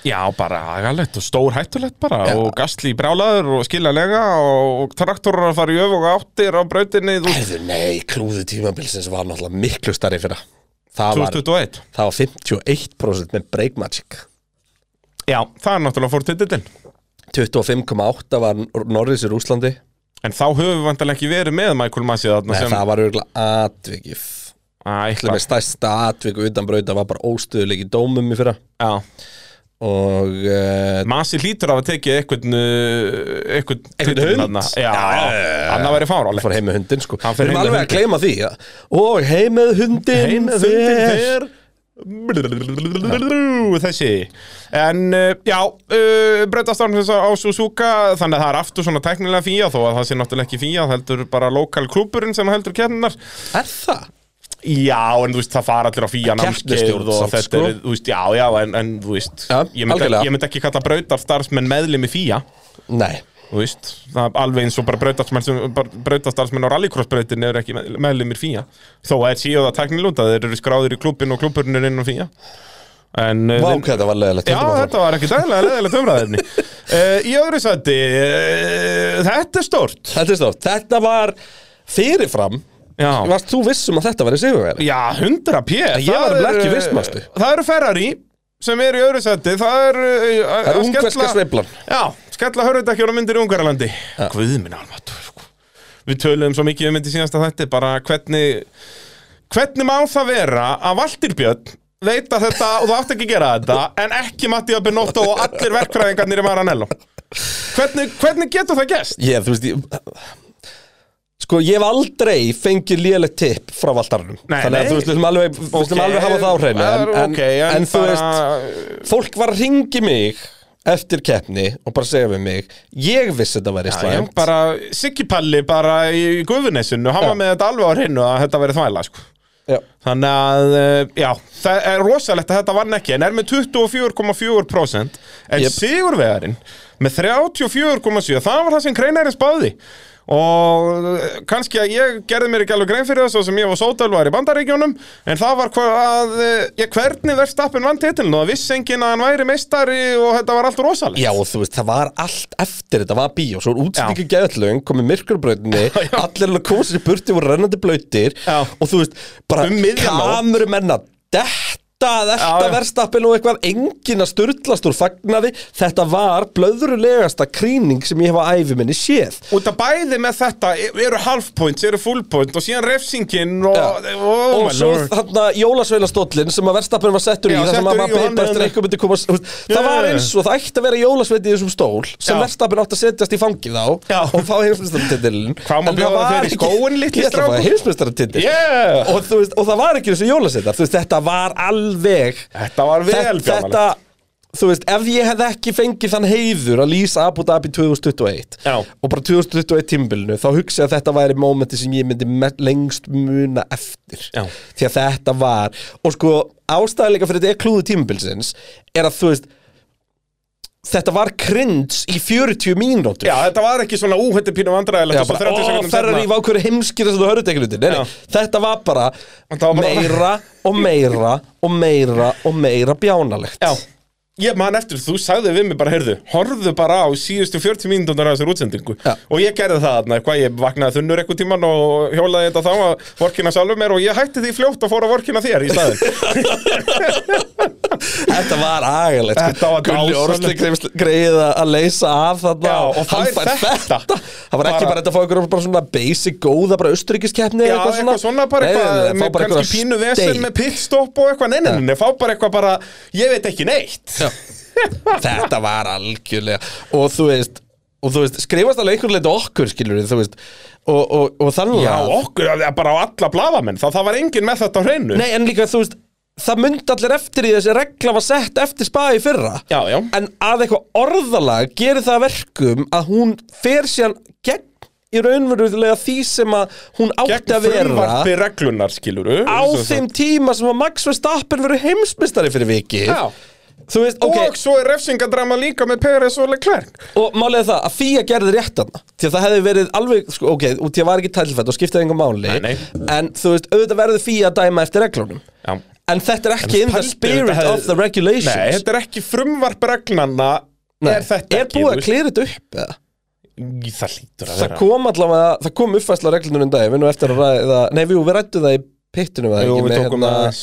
Speaker 4: Já, bara agalegt og stór hættulegt bara
Speaker 3: Já.
Speaker 4: og gasli í brjálaður og skiljanlega og, og traktorar að fara í öf og áttir á brautinni þú
Speaker 3: Herðu, nei, klúður tímabilsins var náttúrulega miklu starri fyrir það Það var,
Speaker 4: 2021
Speaker 3: það var 51% með Break Magic
Speaker 4: Já, það er náttúrulega fór titillin
Speaker 3: 25,8 var Norris í Rúslandi
Speaker 4: En þá höfum við vantilega ekki verið með Michael Masi þarna
Speaker 3: Nei,
Speaker 4: sem
Speaker 3: það var örgulega atvikið Það
Speaker 4: Ætla
Speaker 3: með stærsta atvik utan brauta var bara óstöðuleik í dómum í fyrra
Speaker 4: Já
Speaker 3: og uh,
Speaker 4: Masi hlýtur af að tekið uh, eitthvað Eitthvað
Speaker 3: Einhvern hund?
Speaker 4: Já, annað væri fáralegt
Speaker 3: fór heim með hundin sko
Speaker 4: Hann
Speaker 3: Við
Speaker 4: fer heim
Speaker 3: erum
Speaker 4: með
Speaker 3: alveg að
Speaker 4: hundinn.
Speaker 3: gleyma því ja. og heim með hundin
Speaker 4: Heim með
Speaker 3: fer.
Speaker 4: hundin Þessi En uh, já, uh, breytastafn á Suzuka Þannig að það er aftur svona teknilega fíja Þó að það sé náttúrulega ekki fíja Það heldur bara lokal klúburinn sem heldur kennar
Speaker 3: Er það?
Speaker 4: Já, en þú veist, það fara allir á fíja námskeið
Speaker 3: Keppnisstjórn
Speaker 4: og
Speaker 3: samt,
Speaker 4: þetta
Speaker 3: sko.
Speaker 4: er, þú veist, já, já, en, en þú veist,
Speaker 3: Já,
Speaker 4: ég, myndi,
Speaker 3: algjörlega.
Speaker 4: ég myndi ekki kalla brautarstarfsmenn meðlimi fíja,
Speaker 3: Nei
Speaker 4: þú veist, það er alveg eins og bara brautarstarfsmenn, sem- bara brautarstarfsmenn á rallycrossbrautin eru ekki með- meðlimir fíja, þó að séu það teknilúta, þeir eru skráðir í klubin og klubburinn er inn á fíja. En, eh,
Speaker 3: Vá,
Speaker 4: þeir-
Speaker 3: hvað þetta var leðilegt
Speaker 4: Já, þetta var ekki dægilega leðilegt umræðinni. uh, í öðru sætti, uh, þetta er stórt.
Speaker 3: Þetta er stórt Þetta var fyrirfram
Speaker 4: Já.
Speaker 3: Varst þú vissum að þetta var í sigurveri?
Speaker 4: Já, 100 p
Speaker 3: ég var nefnilega ekki viss, manstu.
Speaker 4: Það eru Ferrari sem er í öðru seti Það eh, er
Speaker 3: Það er ungverska sveiflan
Speaker 4: Já, skella hörðutakjóra myndir í Ungarlandi Guð minn almatur sko. Við töluðum svo mikið um myndi síðasta þetta bara hvernig hvernig má það vera að Valtýr Björn veit að þetta og það átti ekki að gera þetta en ekki Mattia Benotto og allir verkfræðingarnir í Maranello hvernig, hvernig getur það gest?
Speaker 3: Ég, þú veist, ég Sko, ég hef aldrei fengið lélegt tipp frá valdarunum
Speaker 4: Nei,
Speaker 3: Þannig að
Speaker 4: nei.
Speaker 3: þú veist, við þurfum alveg, okay,
Speaker 4: Ok,
Speaker 3: þurfum alveg hafa það á hreinu En, en,
Speaker 4: ok,
Speaker 3: en, þú veist,
Speaker 4: bara-
Speaker 3: fólk var að ringi mig eftir keppni og bara segja við mig Ég vissi þetta væri
Speaker 4: Já, já,
Speaker 3: slæmt
Speaker 4: bara Siggi Palli bara í guðunessinu, hann var
Speaker 3: Já.
Speaker 4: með þetta alveg á hreinu að þetta verið þvæla sko.
Speaker 3: Já.
Speaker 4: þannig að, eh, já, það er rosalegt að þetta vann ekki, en er með 24,4% en
Speaker 3: Jep.
Speaker 4: Sigurvegarinn með 34,7 það var það sem kreinarinn spáði og eh, kannski að ég gerði mér ekki alveg grein fyrir þessu sem ég var sótölvar í bandaríkjónum en það var hvað að ég, hvernig verðstappin vann titilin og það vissi enginn að hann væri meistari og þetta var allt rosalegt
Speaker 3: Já, og þú veist, það var allt eftir þetta var bíó, svo útstíku geðallöng komið myrkurbrautinni, allir alveg kósir í burti voru rennandi blautir
Speaker 4: Já.
Speaker 3: og þú veist, bara
Speaker 4: Um miðja nótt.
Speaker 3: kamurumenn að detta
Speaker 4: Já,
Speaker 3: þetta
Speaker 4: já.
Speaker 3: verðstappin og eitthvað engin að sturdlast úr fagnaði þetta var blöðrulegasta krýning sem ég hef á æfi minni séð
Speaker 4: Út af bæði með þetta eru half points, eru full points og síðan refsingin og,
Speaker 3: Já.
Speaker 4: oh
Speaker 3: og
Speaker 4: my
Speaker 3: svo
Speaker 4: lord.
Speaker 3: þarna jólasveilastóllin sem að verðstappin var settur í
Speaker 4: Já,
Speaker 3: þar sem
Speaker 4: settur
Speaker 3: að
Speaker 4: í og
Speaker 3: maður
Speaker 4: hann
Speaker 3: beið bara
Speaker 4: er
Speaker 3: eftir
Speaker 4: hann-
Speaker 3: eitthvað myndi komast þú veist,
Speaker 4: Já,
Speaker 3: það var
Speaker 4: já, já.
Speaker 3: eins og það ætti að vera jólasveiti í þessum stól sem
Speaker 4: Já.
Speaker 3: verðstappin átti að setjast í fangið á
Speaker 4: Já.
Speaker 3: og fá heimsmyndstaratintilin
Speaker 4: Hvað má bjóða þér í skóinn, litli
Speaker 3: ég ætla að fá
Speaker 4: strákur?
Speaker 3: heimsmyndstaratintil
Speaker 4: Yeah!
Speaker 3: og, þú veist, og það var ekki eins og jólasveitar þú veist, þetta var alveg
Speaker 4: Þetta var vel
Speaker 3: Þetta-
Speaker 4: bjánalegt.
Speaker 3: þetta, þú veist, ef ég hefði ekki fengið þann heiður að lýsa Abu Dhabi 2021
Speaker 4: Já.
Speaker 3: og bara 2021 tímbilinu þá hugsa ég að þetta væri mómenti sem ég myndi me- lengst muna eftir
Speaker 4: Já.
Speaker 3: því að þetta var og sko ástæðleika fyrir þetta er klúðu tímbilsins er að þú veist þetta var cringe í 40 mínútur
Speaker 4: Já, þetta var ekki svona, ú, þetta er pínu vandræðilegt og svo 30
Speaker 3: ó,
Speaker 4: sekundum
Speaker 3: ferrar í
Speaker 4: seinna.
Speaker 3: vákvöru heimskir þess að þú hörðu tekinu til Nei, nei,
Speaker 4: Já.
Speaker 3: þetta var bara,
Speaker 4: Þetta var bara-
Speaker 3: meira og meira og meira og meira bjánalegt
Speaker 4: Já, ég man eftir, þú sagði við mig bara, heyrðu, horfðu bara á síðustu 40 mínútur af þessar útsendingu
Speaker 3: Já.
Speaker 4: og ég gerði það þarna, hvað ég vaknaði þunnur eitthvað tíman og hjólaði þetta þá að vorkina sjálfum mér og ég hætti því fljótt og fór að vorkina þér í staðinn.
Speaker 3: Þetta var agalegt sko.
Speaker 4: Þetta var
Speaker 3: Gulli
Speaker 4: dásamlegt.
Speaker 3: Orsti greifst- greið að leysa af þarna
Speaker 4: Já, og
Speaker 3: hann
Speaker 4: fær
Speaker 3: fær
Speaker 4: þetta.
Speaker 3: Það var ekki
Speaker 4: Bara-
Speaker 3: bara þetta að fá ykkur bara svona basic góða bara austuríkiskeppni
Speaker 4: Já, eitthvað svona, bara eitthvað,
Speaker 3: Nei, nei, nei, fá
Speaker 4: með
Speaker 3: bara
Speaker 4: kannski
Speaker 3: einhverja
Speaker 4: pínu
Speaker 3: steik.
Speaker 4: vesen með pitstopp og eitthvað, nei, nei, nei, nei, fá bara eitthvað bara, ég veit ekki neitt.
Speaker 3: Þetta var algjörlega Og þú veist, og þú veist skrifast alveg einhvern leita okkur skilur við, þú veist Og, og, og þannig
Speaker 4: Já,
Speaker 3: að-
Speaker 4: okkur, það er bara á alla bladamenn, þá það var enginn með þetta á hreinu
Speaker 3: Nei, en líka þú veist það myndi allir eftir í þessi regla var sett eftir spaði fyrra
Speaker 4: Já, já.
Speaker 3: en að eitthvað orðalag gerir það að verkum að hún fer síðan gegn í raunverulega því sem að hún átti
Speaker 4: Gegn
Speaker 3: að vera
Speaker 4: frumvarpi reglunar, skiluru
Speaker 3: á þeim tíma sem að Max Verstappen verið heimsmystari fyrir viki
Speaker 4: Já.
Speaker 3: þú veist, ok,
Speaker 4: Og svo er refsingadrama líka með Peres og Leclerc
Speaker 3: Og málið er það að Fía gerði rétt hann Því að það hefði verið alveg, sko, ok, út í að var ekki tælfætt og skiptaði engum máli
Speaker 4: Nei, nei.
Speaker 3: En þú veist, auðvitað verður Fía að dæma eftir reglunum
Speaker 4: Já.
Speaker 3: En þetta er ekki in the
Speaker 4: Pældu,
Speaker 3: spirit
Speaker 4: þetta hefði-
Speaker 3: of the regulations
Speaker 4: Nei, þetta er ekki frumvarp reglana
Speaker 3: Nei.
Speaker 4: Er þetta
Speaker 3: Er
Speaker 4: ekki þú
Speaker 3: búið að
Speaker 4: veist?
Speaker 3: klýra þetta upp eða?
Speaker 4: Það lítur að
Speaker 3: Það
Speaker 4: vera
Speaker 3: kom allavega, það kom uppfæsla á reglunum en dag Við nú eftir að ræða, nei, jú, við rættu það í pittunum eða
Speaker 4: Jú,
Speaker 3: ekki,
Speaker 4: við
Speaker 3: með, hérna
Speaker 4: tókum það aðeins.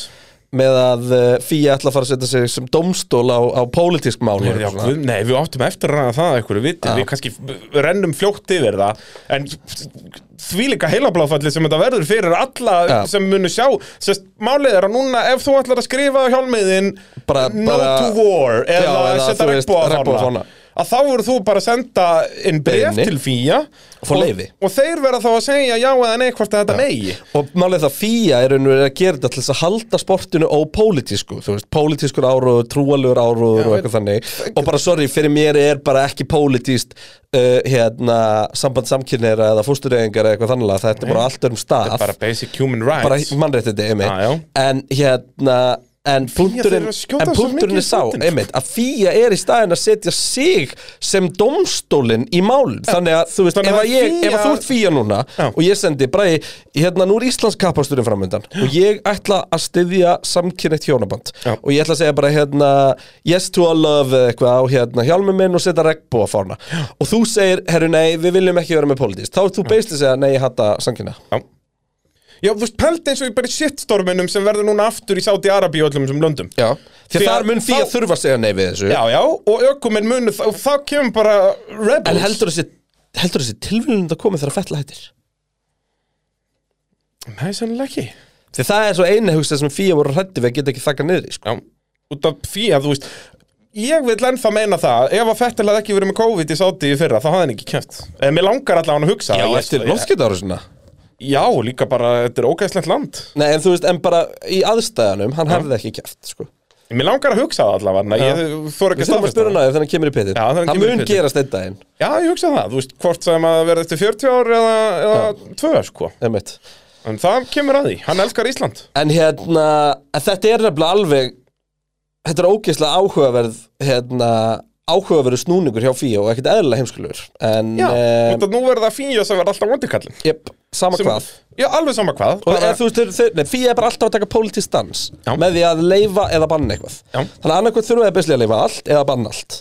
Speaker 3: með að uh, Fía ætla að fara að setja sig sem dómstól á, á pólitísk mál
Speaker 4: Já, guð, nei, við áttum eftir að ræða það einhverju viti, við kannski rennum fljótt yfir það, en því líka heilabláfalli sem þetta verður fyrir alla
Speaker 3: Já.
Speaker 4: sem munu sjá sest, málið er að núna ef þú ætlar að skrifa á hjálmiðin
Speaker 3: Bara-
Speaker 4: no
Speaker 3: bara-
Speaker 4: to war eða,
Speaker 3: Já, eða, þú
Speaker 4: setja
Speaker 3: veist, regnbogafána.
Speaker 4: regnbóðafána að þá voru þú bara að senda inn bref
Speaker 3: Beiðni.
Speaker 4: til fíja
Speaker 3: Fá leyfi.
Speaker 4: og, og þeir verða þá að segja já eða nei hvort að þetta megi
Speaker 3: Og málið það fíja er raun og verið að gera þetta til þess að halda sportinu ópólitísku Þú veist, pólitískur áróður, trúalur áróður og eitthvað þannig Og bara, sorry, fyrir mér er bara ekki pólitíst uh, hérna, samband samkynneira eða fóstureyðingar eða eitthvað þannig Þetta er bara allt um stað
Speaker 4: bara basic human rights
Speaker 3: bara mannréttindi,
Speaker 4: Já, Ah, já.
Speaker 3: einmitt En hérna, en punkturinn,
Speaker 4: þeir eru að skjóta
Speaker 3: en
Speaker 4: svo mikið í
Speaker 3: punkturinn er sá,
Speaker 4: fótinn, sko.
Speaker 3: einmitt Að fíja er í staðin að setja sig sem domstólinn í málum Þannig að, þú veist,
Speaker 4: Þannig
Speaker 3: ef,
Speaker 4: að
Speaker 3: að ég,
Speaker 4: FÍA
Speaker 3: ef að þú ert fíja núna
Speaker 4: Já.
Speaker 3: og ég sendi bræði, hérna nú er Íslands kappasturinn framöndan og ég ætla að styðja samkynneitt hjónaband
Speaker 4: Já.
Speaker 3: og ég ætla að segja bara hérna yes to all love eða eitthvað á hérna hjálmi minn og setja regnbúa fána og þú segir, herru nei, við viljum ekki vera með politist þá er þú beisli segja, nei, ég hatta samkynna
Speaker 4: Já Já, þú veist, pælt eins og ég bara í shitstorminum sem verður núna aftur í Saudi Arabi og öllum þessum löndum
Speaker 3: Já.
Speaker 4: Því
Speaker 3: því að
Speaker 4: að
Speaker 3: þar mun því að
Speaker 4: þá-
Speaker 3: þurfa að segja nei við þessu
Speaker 4: Já, já, og ökuminn munu og þá kemur bara rebels
Speaker 3: en heldur þessi, heldur þessi tilvílun að komi þegar að fella hættir
Speaker 4: Nei, sennilega ekki Já,
Speaker 3: því það er svo eini hugsa sem fíja voru hrætti við að geta ekki þakka niður í, sko.
Speaker 4: út af því að þú veist Ég vil ennþá meina það, ef að Fettel hafði ekki verið með COVID í Saudi í fyrra, þá hafði hann ekki kæft En mér langar allavega hann að hugsa það. Ég-
Speaker 3: loftskiptaárásinna.
Speaker 4: Já, líka bara, þetta er ógæslegt land
Speaker 3: Nei, en þú veist, en bara í aðstæðanum, hann hefði ekki kæft, sko.
Speaker 4: Mér langar að hugsa það allavega, en ég þóra ekki
Speaker 3: Við
Speaker 4: að
Speaker 3: þurfum að spyrja
Speaker 4: staðfesta
Speaker 3: hann
Speaker 4: það.
Speaker 3: að því þannig kemur í pittin.
Speaker 4: Já, þegar hann
Speaker 3: Það
Speaker 4: kemur í
Speaker 3: mun
Speaker 4: pitinn.
Speaker 3: gerast einn daginn,
Speaker 4: Já, ég hugsa það, þú veist, hvort sem að verða eftir 40 ár eða, eða tvö, sko
Speaker 3: einmitt.
Speaker 4: En það kemur að því, hann elskar Ísland
Speaker 3: En hérna, en þetta er nefnilega alveg, þetta er ógeðslega áhugaverð, hérna, áhugaverðu snúningur hjá Fíu og ekkert eðlilega heimskulur. En,
Speaker 4: Já,
Speaker 3: eh,
Speaker 4: þetta nú verður það fíja sem verður alltaf vondikallin
Speaker 3: jep, sama hvað.
Speaker 4: Já, alveg sama hvað
Speaker 3: Og eða, þú veist, þeir- þeir- nei, Fíu er bara alltaf að taka pólitísk stans
Speaker 4: Já.
Speaker 3: með því að leifa eða banna eitthvað.
Speaker 4: Já.
Speaker 3: Þannig að annarkvæmt þurfa að beslega að leifa allt eða banna allt.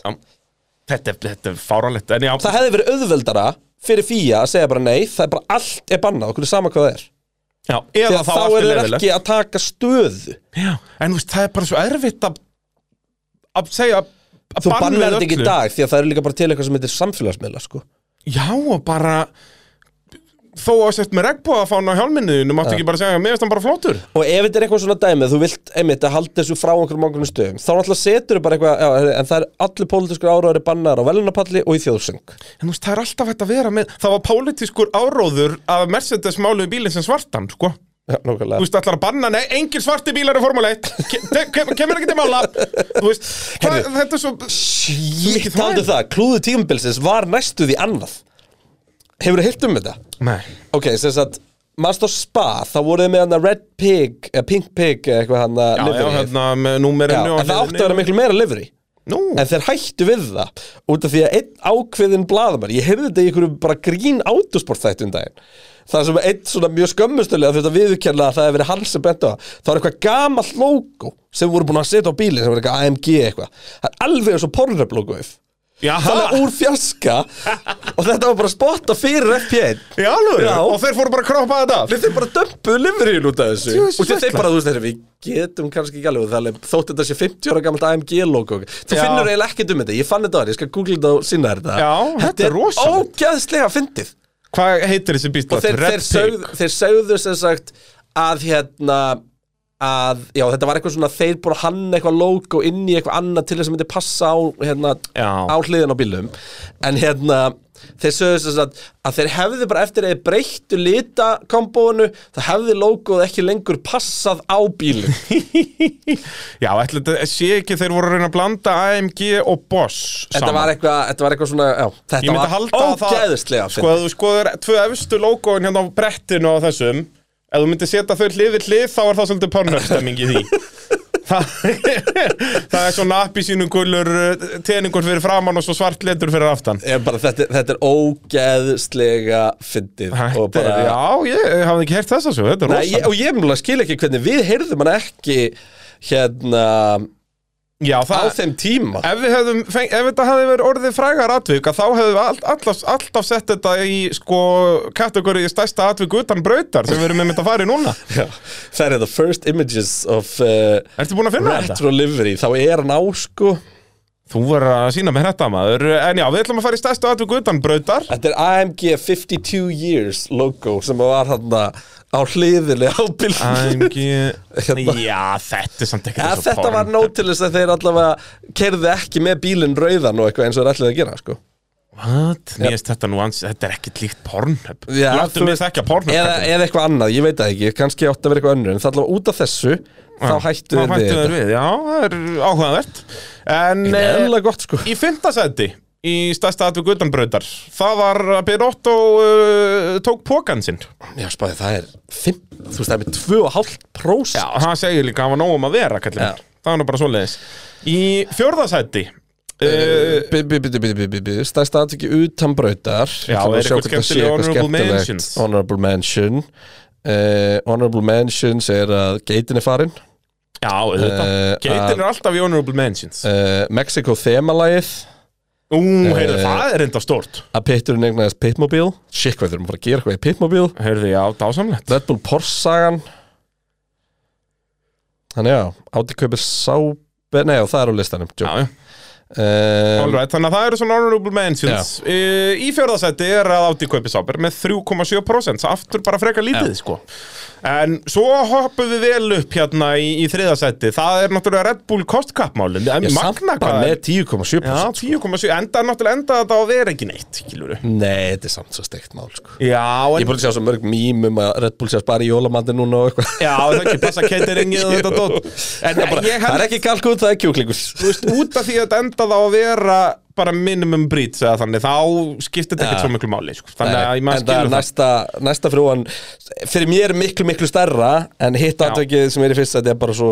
Speaker 4: þetta, er- þetta er fáralegt En já,
Speaker 3: Það hefði verið auðveldara fyrir Fíu að segja bara nei, það er bara allt er bannað, okkur er sama hvað það er.
Speaker 4: já
Speaker 3: Því
Speaker 4: eða
Speaker 3: að
Speaker 4: þá,
Speaker 3: þá
Speaker 4: allt
Speaker 3: eru þeir
Speaker 4: leyfilegt.
Speaker 3: ekki að taka stöðu.
Speaker 4: Já, en þú veist, það er bara svo erfitt að að segja að
Speaker 3: Þú
Speaker 4: banna
Speaker 3: bannar þetta ekki í
Speaker 4: öllu.
Speaker 3: dag því að það eru líka bara til eitthvað sem heitir samfélagsmiðla sko.
Speaker 4: Já, og bara þó að sett með regnbóðafána á hjálminniðinu máttu ekki bara segja, mér finnst hann bara flottur
Speaker 3: Og ef þetta er eitthvað svona dæmið, þú vilt einmitt að halda þessu frá einhverjum einhverjum stöðum þá náttúrulega setur þú bara eitthvað, já, en það er allir pólitískur áraður bannar á velunapalli og í þjóðsöng
Speaker 4: En þú veist, það er alltaf hægt að vera með Það var pólitískur áróður að Mercedes máluði bílinn sem svartan, sko
Speaker 3: Já,
Speaker 4: Þú
Speaker 3: nákvæmlega
Speaker 4: veist, ætlar að banna, nei, engin svarti bílar í Formule 1 Ke- te- kem- Kemur ekki til mála Þú veist, hvað,
Speaker 3: Heyrðu.
Speaker 4: þetta er svo
Speaker 3: Shit,
Speaker 4: mikið þvæla.
Speaker 3: taldu um það, klúðu tímabilsins var næstu því annað Hefur þú hýrt um þetta?
Speaker 4: Nei
Speaker 3: Ok, sem sagt, mannst á spa þá voruð þið með hana Red Pig eða Pink Pig eða eitthvað hana
Speaker 4: Já, já,
Speaker 3: liveryið.
Speaker 4: hérna, með
Speaker 3: já,
Speaker 4: númerinu
Speaker 3: en það átti að vera miklu meira livery
Speaker 4: Nú,
Speaker 3: en þeir hættu við það út af því að einn ákveðin blaðmann ég heyrði þetta í einhverju bara grín autosport þætti um daginn það sem einn svona mjög skömmustölu að þetta viðurkenna að það hefði verið hann sem bent á það það var eitthvað gamalt logo sem voru búin að setja á bílinn sem var eitthvað AMG eitthvað það er alveg eins og pornröp logoið
Speaker 4: já,
Speaker 3: þannig að úr fjaska og þetta var bara spotta fyrir FP1
Speaker 4: í alveg
Speaker 3: Já.
Speaker 4: Og þeir fóru bara að kroppa þetta
Speaker 3: Þeir bara dömpu liveríun út af þessu
Speaker 4: Djöfull
Speaker 3: Og þeir
Speaker 4: veistla.
Speaker 3: bara, þú veist, þeir við getum kannski ekki alveg Það er þótt þetta sé 50 ára gamalt AMG logo Þú
Speaker 4: Já.
Speaker 3: finnur eiginlega ekkert um þetta Ég fann þetta á þér, ég skal googla þetta og sinna þér þetta
Speaker 4: Já, þetta er rosalegt.
Speaker 3: Ógæðslega fyndið
Speaker 4: Hvað heitir þessi bíl?
Speaker 3: Og þeir, þeir, sögð, þeir sögðu sem sagt Að hérna að, já, þetta var eitthvað svona þeir búin að hanna eitthvað logo inn í eitthvað annað til þess að myndi passa á, hérna,
Speaker 4: Já.
Speaker 3: á hliðin á bílum en hérna þeir sögðu þess að, að þeir hefðu bara eftir að þeir breyttu litakombónu það hefði logoð ekki lengur passað á bílinn
Speaker 4: Já, ætli þetta sé ekki þeir voru að reyna að blanda AMG og Boss
Speaker 3: þetta
Speaker 4: saman.
Speaker 3: var eitthvað þetta var eitthvað svona já,
Speaker 4: Ég
Speaker 3: þetta
Speaker 4: myndi
Speaker 3: var
Speaker 4: halda að
Speaker 3: ógeðislega
Speaker 4: það Sko, ef þú skoður tvö efstu logoin hérna á brettinu og þessum Ef þú myndir setja þau hlið við hlið þá er það svolítið pornöfstemming í því Það, það er svona appi sínum gulur teningur fyrir framann og svo svart letur fyrir aftan
Speaker 3: Ég bara, þetta, þetta er ógeðslega fyndið
Speaker 4: Þetta
Speaker 3: og bara
Speaker 4: er, já, ég hafði ekki heyrt þess að svo, þetta er
Speaker 3: Nei, ég,
Speaker 4: rosa
Speaker 3: og ég mjög skil ekki hvernig við heyrðum hann ekki hérna
Speaker 4: Já,
Speaker 3: á
Speaker 4: það,
Speaker 3: þeim tíma
Speaker 4: ef, við hefðum, feng, ef þetta hafði verið orðið frægar atvik að þá hefðum við all, alltaf, alltaf sett þetta í sko kategóri stærsta atvik utan brautar sem við erum með þetta að fara í núna
Speaker 3: Já, það eru the first images of uh,
Speaker 4: Ertu búin að finna þetta?
Speaker 3: retro livery þá er hann á sko
Speaker 4: Þú verður að sína mér þetta maður En já, við ætlum að fara í stærstu atvik utan brautar
Speaker 3: þetta er AMG 52 years logo sem var hann á hliðinni á bílnum
Speaker 4: AMG
Speaker 3: Hérna.
Speaker 4: Já, þetta er samt ekki
Speaker 3: Eða þetta var nóg til þess að þeir allavega kerði ekki með bílinn rauðan og eitthvað eins og þeir ætlaði að gera sko.
Speaker 4: What? Mér finnst þetta nú ans Þetta er ekkit líkt Pornhub
Speaker 3: Já,
Speaker 4: Láttu
Speaker 3: þú
Speaker 4: mig
Speaker 3: veist-
Speaker 4: þekka Pornhub
Speaker 3: eða,
Speaker 4: kallinn.
Speaker 3: eða eitthvað annað, ég veit það ekki kannski átti að vera eitthvað önnur en það allavega út af þessu þá hættu
Speaker 4: Þá hættu
Speaker 3: þeir við
Speaker 4: þeir við Já, það er áhugavert En
Speaker 3: þetta
Speaker 4: eh,
Speaker 3: eða gott sko
Speaker 4: í fintasæti Í stærsta atvik utan brautar Það var að Birotto uh, tók pókan sinn
Speaker 3: Já, spáði, það er 5, þú veist, það er með 2,5%
Speaker 4: Já, það segir líka að hann var nóg um að vera kallinn
Speaker 3: Já.
Speaker 4: minn. Það var nú bara svoleiðis Í fjórðasæti
Speaker 3: eh,
Speaker 4: uh,
Speaker 3: Bíbíbíbíbíbíbí, stærsta atviki utan brautar Ég
Speaker 4: Já,
Speaker 3: ætla bara
Speaker 4: er
Speaker 3: að sjá
Speaker 4: eitthvað
Speaker 3: hvort það sé
Speaker 4: skemmtileg
Speaker 3: eitthvað
Speaker 4: honorable
Speaker 3: skemmtilegt.
Speaker 4: mentions?
Speaker 3: Honorable mention uh, Honorable mentions er að geitin er farin
Speaker 4: Já, auðvitað
Speaker 3: Eh,
Speaker 4: Geitin er alltaf í honorable mentions
Speaker 3: uh, Mexico themalagið
Speaker 4: Ú,
Speaker 3: Eh,
Speaker 4: heyrðu, það er enda stórt
Speaker 3: að pitturinn eignaðist pitmobil Shit, hvað þurfum bara að gera eitthvað í pitmobil
Speaker 4: Heyrðu, já, dásamlegt
Speaker 3: Red Bull Porssagan Þannig já, Audi kaupir Sáber Nei, já, það er á listanum
Speaker 4: Já,
Speaker 3: joke.
Speaker 4: já,
Speaker 3: um,
Speaker 4: alright, þannig að það eru svona honorable mentions uh, Í fjörðasætti er að Audi kaupi sáber með 3,7% svo aftur bara frekar lítið, sko En svo hoppum við vel upp hérna í, í þriðasætti Það er náttúrulega Red Bull kostkappmálin
Speaker 3: Ég samt
Speaker 4: Magna
Speaker 3: bara
Speaker 4: hvað
Speaker 3: með
Speaker 4: er-
Speaker 3: 10,7%
Speaker 4: Já, 10,7, enda náttúrulega enda þetta á að vera ekki neitt, kilur
Speaker 3: Nei, þetta er samt svo steikt mál sko.
Speaker 4: Já,
Speaker 3: Ég er
Speaker 4: en
Speaker 3: búin að sjá svo mörg mím um að Red Bull sést bara í jólamandi núna og eitthvað
Speaker 4: Já, það er ekki passa cateringið og þetta dót En
Speaker 3: Bara,
Speaker 4: ég held
Speaker 3: Það er ekki kalkun, það er kjúklingur
Speaker 4: þú veist, út af því að þetta endaði á að vera bara minimum breach eða þannig, þá skiptir þetta ekkert svo miklu máli sko. þannig að ég maður
Speaker 3: En það er
Speaker 4: skilur það
Speaker 3: næsta, næsta frúan Fyrir mér miklu, miklu stærra En hitt aðtökið sem er í fyrst Þetta er bara svo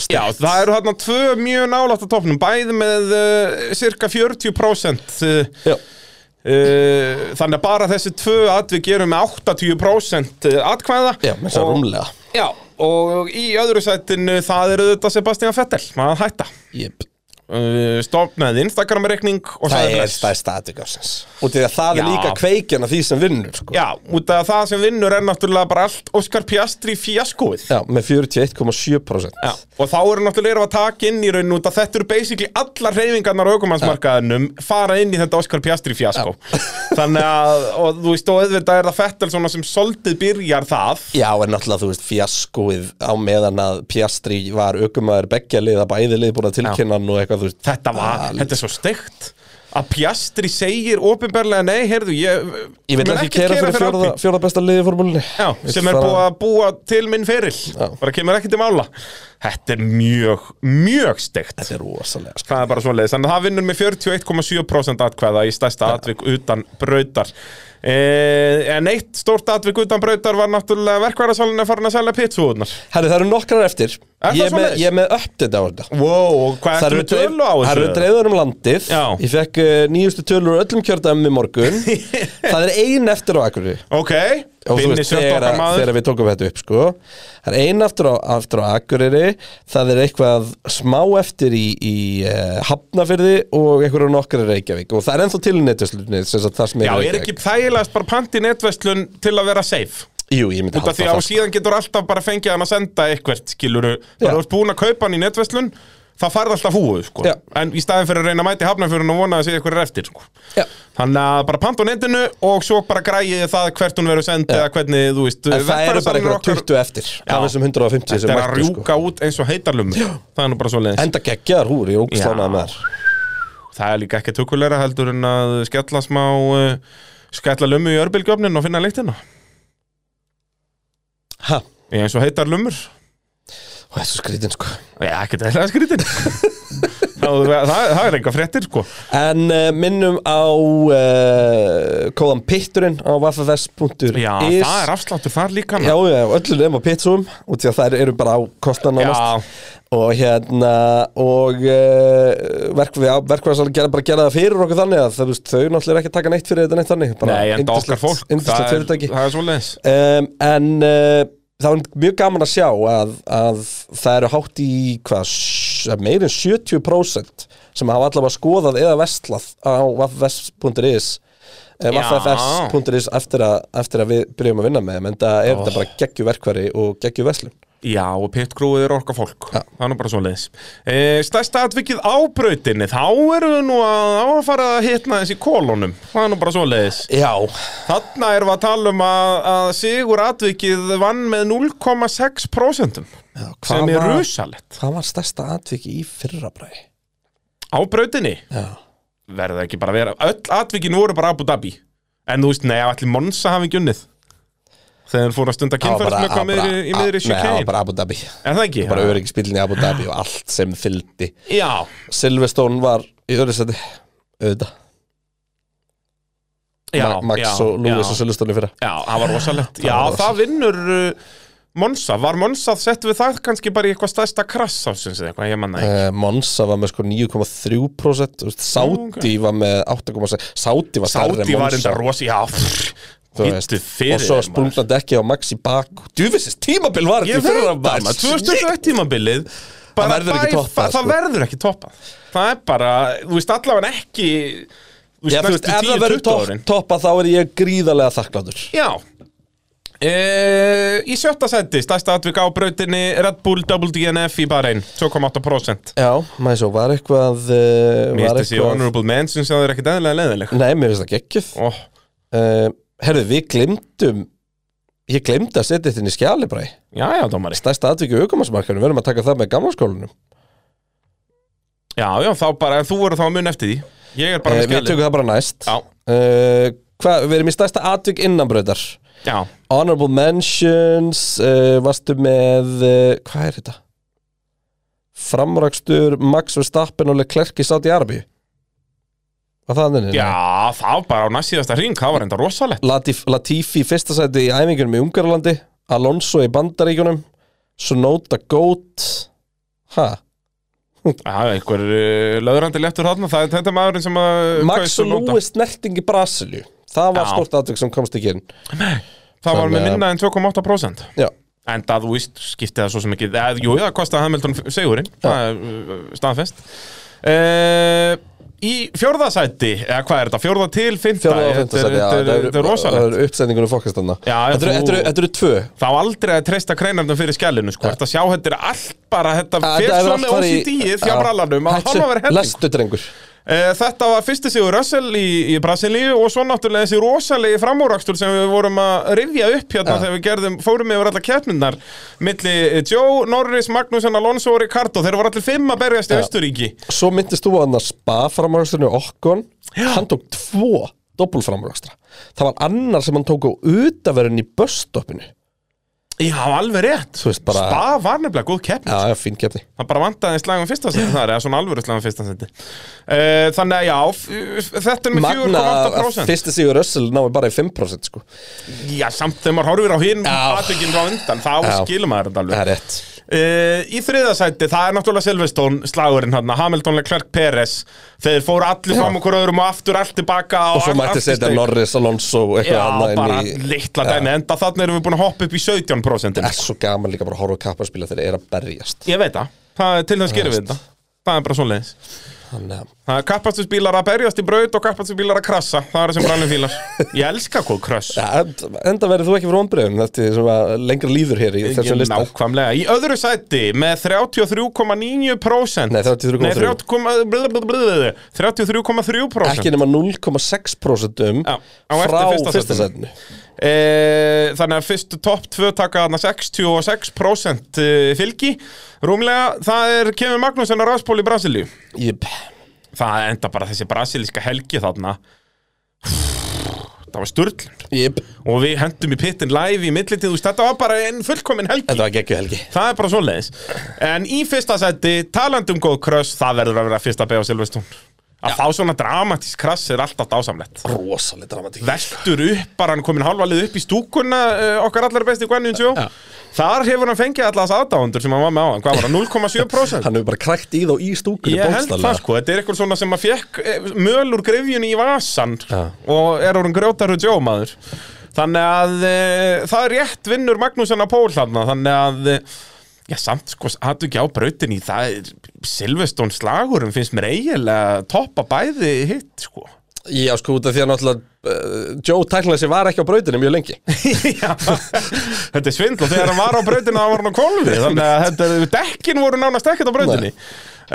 Speaker 4: Já,
Speaker 3: steikt
Speaker 4: það eru þarna tvö mjög nálægt að topnum, bæði með uh, cirka 40% uh,
Speaker 3: Já.
Speaker 4: uh, þannig að bara þessi tvö atvik eru með 80% atkvæða
Speaker 3: Já, með þess að rúmlega
Speaker 4: Já, og í öðru sætinu það eru þetta Sebastian Vettel, maður að hætta
Speaker 3: yep.
Speaker 4: uh, stopnaði Instagram-reikning og
Speaker 3: Það
Speaker 4: sagði
Speaker 3: er
Speaker 4: bless.
Speaker 3: stærsta aðtökið ásins Út í því að það
Speaker 4: Já.
Speaker 3: er líka kveikjan af því sem vinnur sko.
Speaker 4: Já, út af það sem vinnur er náttúrulega bara allt Óskar Piastri fjaskóið
Speaker 3: Já, með 41,7%
Speaker 4: Já, og þá eru náttúrulega erum að taka inn í raun út að þetta eru basically allar reyfingarnar á aukumannsmarkaðinum fara inn í þetta Óskar Piastri fjaskó þannig að, og þú veist, og auðvitað er það Fettel svona sem soldið byrjar það
Speaker 3: Já, en náttúrulega, þú veist, fjaskóið á meðan að Piastri var aukumæður beggja liða, bæði lið búin að tilkynna hann og eitthvað, þú veist,
Speaker 4: þetta var,
Speaker 3: Ah,
Speaker 4: þetta er svo steikt að Piastri segir ofinberlega nei, heyrðu, ég
Speaker 3: Ég vil
Speaker 4: mun
Speaker 3: ekki
Speaker 4: ekkert
Speaker 3: kera fyrir
Speaker 4: Alpín."
Speaker 3: fjóra, fjóra besta liði formúlinni
Speaker 4: Já, sem er búið að búa til minn feril bara kemur ekki til mála Þetta er mjög, mjög steikt
Speaker 3: Þetta er rosalega sko.
Speaker 4: Það er bara svoleiðis, þannig að það vinnur með 41,7% atkvæða í stærsta atvik utan brautar eh, En eitt stórt atvik utan brautar var náttúrulega verkværasalinn að fara að selja pitsúðunar
Speaker 3: Herri, það eru nokkrar eftir
Speaker 4: það
Speaker 3: Ég er með,
Speaker 4: svoleiðis?
Speaker 3: ég er með uppdata á þetta
Speaker 4: Wow, og hvað
Speaker 3: Það
Speaker 4: ertu
Speaker 3: eru
Speaker 4: með
Speaker 3: dreif-
Speaker 4: tölu á
Speaker 3: það eru
Speaker 4: þessu?
Speaker 3: dreifðar um landið
Speaker 4: Já.
Speaker 3: Ég fekk uh, nýjustu tölur úr öllum kjördæmi í morgun Það er ein eftir á Akureyri
Speaker 4: Ok,
Speaker 3: og þú
Speaker 4: Binni
Speaker 3: veist,
Speaker 4: sjötta
Speaker 3: þegar,
Speaker 4: okkar maður
Speaker 3: þegar við tókum þetta upp sko. það er ein aftur á, aftur á Akureyri það er eitthvað smá eftir í, í uh, Hafnafyrði og einhverju nokkar í Reykjavík og það er ennþá til netjuslunni það
Speaker 4: Já,
Speaker 3: sem í
Speaker 4: er
Speaker 3: Reykjavík.
Speaker 4: ekki þægilegast bara pant í netverslun til að vera safe
Speaker 3: Jú, ég myndi
Speaker 4: Út af því
Speaker 3: halda
Speaker 4: að
Speaker 3: það, sko.
Speaker 4: síðan getur alltaf bara fengið hann að senda eitthvert, skiluru Bara
Speaker 3: Já.
Speaker 4: þú ert búin að kaupa hann í netverslun Það færð alltaf húfu, sko
Speaker 3: Já.
Speaker 4: En í staðin fyrir að reyna að mæti hafnafjörun og vona að segja eitthvað er eftir, sko
Speaker 3: Já.
Speaker 4: Þannig að bara panta á netinu og svo bara græði það hvert hún verður sendið eða hvernig, þú veist,
Speaker 3: en það eru bara
Speaker 4: verkfærasalinn
Speaker 3: einhverja 20 eftir
Speaker 4: Já.
Speaker 3: af þessum 150
Speaker 4: Þetta
Speaker 3: sem
Speaker 4: er að
Speaker 3: mættu sko.
Speaker 4: rjúka út eins og heitarlum Það er nú bara svo leiðis
Speaker 3: enda geggjaðar húr, ég er ógislánaði
Speaker 4: Já.
Speaker 3: með þær
Speaker 4: það er líka ekki tökulegra heldur en að skella smá uh, skella lummu í örbylgjöfnin og finna lyktina
Speaker 3: Ha,
Speaker 4: Ég eins og heitar lummur
Speaker 3: og þessu skrítin sko
Speaker 4: Já, ekki þetta er skrítin það, það, það er eitthvað fréttir sko
Speaker 3: En uh, minnum á uh, kóðan pitturinn á waffafest.is
Speaker 4: Já, það er afsláttur þar líka
Speaker 3: Já, já, öllum nema pitsum út í að þær eru bara á kostan
Speaker 4: Já.
Speaker 3: og hérna og uh, verkvæðsal gera, bara gera það fyrir okkur þannig að þau, veist, þau náttúrulega er ekki að taka neitt fyrir þetta neitt þannig bara
Speaker 4: Nei, en
Speaker 3: yndislegt-
Speaker 4: okkar fólk
Speaker 3: yndislegt
Speaker 4: það er,
Speaker 3: fyrirtæki
Speaker 4: það er svoleiðis
Speaker 3: um, en uh, það var mjög gaman að sjá að, að það eru hátt í hvað, s- meir en 70% sem hafa allavega skoðað eða vestlað á waffafest.is eh,
Speaker 4: Já.
Speaker 3: waffafest.is eftir, að- eftir að við byrjum að vinna með þeim, en það er þetta bara geggjuverkvari og geggjuverslun
Speaker 4: Já, og pittgrúið er orka fólk Það er nú bara svo leiðis e, Stærsta atvikið á brautinni Þá erum við nú að, á að fara að hitna þessi kolonum Það er nú bara svo leiðis
Speaker 3: Já,
Speaker 4: Þarna erum við að tala um að, að Sigur atvikið vann með 0,6%
Speaker 3: Já hvað
Speaker 4: sem er
Speaker 3: var-
Speaker 4: rusalett
Speaker 3: Hvað var stærsta atviki í fyrrabræði?
Speaker 4: á brautinni
Speaker 3: Já.
Speaker 4: verða ekki bara að vera öll atvikin voru bara Abu Dhabi en þú veist, nei, allir Monsa hafi ekki unnið þegar þeir fóru að stunda kynferðs með hvað meðri, í miðri
Speaker 3: Nei, það var
Speaker 4: sjökein
Speaker 3: bara Abu Dhabi
Speaker 4: er það ekki?
Speaker 3: Bara öryggisbílinni Abu Dhabi og allt sem fylgdi
Speaker 4: já,
Speaker 3: Silveston var í öryggisæti Auðvitað
Speaker 4: já,
Speaker 3: Ma- Max
Speaker 4: já,
Speaker 3: og Lewis
Speaker 4: já,
Speaker 3: og Silveston í fyrra
Speaker 4: já, það var rosalegt já,
Speaker 3: var rosalegt.
Speaker 4: það vinnur uh, Monsa, var Monsa sett við það kannski bara í eitthvað stærsta krass ásins eða eitthvað, ég manna ekki
Speaker 3: Eh, Monza var með sko 9,3% þú veist, Saudi var með 8,6 Saudi var stærri en
Speaker 4: Sáti var
Speaker 3: Monza
Speaker 4: enda rosi, já pff,
Speaker 3: þú veist.
Speaker 4: Hittu fyrir
Speaker 3: og svo
Speaker 4: þér, maður.
Speaker 3: sprungnaði ekki á Max í bak djúfisist tímabil var
Speaker 4: Ég
Speaker 3: þetta í
Speaker 4: veit
Speaker 3: fyrra
Speaker 4: það
Speaker 3: maður.
Speaker 4: maður, 2021 tímabilið bara
Speaker 3: verður ekki
Speaker 4: by-
Speaker 3: toppað,
Speaker 4: Það
Speaker 3: sko.
Speaker 4: verður ekki toppað Það er bara, þú veist allavega ekki Þú
Speaker 3: Já, þú veist, ef það verður topp- toppa þá er ég gríðarlega þakkláttur
Speaker 4: Já Uh, í sjötta seti, stærsta atvik á brautinni Red Bull Double DNF í bara einn 2,8%
Speaker 3: Já, maður svo var eitthvað uh,
Speaker 4: Mér
Speaker 3: var
Speaker 4: finnst þessi honorable mention sem það er ekkit eðlilega leðileg
Speaker 3: Nei, mér finnst það geggjöð
Speaker 4: oh,
Speaker 3: uh, Herðu, við glemdum Ég glemdi að setja þetta inn í skjalibræ
Speaker 4: Já, já, dómari
Speaker 3: Stærsta atvikið aukumarsmarkanum, verðum að taka það með gamla skólanum
Speaker 4: Já, já, þá bara, en þú voru þá mun eftir því Ég er bara
Speaker 3: uh,
Speaker 4: með
Speaker 3: Við
Speaker 4: skjali
Speaker 3: tökum það bara næst
Speaker 4: Já,
Speaker 3: uh, hva, Við erum í stærsta atvik innanbrautar
Speaker 4: já,
Speaker 3: Honorable mentions uh, Varstu með uh, Hvað er þetta? Framrakstur Max Verstappen og Leclerc í Saudi Arabíu Var það þannig?
Speaker 4: já, þá bara á næst síðasta hring Það var enda rosalegt
Speaker 3: Latif, Latifi í fyrsta sæti í æfingunum í Ungarlandi Alonso í Bandaríkjunum Sonoda Goat ha,
Speaker 4: Já, einhver uh, löðrandi léttur þarna, það er þetta Um er maðurinn sem að
Speaker 3: Max
Speaker 4: kaus
Speaker 3: og
Speaker 4: að nota.
Speaker 3: Lewis snerting í Brasilju það var
Speaker 4: Já.
Speaker 3: stort atvik sem komst ekki inn
Speaker 4: Það var með
Speaker 3: Þannig að-
Speaker 4: minna en 2,8%
Speaker 3: já,
Speaker 4: En það, þú víst, skipti það svo sem ekki eð, Jú, það kostaði Hamilton f- sigurinn Það er uh, staðfest uh, Í fjórðasæti eða hvað er þetta, fjórða til fymta
Speaker 3: fjörða og fymta sæti já,
Speaker 4: Þetta er
Speaker 3: það
Speaker 4: rosalegt
Speaker 3: eru uppsendingunum fokkastanna
Speaker 4: Já, já,
Speaker 3: þetta eru-
Speaker 4: þú-
Speaker 3: þetta eru- þetta eru tvö
Speaker 4: Þá aldrei að treysta kreinarnum fyrir skellinu sko. Þetta sjá, þetta er allt bara Þetta
Speaker 3: Þetta
Speaker 4: fyrir
Speaker 3: hefur
Speaker 4: svo
Speaker 3: allt
Speaker 4: með
Speaker 3: farið í-
Speaker 4: OCD-ið hjá
Speaker 3: Já.
Speaker 4: brallanum að
Speaker 3: Hættu-
Speaker 4: hann var helling
Speaker 3: Lestu drengur
Speaker 4: Eh, Þetta var fyrsti sigur Russell í, í Brasilíu og svo náttúrulega þessi rosalegi framúrakstur sem við vorum að rifja upp hérna þegar við gerðum, fórum yfir alla keppnundar milli Joe, Norris, Magnússon, Alonso og Ricardo, þeir voru allir fimm að berjast í
Speaker 3: Já.
Speaker 4: Östuríki
Speaker 3: Svo myndist þú að hann að spa framraksturinu okkon Hann tók tvo doppulframrakstra Það var annar sem hann tók á utaverðin í busstoppinu
Speaker 4: Já, alveg rétt
Speaker 3: Þú veist, bara-
Speaker 4: Spa var nefnilega góð keppni
Speaker 3: Já, já, fín keppni
Speaker 4: Það bara vantaði slagum fyrsta seti þar, eða svona alvöru slagum fyrsta seti uh, Þannig að já, f- þetta er með
Speaker 3: Magna að
Speaker 4: 4,8%
Speaker 3: fyrsti sigur Russell náði bara í 5% sko
Speaker 4: Já, samt þegar maður horfir á hinn
Speaker 3: Já.
Speaker 4: aðtökinn á undan, þá
Speaker 3: Já.
Speaker 4: skilum maður þetta alveg
Speaker 3: Það er rétt
Speaker 4: Uh, í þriðasæti, það er náttúrulega Silveston slagurinn hann, Hamilton, Leclerc, Peres þeir fóru allir
Speaker 3: Já.
Speaker 4: fram okkur öðrum og aftur allt tilbaka
Speaker 3: Og svo
Speaker 4: allt-
Speaker 3: mætti
Speaker 4: allt í
Speaker 3: setja
Speaker 4: steik.
Speaker 3: Norris, Alonso
Speaker 4: Já,
Speaker 3: og eitthvað annað
Speaker 4: bara
Speaker 3: inn í
Speaker 4: litla dæmi, enda þannig erum við búin að hoppa upp í 17%
Speaker 3: Það er svo gaman líka bara að horfa á kapparspila þegar þeir eru að berjast
Speaker 4: Ég veit það, það er til þess gerum við þetta Það er bara svoleiðis
Speaker 3: Þannig að
Speaker 4: Það er kappastusbílar að berjast í braut og kappastusbílar að krassa Það er sem brænum fílar Ég elska hvað kröss
Speaker 3: Ja, en- enda verður þú ekki fyrir vonbröðum eftir sem að lengra líður hér í þessum lista
Speaker 4: Nákvæmlega, í öðru sæti með 33,9%
Speaker 3: Nei, 33,3.
Speaker 4: Nei, 30,3% 33,3%
Speaker 3: ekki nema 0,6% um
Speaker 4: Já, á eftir
Speaker 3: frá
Speaker 4: fyrsta
Speaker 3: fyrsta
Speaker 4: sætinu.
Speaker 3: setinu
Speaker 4: Eh, þannig að fyrstu topp 2 taka þarna 66% eh, fylgi rúmlega, það er Kevin Magnússon á ráspól í Brasilíu
Speaker 3: Jip.
Speaker 4: það enda bara þessi brasilíska helgi þarna það var sturl
Speaker 3: Jip,
Speaker 4: og við hendum í pittin live í millitíð þú veist, þetta var bara einn fullkomin helgi
Speaker 3: þetta var geggju helgi
Speaker 4: það er bara svoleiðis en í fyrsta seti, talandi um góð kröss það verður að vera fyrsta beig á Silvestún að fá svona dramatísk krass er alltaf dásamlegt
Speaker 3: Rosaleg dramatík
Speaker 4: veltur upp, bara hann komin hálfalið upp í stúkuna uh, okkar allar besti Gwennin Sjó
Speaker 3: Já.
Speaker 4: þar hefur hann fengið allars aðdáundur sem hann var með á hann, hvað var það, 0,7%
Speaker 3: Hann hefur bara krækt í þá í stúkunni
Speaker 4: Ég held það sko, þetta er eitthvað svona sem að fekk eh, möl úr grefjunni í vasan
Speaker 3: Já.
Speaker 4: og er orðin grjótarur sjómaður þannig að e, það er rétt vinnur Magnússon að pól þarna þannig að e, já samt sko, hattu ekki á brautinni það er Silvestón slagurum finnst mér eiginlega toppa bæði hitt sko
Speaker 3: Já sko út af því að náttúrulega uh, Joe Taglassi var ekki á brautinu mjög lengi
Speaker 4: Já, þetta er svindl og þegar hann var á brautinni þá var hann á kolvi þannig að þetta, dekkin voru nánast ekkert á brautinni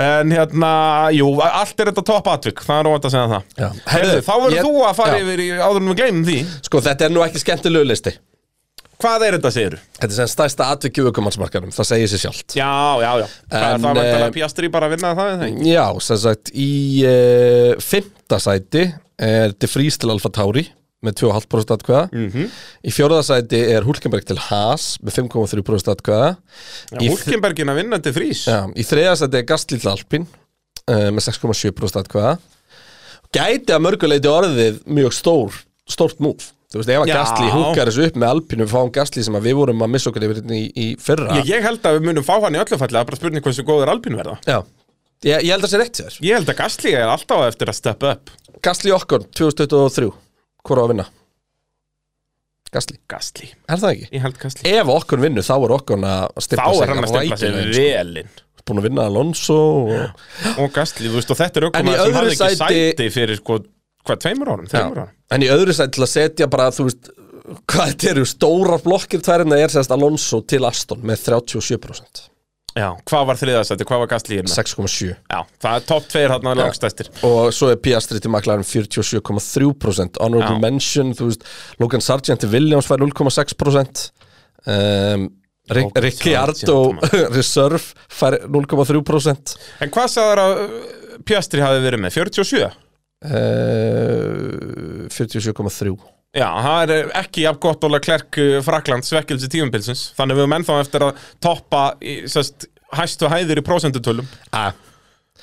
Speaker 4: en hérna, jú, allt er þetta topp atvik, það er óvænt að segja um það
Speaker 3: Já.
Speaker 4: Heyrðu,
Speaker 3: Heyrðu,
Speaker 4: þá verður
Speaker 3: ég-
Speaker 4: þú að fara
Speaker 3: Já.
Speaker 4: yfir í áður en við gleymum því
Speaker 3: Sko þetta er nú ekki skemmtilegu listi
Speaker 4: Hvað er þetta, segir
Speaker 3: Þetta er sem stærsta atvikið aukumannsmarkanum Það segir sér sjálft
Speaker 4: Já, já, já, það er
Speaker 3: En,
Speaker 4: það
Speaker 3: eh,
Speaker 4: vantilega Piastri bara að vinna það, er það ekki?
Speaker 3: Já, sem sagt í uh, fymta sæti er De Vries til Alfa Tauri með 2,5% atkvæða
Speaker 4: Mhm.
Speaker 3: Í fjórða sæti er Hulkenberg til Haas með 5,3% atkvæða Í þ-
Speaker 4: Hulkenbergin að vinna til frís
Speaker 3: Já, í þriða sæti er Gastli til Alpin uh, með 6,7% atkvæða Gæti að mörguleiti orðið mjög stór, stórt múf Þú veist, ef að
Speaker 4: Já.
Speaker 3: Gastli húkar þessu upp með Alpinu við fáum Gastli sem að við vorum að missa okkur yfir hérna í, í fyrra
Speaker 4: ég, ég held að við munum fá hann í öllu falli það er bara spurning hversu góður Albin verða
Speaker 3: Já, ég, ég held að það sé rétt sér
Speaker 4: Ég held að Gasly er alltaf eftir að steppa upp
Speaker 3: Gastli okkur, 2023 Hvor á að vinna? Gastli,
Speaker 4: Gasly,
Speaker 3: er það ekki?
Speaker 4: ég held Gasly
Speaker 3: Ef okkur vinnur, þá er okkur að
Speaker 4: Þá
Speaker 3: styrpa
Speaker 4: er hann að steppa sig velinn
Speaker 3: Búin að vinna Alonso og...
Speaker 4: og Gastli, þú veist, og þetta er
Speaker 3: En í
Speaker 4: aukumæður sem
Speaker 3: öðru
Speaker 4: hafði ekki sæti,
Speaker 3: sæti-
Speaker 4: fyrir sko, hvað, tveimur árum,
Speaker 3: Já.
Speaker 4: tveimur árum
Speaker 3: En í öðru sætt til að setja bara, þú veist Hvað þetta eru stórar blokkir tværinn að er sérst Alonso til Aston með 37%
Speaker 4: Já, hvað var þriðasæti, hvað var Gastli hérna?
Speaker 3: 6,7
Speaker 4: Já, það er topp tveir hann að langstæstir
Speaker 3: Og svo er Piastri til McLaren 47,3% Honorable
Speaker 4: Já.
Speaker 3: mention, þú veist Logan Sargent til Williams fær 0,6% um, Ric-
Speaker 4: Logan
Speaker 3: Ricciardo Reserve fær 0,3%
Speaker 4: En hvað sagður að uh, Piastri hafi verið með? 47?
Speaker 3: uh, 47,3
Speaker 4: Já, það er ekki jafn gott Óla Klerk eh, Frakland svekkelsi tíumbilsins Þannig við höfum ennþá eftir að toppa í, sest, hæstu hæðir í prósendutölum
Speaker 3: ah.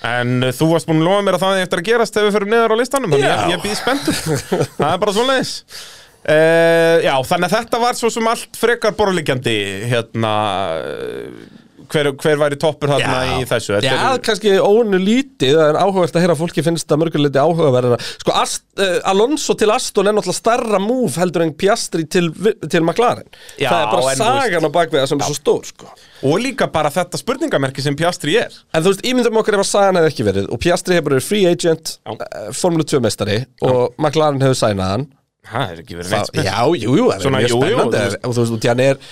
Speaker 4: En uh, þú varst búin að lofa mér að það eigi eftir að gerast ef við förum niður á listanum Þannig ég,
Speaker 3: Já.
Speaker 4: ég býð spenntur Það er bara svoleiðis uh, Já, þannig að þetta var svo sem allt frekar borlíkjandi hérna uh, hver, hver væri toppur þarna í þessu
Speaker 3: Já,
Speaker 4: Þetta eru-
Speaker 3: kannski óinu lítið Það er áhugavert að heyra að fólki finnst það mörguleiti áhugaverðina Sko, Ast, uh, Alonso til Aston er náttúrulega starra múf heldur en Piastri til, Vi- til McLaren
Speaker 4: Já,
Speaker 3: Það er bara
Speaker 4: en þú
Speaker 3: sagan á bakveða sem er svo stór sko.
Speaker 4: Og líka bara þetta spurningamerki sem Piastri er
Speaker 3: En þú veist, ímyndum okkur ef að sagan hefði ekki verið Og Piastri hefur verið free agent uh, Formule 2 mestari Og McLaren hefur sænað hann
Speaker 4: Það er ekki verið
Speaker 3: Þá,
Speaker 4: neitt spurning
Speaker 3: Já, jú, jú, það er
Speaker 4: Svona,
Speaker 3: mjög
Speaker 4: jú, jú,
Speaker 3: spennandi
Speaker 4: þú veist.
Speaker 3: Og þú veist, út í hann er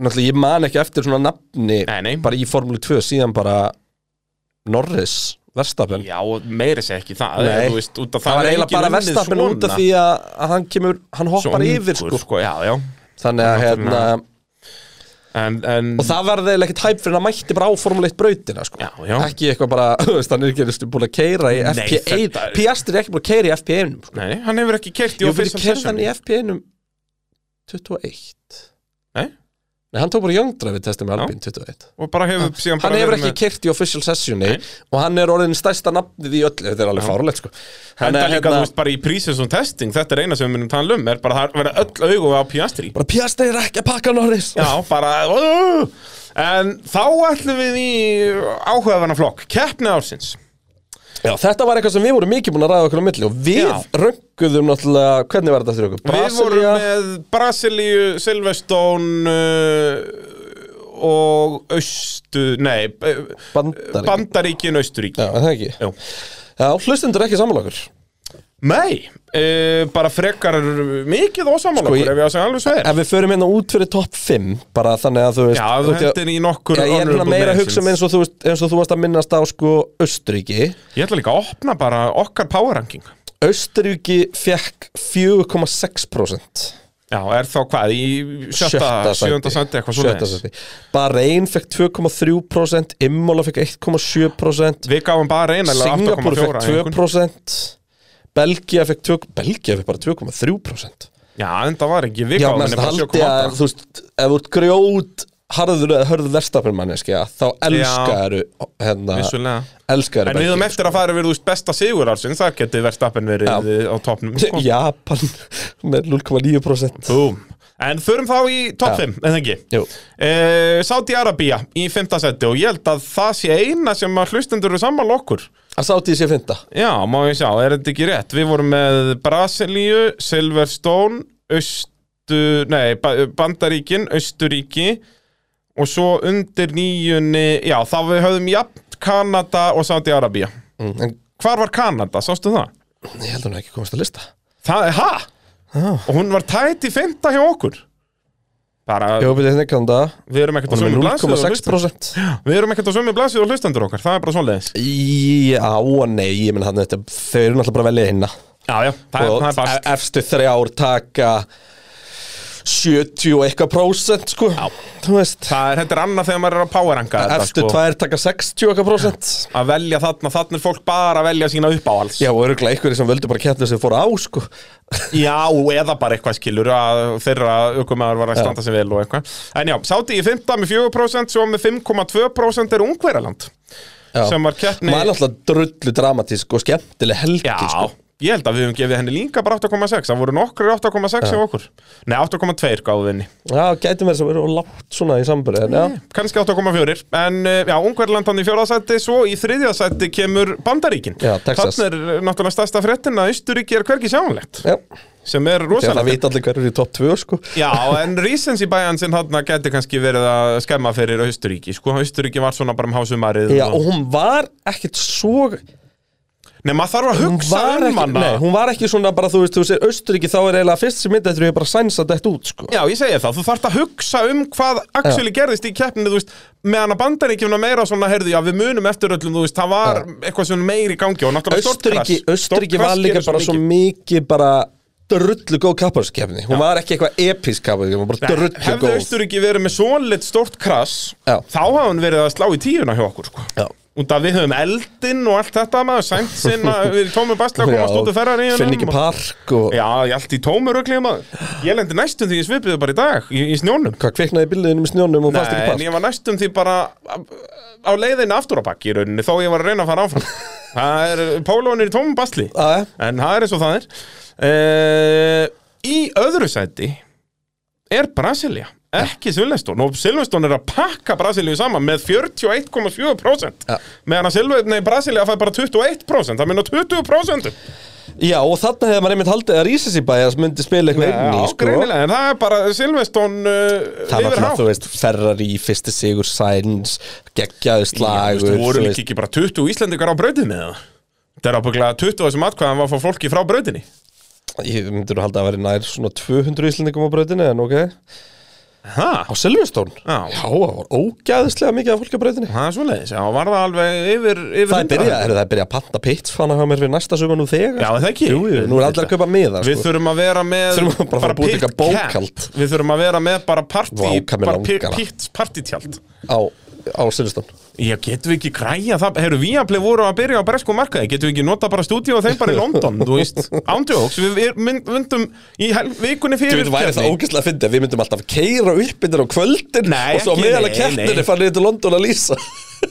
Speaker 3: Náttúrulega, ég man ekki eftir svona nafni
Speaker 4: Nei, nei.
Speaker 3: Bara í Formule 2 síðan bara Norris, Verstappen
Speaker 4: Já, og meiri segi ekki það
Speaker 3: Nei.
Speaker 4: þú veist, út af
Speaker 3: það var
Speaker 4: hefur
Speaker 3: eiginlega
Speaker 4: enginn
Speaker 3: bara
Speaker 4: unnið
Speaker 3: verstafin
Speaker 4: svona.
Speaker 3: út af því að, að hann kemur, hann hoppar
Speaker 4: Svo ungur,
Speaker 3: yfir sko.
Speaker 4: Já, já
Speaker 3: þannig að hérna
Speaker 4: Náttúrulega. en, en,
Speaker 3: og það verði eiginlega ekkert hæp fyrir hann mætti bara á formuleitt brautina sko.
Speaker 4: Já, já.
Speaker 3: ekki eitthvað bara, þú veist, hann er ekki einu sinni búin að keira í FPA,
Speaker 4: þetta-
Speaker 3: Piastri er ekki búin að keira í FPA-num sko.
Speaker 4: Nei, hann hefur ekki kert í
Speaker 3: jú, fyrir
Speaker 4: official
Speaker 3: keirði
Speaker 4: session
Speaker 3: hann í FPA-num 21
Speaker 4: Nei.
Speaker 3: Nei, hann tók bara jöngdrafi testið með Albin 21
Speaker 4: Og bara hefur síðan
Speaker 3: Hann
Speaker 4: bara
Speaker 3: hefur
Speaker 4: verið
Speaker 3: ekki
Speaker 4: með-
Speaker 3: keirt í official sessioni og hann er orðin stærsta nafnið í öllu, þetta er alveg fárulegt sko. Hann
Speaker 4: Enda
Speaker 3: er
Speaker 4: líka, þú veist, bara í prísins og testing Þetta er eina sem við munum tala um Er bara að vera öll augu á Piastri
Speaker 3: bara Piastri er ekki að pakka Norris
Speaker 4: Já, bara uh, En þá ætlum við í áhugaverna flokk Keppni ársins
Speaker 3: Já, þetta var eitthvað sem við vorum mikið búin að ræða okkur á milli og við
Speaker 4: Já.
Speaker 3: rönguðum náttúrulega, hvernig var þetta þér okkur?
Speaker 4: Við vorum með Brasilíu, Silvestone uh, og Austu, nei eh,
Speaker 3: Bandaríkin.
Speaker 4: Bandaríkin, Austuríki
Speaker 3: Já, er það ekki?
Speaker 4: Jú.
Speaker 3: Já, hlustundur ekki sammála okkur
Speaker 4: Nei, uh, bara frekar mikið ósamála
Speaker 3: Sko,
Speaker 4: okkur
Speaker 3: ég-
Speaker 4: ef ég á að segja alveg svo er
Speaker 3: Ef við förum hérna út fyrir topp 5 bara þannig að þú veist
Speaker 4: Já, ef þú
Speaker 3: út í að-
Speaker 4: hendir í nokkur
Speaker 3: Já, ég er hérna
Speaker 4: honorable
Speaker 3: meira að
Speaker 4: mentions.
Speaker 3: hugsa um eins og þú veist eins og þú varst að minnast á sko Östuríki
Speaker 4: Ég ætla líka að opna bara okkar power ranking
Speaker 3: Östuríki fekk 4,6%
Speaker 4: Já, er þá hvað, í sjötta, sjötta sæti eitthvað svona
Speaker 3: Sjötta sæti. Bahrein fekk 2,3% Immola fekk 1,7%
Speaker 4: Við gáum bara einarlega
Speaker 3: Singapur
Speaker 4: 8,4
Speaker 3: fekk 2% Belgia fekk 2, Belgia fekk bara 2,3%
Speaker 4: Já, en það var ekki, við
Speaker 3: Já,
Speaker 4: gáum
Speaker 3: menn
Speaker 4: henni
Speaker 3: það
Speaker 4: bara 7,8
Speaker 3: haldi að þú veist, ef þú ert grjót harður eða hörðu verstafinn manneskja þá elskaru hérna,
Speaker 4: Vissulega.
Speaker 3: elskaru
Speaker 4: En við höfum eftir að fara við úr besta sigur ársinn Það geti verðstappen verið á topnum sko.
Speaker 3: Japan með 0,9%
Speaker 4: Búm. En förum þá í top
Speaker 3: Já.
Speaker 4: 5, en ekki
Speaker 3: Jú.
Speaker 4: uh, Saudi Arabia í 5. seti og ég held að það sé eina sem að hlustendur eru saman okkur
Speaker 3: að sátti ég sé fynda
Speaker 4: Já, má ég sjá, er þetta ekki rétt? Við vorum með Brasilíu, Silverstone, Östu, nei, ba Bandaríkin, Östuríki og svo undir nýjunni, já, þá við höfðum jafnt Kanada og Saudi Arabia
Speaker 3: en
Speaker 4: Hvar var Kanada, sástu það?
Speaker 3: ég held að hún hafi ekki komast að lista
Speaker 4: Það er, ha? Og hún var tætt í fymta hjá okkur Bara,
Speaker 3: Jó, byrja hérna ekki hann það
Speaker 4: við erum ekkert á
Speaker 3: Hún er
Speaker 4: sömu blaðsíðu
Speaker 3: með
Speaker 4: og hlustendur.
Speaker 3: 0,6%
Speaker 4: Við erum ekkert á sömu blaðsíðu og hlustendur okkar, það er bara svoleiðis
Speaker 3: Já, og nei, ég menn hann þetta þau eru náttúrulega bara að velja hérna
Speaker 4: Já, já, það er,
Speaker 3: og
Speaker 4: það er bara
Speaker 3: e- efstu þrjár taka 70 og eitthvað prósent sko, þú veist
Speaker 4: Það er, þetta er annað þegar maður er að poweranga þetta,
Speaker 3: efstu
Speaker 4: sko.
Speaker 3: tvær taka 60 og eitthvað prósent
Speaker 4: að velja þarna, þarna er fólk bara að velja sína uppáhalds
Speaker 3: Já, og örgulega einhverjir sem völdu bara kettlu sem fór á, sko
Speaker 4: Já, eða bara eitthvað skilur að þeirra aukumæður var að standa sig vel og eitthvað En já, sáti í 15 með 4% svo með 5,2% er ungverjaland
Speaker 3: Já.
Speaker 4: sem var keppni
Speaker 3: Maður er alltaf drullu dramatísk og skemmtileg helgi,
Speaker 4: Já,
Speaker 3: sko
Speaker 4: ég held að við höfum gefið henni líka bara 8,6 það voru nokkrir 8,6 hjá okkur Nei, 8,2 gáðu henni
Speaker 3: Já, gæti mér sem eru of lágt svona í samburði, en já
Speaker 4: kannski 8,4 en uh, já, Ungverland hann í fjórðasætti svo í þriðjasætti kemur Bandaríkin
Speaker 3: Já, Texas.
Speaker 4: Þarna er uh, náttúrulega stærsta fréttin að Ísturíki er hvergi sjáanlegt
Speaker 3: Já,
Speaker 4: sem er
Speaker 3: þegar það
Speaker 4: rosalegt
Speaker 3: vita allir hverju í topp 2, sko
Speaker 4: Já, en reasons í bæjan sinn hann geti kannski verið að skemma fyrir Austuríki sko, Austuríki var svona bara um hásumarið
Speaker 3: Já, og hún var ekkit svo
Speaker 4: Nei, maður þarf að
Speaker 3: Hún
Speaker 4: hugsa
Speaker 3: var
Speaker 4: um
Speaker 3: ekki,
Speaker 4: hana
Speaker 3: nei, hún var ekki svona bara, þú veist, þú sér Austuríki þá er eiginlega fyrst sem myndi eftir ég bara sænsa þetta út, sko
Speaker 4: Já, ég segi það, þú þarft að hugsa um hvað actually gerðist í keppninu, þú veist, meðan að bandaríkjumna meira svona, heyrðu, já, við munum eftir öllum, þú veist, það var eitthvað svona meiri í gangi og náttúrulega stórt
Speaker 3: Austuríki,
Speaker 4: krass. Stórt
Speaker 3: Austuríki
Speaker 4: krass
Speaker 3: var líka
Speaker 4: gerir
Speaker 3: bara svo mikið bara drullu góð kapparskefni Hún var ekki eitthvað episk kapparskefni, hún var bara
Speaker 4: Nei,
Speaker 3: drullu
Speaker 4: Hefði
Speaker 3: góð
Speaker 4: Austuríki verið með svoleitt stórt krass
Speaker 3: Já.
Speaker 4: Þá hafði hann verið að slá í tíuna hjá okkur sko.
Speaker 3: Já.
Speaker 4: Út að við höfum eldinn og allt þetta maður Sænt sinna, við tómum basla að komast út og ferra
Speaker 3: finn ekki park og
Speaker 4: Já, ég allt í tómur og maður Ég lendi næstum því ég svipiði bara í dag Í, í snjónum
Speaker 3: Hvað kviknaði bíliðinu með snjónum og fannst
Speaker 4: en
Speaker 3: ekki
Speaker 4: ég var næstum því bara á- á leiðinni aftur á bakki í rauninni þó ég var að reyna að fara áfram það er, pólóin er í tómum basli
Speaker 3: Já, já.
Speaker 4: en það er eins og það er uh, í öðru sæti er Brasilia ekki Silveston og Silveston er að pakka Brasilíu saman með 41,4%
Speaker 3: Ja.
Speaker 4: meðan að Silveston, nei Brasilia fær bara 21% það minna 20%
Speaker 3: park Já og þarna hefði maður einmitt haldið að Rísis í bæja sem myndi spila eitthvað inn í
Speaker 4: Já,
Speaker 3: sko
Speaker 4: greinilega, en það er bara Silveston uh,
Speaker 3: Það var
Speaker 4: yfir
Speaker 3: svona,
Speaker 4: hátt
Speaker 3: þú veist, Ferrari, fyrsti sigur, Sainz, geggjaðu
Speaker 4: Þú
Speaker 3: slagur
Speaker 4: veist, voru líka ekki bara 20 Íslendingar á brautinni eða? Það er ábygglega 20 af þessum atkvæðan var að fá fólki frá brautinni
Speaker 3: Ég myndir að halda að vera nær svona 200 íslendingum á brautinu en ok Á
Speaker 4: Ha?
Speaker 3: Silvestón?
Speaker 4: Já.
Speaker 3: Já, það var ógæðislega mikið af fólki á brautinu
Speaker 4: Það er svoleiðis, já, var það alveg yfir, yfir
Speaker 3: Það er
Speaker 4: 100?
Speaker 3: byrjað, heyrðu, það er byrjað að panta pitt fana hjá mér fyrir næsta suma nú þegar
Speaker 4: Já, er það ekki
Speaker 3: Jú, jú, nú er allir að kaupa miða
Speaker 4: Við
Speaker 3: sko.
Speaker 4: þurfum að vera með
Speaker 3: Þurfum að bara fara að búa til
Speaker 4: pit
Speaker 3: eitthvað bókhald.
Speaker 4: cap. Við þurfum að vera með bara partí
Speaker 3: Vá, hvað mér
Speaker 4: bara pi-
Speaker 3: langar það.
Speaker 4: pitt partítjald
Speaker 3: Á, á Silvestón
Speaker 4: Já, getum við ekki græja það Herru, við að voru að byrja á bresku markaði Getum við ekki nota bara stúdíu og þeim bara í London Þú veist, ándjóks Við við mynd- myndum í hel- vikunni
Speaker 3: Þú
Speaker 4: fyrir
Speaker 3: veit, væri það
Speaker 4: keppni.
Speaker 3: ógæslega að fyndi að við myndum alltaf keira upp innan á kvöldin
Speaker 4: Nei,
Speaker 3: og svo
Speaker 4: ekki,
Speaker 3: meðal
Speaker 4: nei,
Speaker 3: að
Speaker 4: nei.
Speaker 3: keppninu fann ég til London að lýsa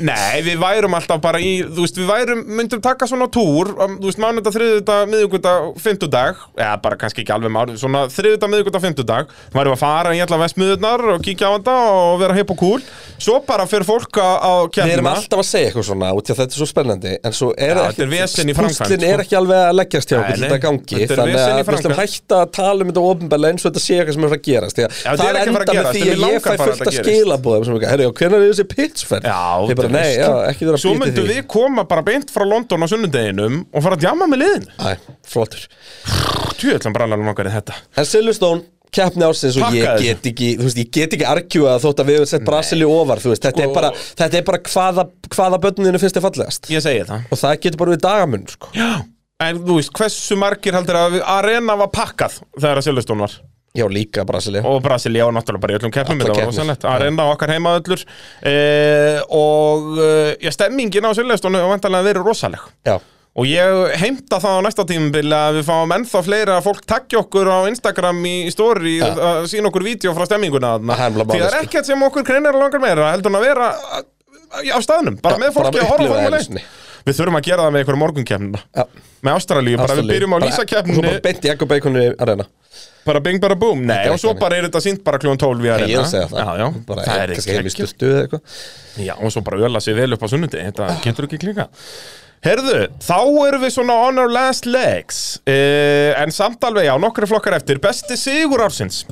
Speaker 4: Nei, við værum alltaf bara í, þú veist, við værum, myndum taka svona túr, um, þú veist, mánudag, þriðudag, miðugudag, fymtudag, eða bara kannski ekki alveg mánudag, svona þriðudag, miðugudag, fymtudag, værum að fara í allavega smiðurnar og kíkja á þetta og vera heip og kúl, svo bara fyrir fólk að að
Speaker 3: Við erum
Speaker 4: keppna.
Speaker 3: alltaf að segja eitthvað svona út í að þetta er svo spennandi en svo er
Speaker 4: Já, þetta
Speaker 3: ekki
Speaker 4: er vesen í framkvæmd,
Speaker 3: púslin
Speaker 4: sko.
Speaker 3: er ekki alveg að leggjast hjá
Speaker 4: Nei,
Speaker 3: okkur til
Speaker 4: nei,
Speaker 3: þetta gangi
Speaker 4: þetta er
Speaker 3: þannig
Speaker 4: vesen í
Speaker 3: að við slum
Speaker 4: framkvæmd.
Speaker 3: hætta að tala um þetta ofinbæla eins og þetta sé eitthvað sem er að fara að gerast Því að
Speaker 4: þetta er ekki að fara
Speaker 3: það
Speaker 4: að
Speaker 3: enda með
Speaker 4: gerast, en
Speaker 3: því að
Speaker 4: mig
Speaker 3: ég fæ
Speaker 4: langar bara að
Speaker 3: fullt
Speaker 4: þetta
Speaker 3: að
Speaker 4: gerist.
Speaker 3: skilabóðum sem eitthvað, herri, hvernig er þessi pitchferð?
Speaker 4: Já,
Speaker 3: Ég bara,
Speaker 4: þetta
Speaker 3: nei,
Speaker 4: er
Speaker 3: já,
Speaker 4: veisla.
Speaker 3: ekki vera að
Speaker 4: Svo
Speaker 3: býta í
Speaker 4: myndum
Speaker 3: því.
Speaker 4: við koma bara beint frá London á sunnudeginum og fara að djama með liðin.
Speaker 3: Æ, flottur
Speaker 4: Tjóðlan brannarum okkar í þetta.
Speaker 3: En Silveston keppni ársins og ég
Speaker 4: Pakkaði
Speaker 3: get ekki þú veist, ég get ekki argjúa þótt að við höfum sett Brasilíu ofar þú veist, þetta, er bara, þetta er bara hvaða, hvaða börninu finnst þið fallegast
Speaker 4: Ég segi það.
Speaker 3: og það getur bara við dagamun sko.
Speaker 4: En þú veist, hversu margir heldur að Arena var pakkað þegar að Silveston var?
Speaker 3: Já, líka Brasilia
Speaker 4: og Brasilia og náttúrulega bara í öllum keppnum
Speaker 3: Allar
Speaker 4: þetta var
Speaker 3: keppnir.
Speaker 4: rosalegt, að reyna á okkar heima öllur eh, og eh, já, stemmingin á Sjöldastónu var vantanlega verið rosaleg
Speaker 3: Já,
Speaker 4: og ég heimta það á næsta tímubil að við fáum ennþá fleira að fólk takja okkur á Instagram í story
Speaker 3: Ja.
Speaker 4: að sína okkur vídeo frá stemminguna þarna.
Speaker 3: Það er nefnilega
Speaker 4: því það er
Speaker 3: málið, sko.
Speaker 4: ekkert sem okkur kreinar langar meira heldur en að vera að- að- á staðnum, bara
Speaker 3: Ja,
Speaker 4: með fólki
Speaker 3: bara
Speaker 4: að horfa
Speaker 3: upplifa
Speaker 4: formule
Speaker 3: einu
Speaker 4: 1.
Speaker 3: sinni.
Speaker 4: við þurfum að gera það með einhverjum morgunkefnina
Speaker 3: já
Speaker 4: með Ástralíu, bara við
Speaker 3: Ástralíu.
Speaker 4: byrjum á
Speaker 3: Bara- og Svo
Speaker 4: lýsakeppni
Speaker 3: bara beint í Egg og Bacon arena
Speaker 4: bara bing bara búm, nei,
Speaker 3: Þetta er
Speaker 4: og svo
Speaker 3: ekki
Speaker 4: bara er þetta sínt bara kljóðan 12 við
Speaker 3: Ég er að segja það
Speaker 4: já, já,
Speaker 3: Bara
Speaker 4: það
Speaker 3: er
Speaker 4: er
Speaker 3: kannski heim í
Speaker 4: ekki
Speaker 3: stuttu eða eitthvað
Speaker 4: já, og svo bara öla sig vel upp á sunnundi þetta
Speaker 3: Ah.
Speaker 4: getur ekki klika Herðu, þá erum við svona on our last legs uh, en samt alveg já, nokkri flokkar eftir besti sigur ársins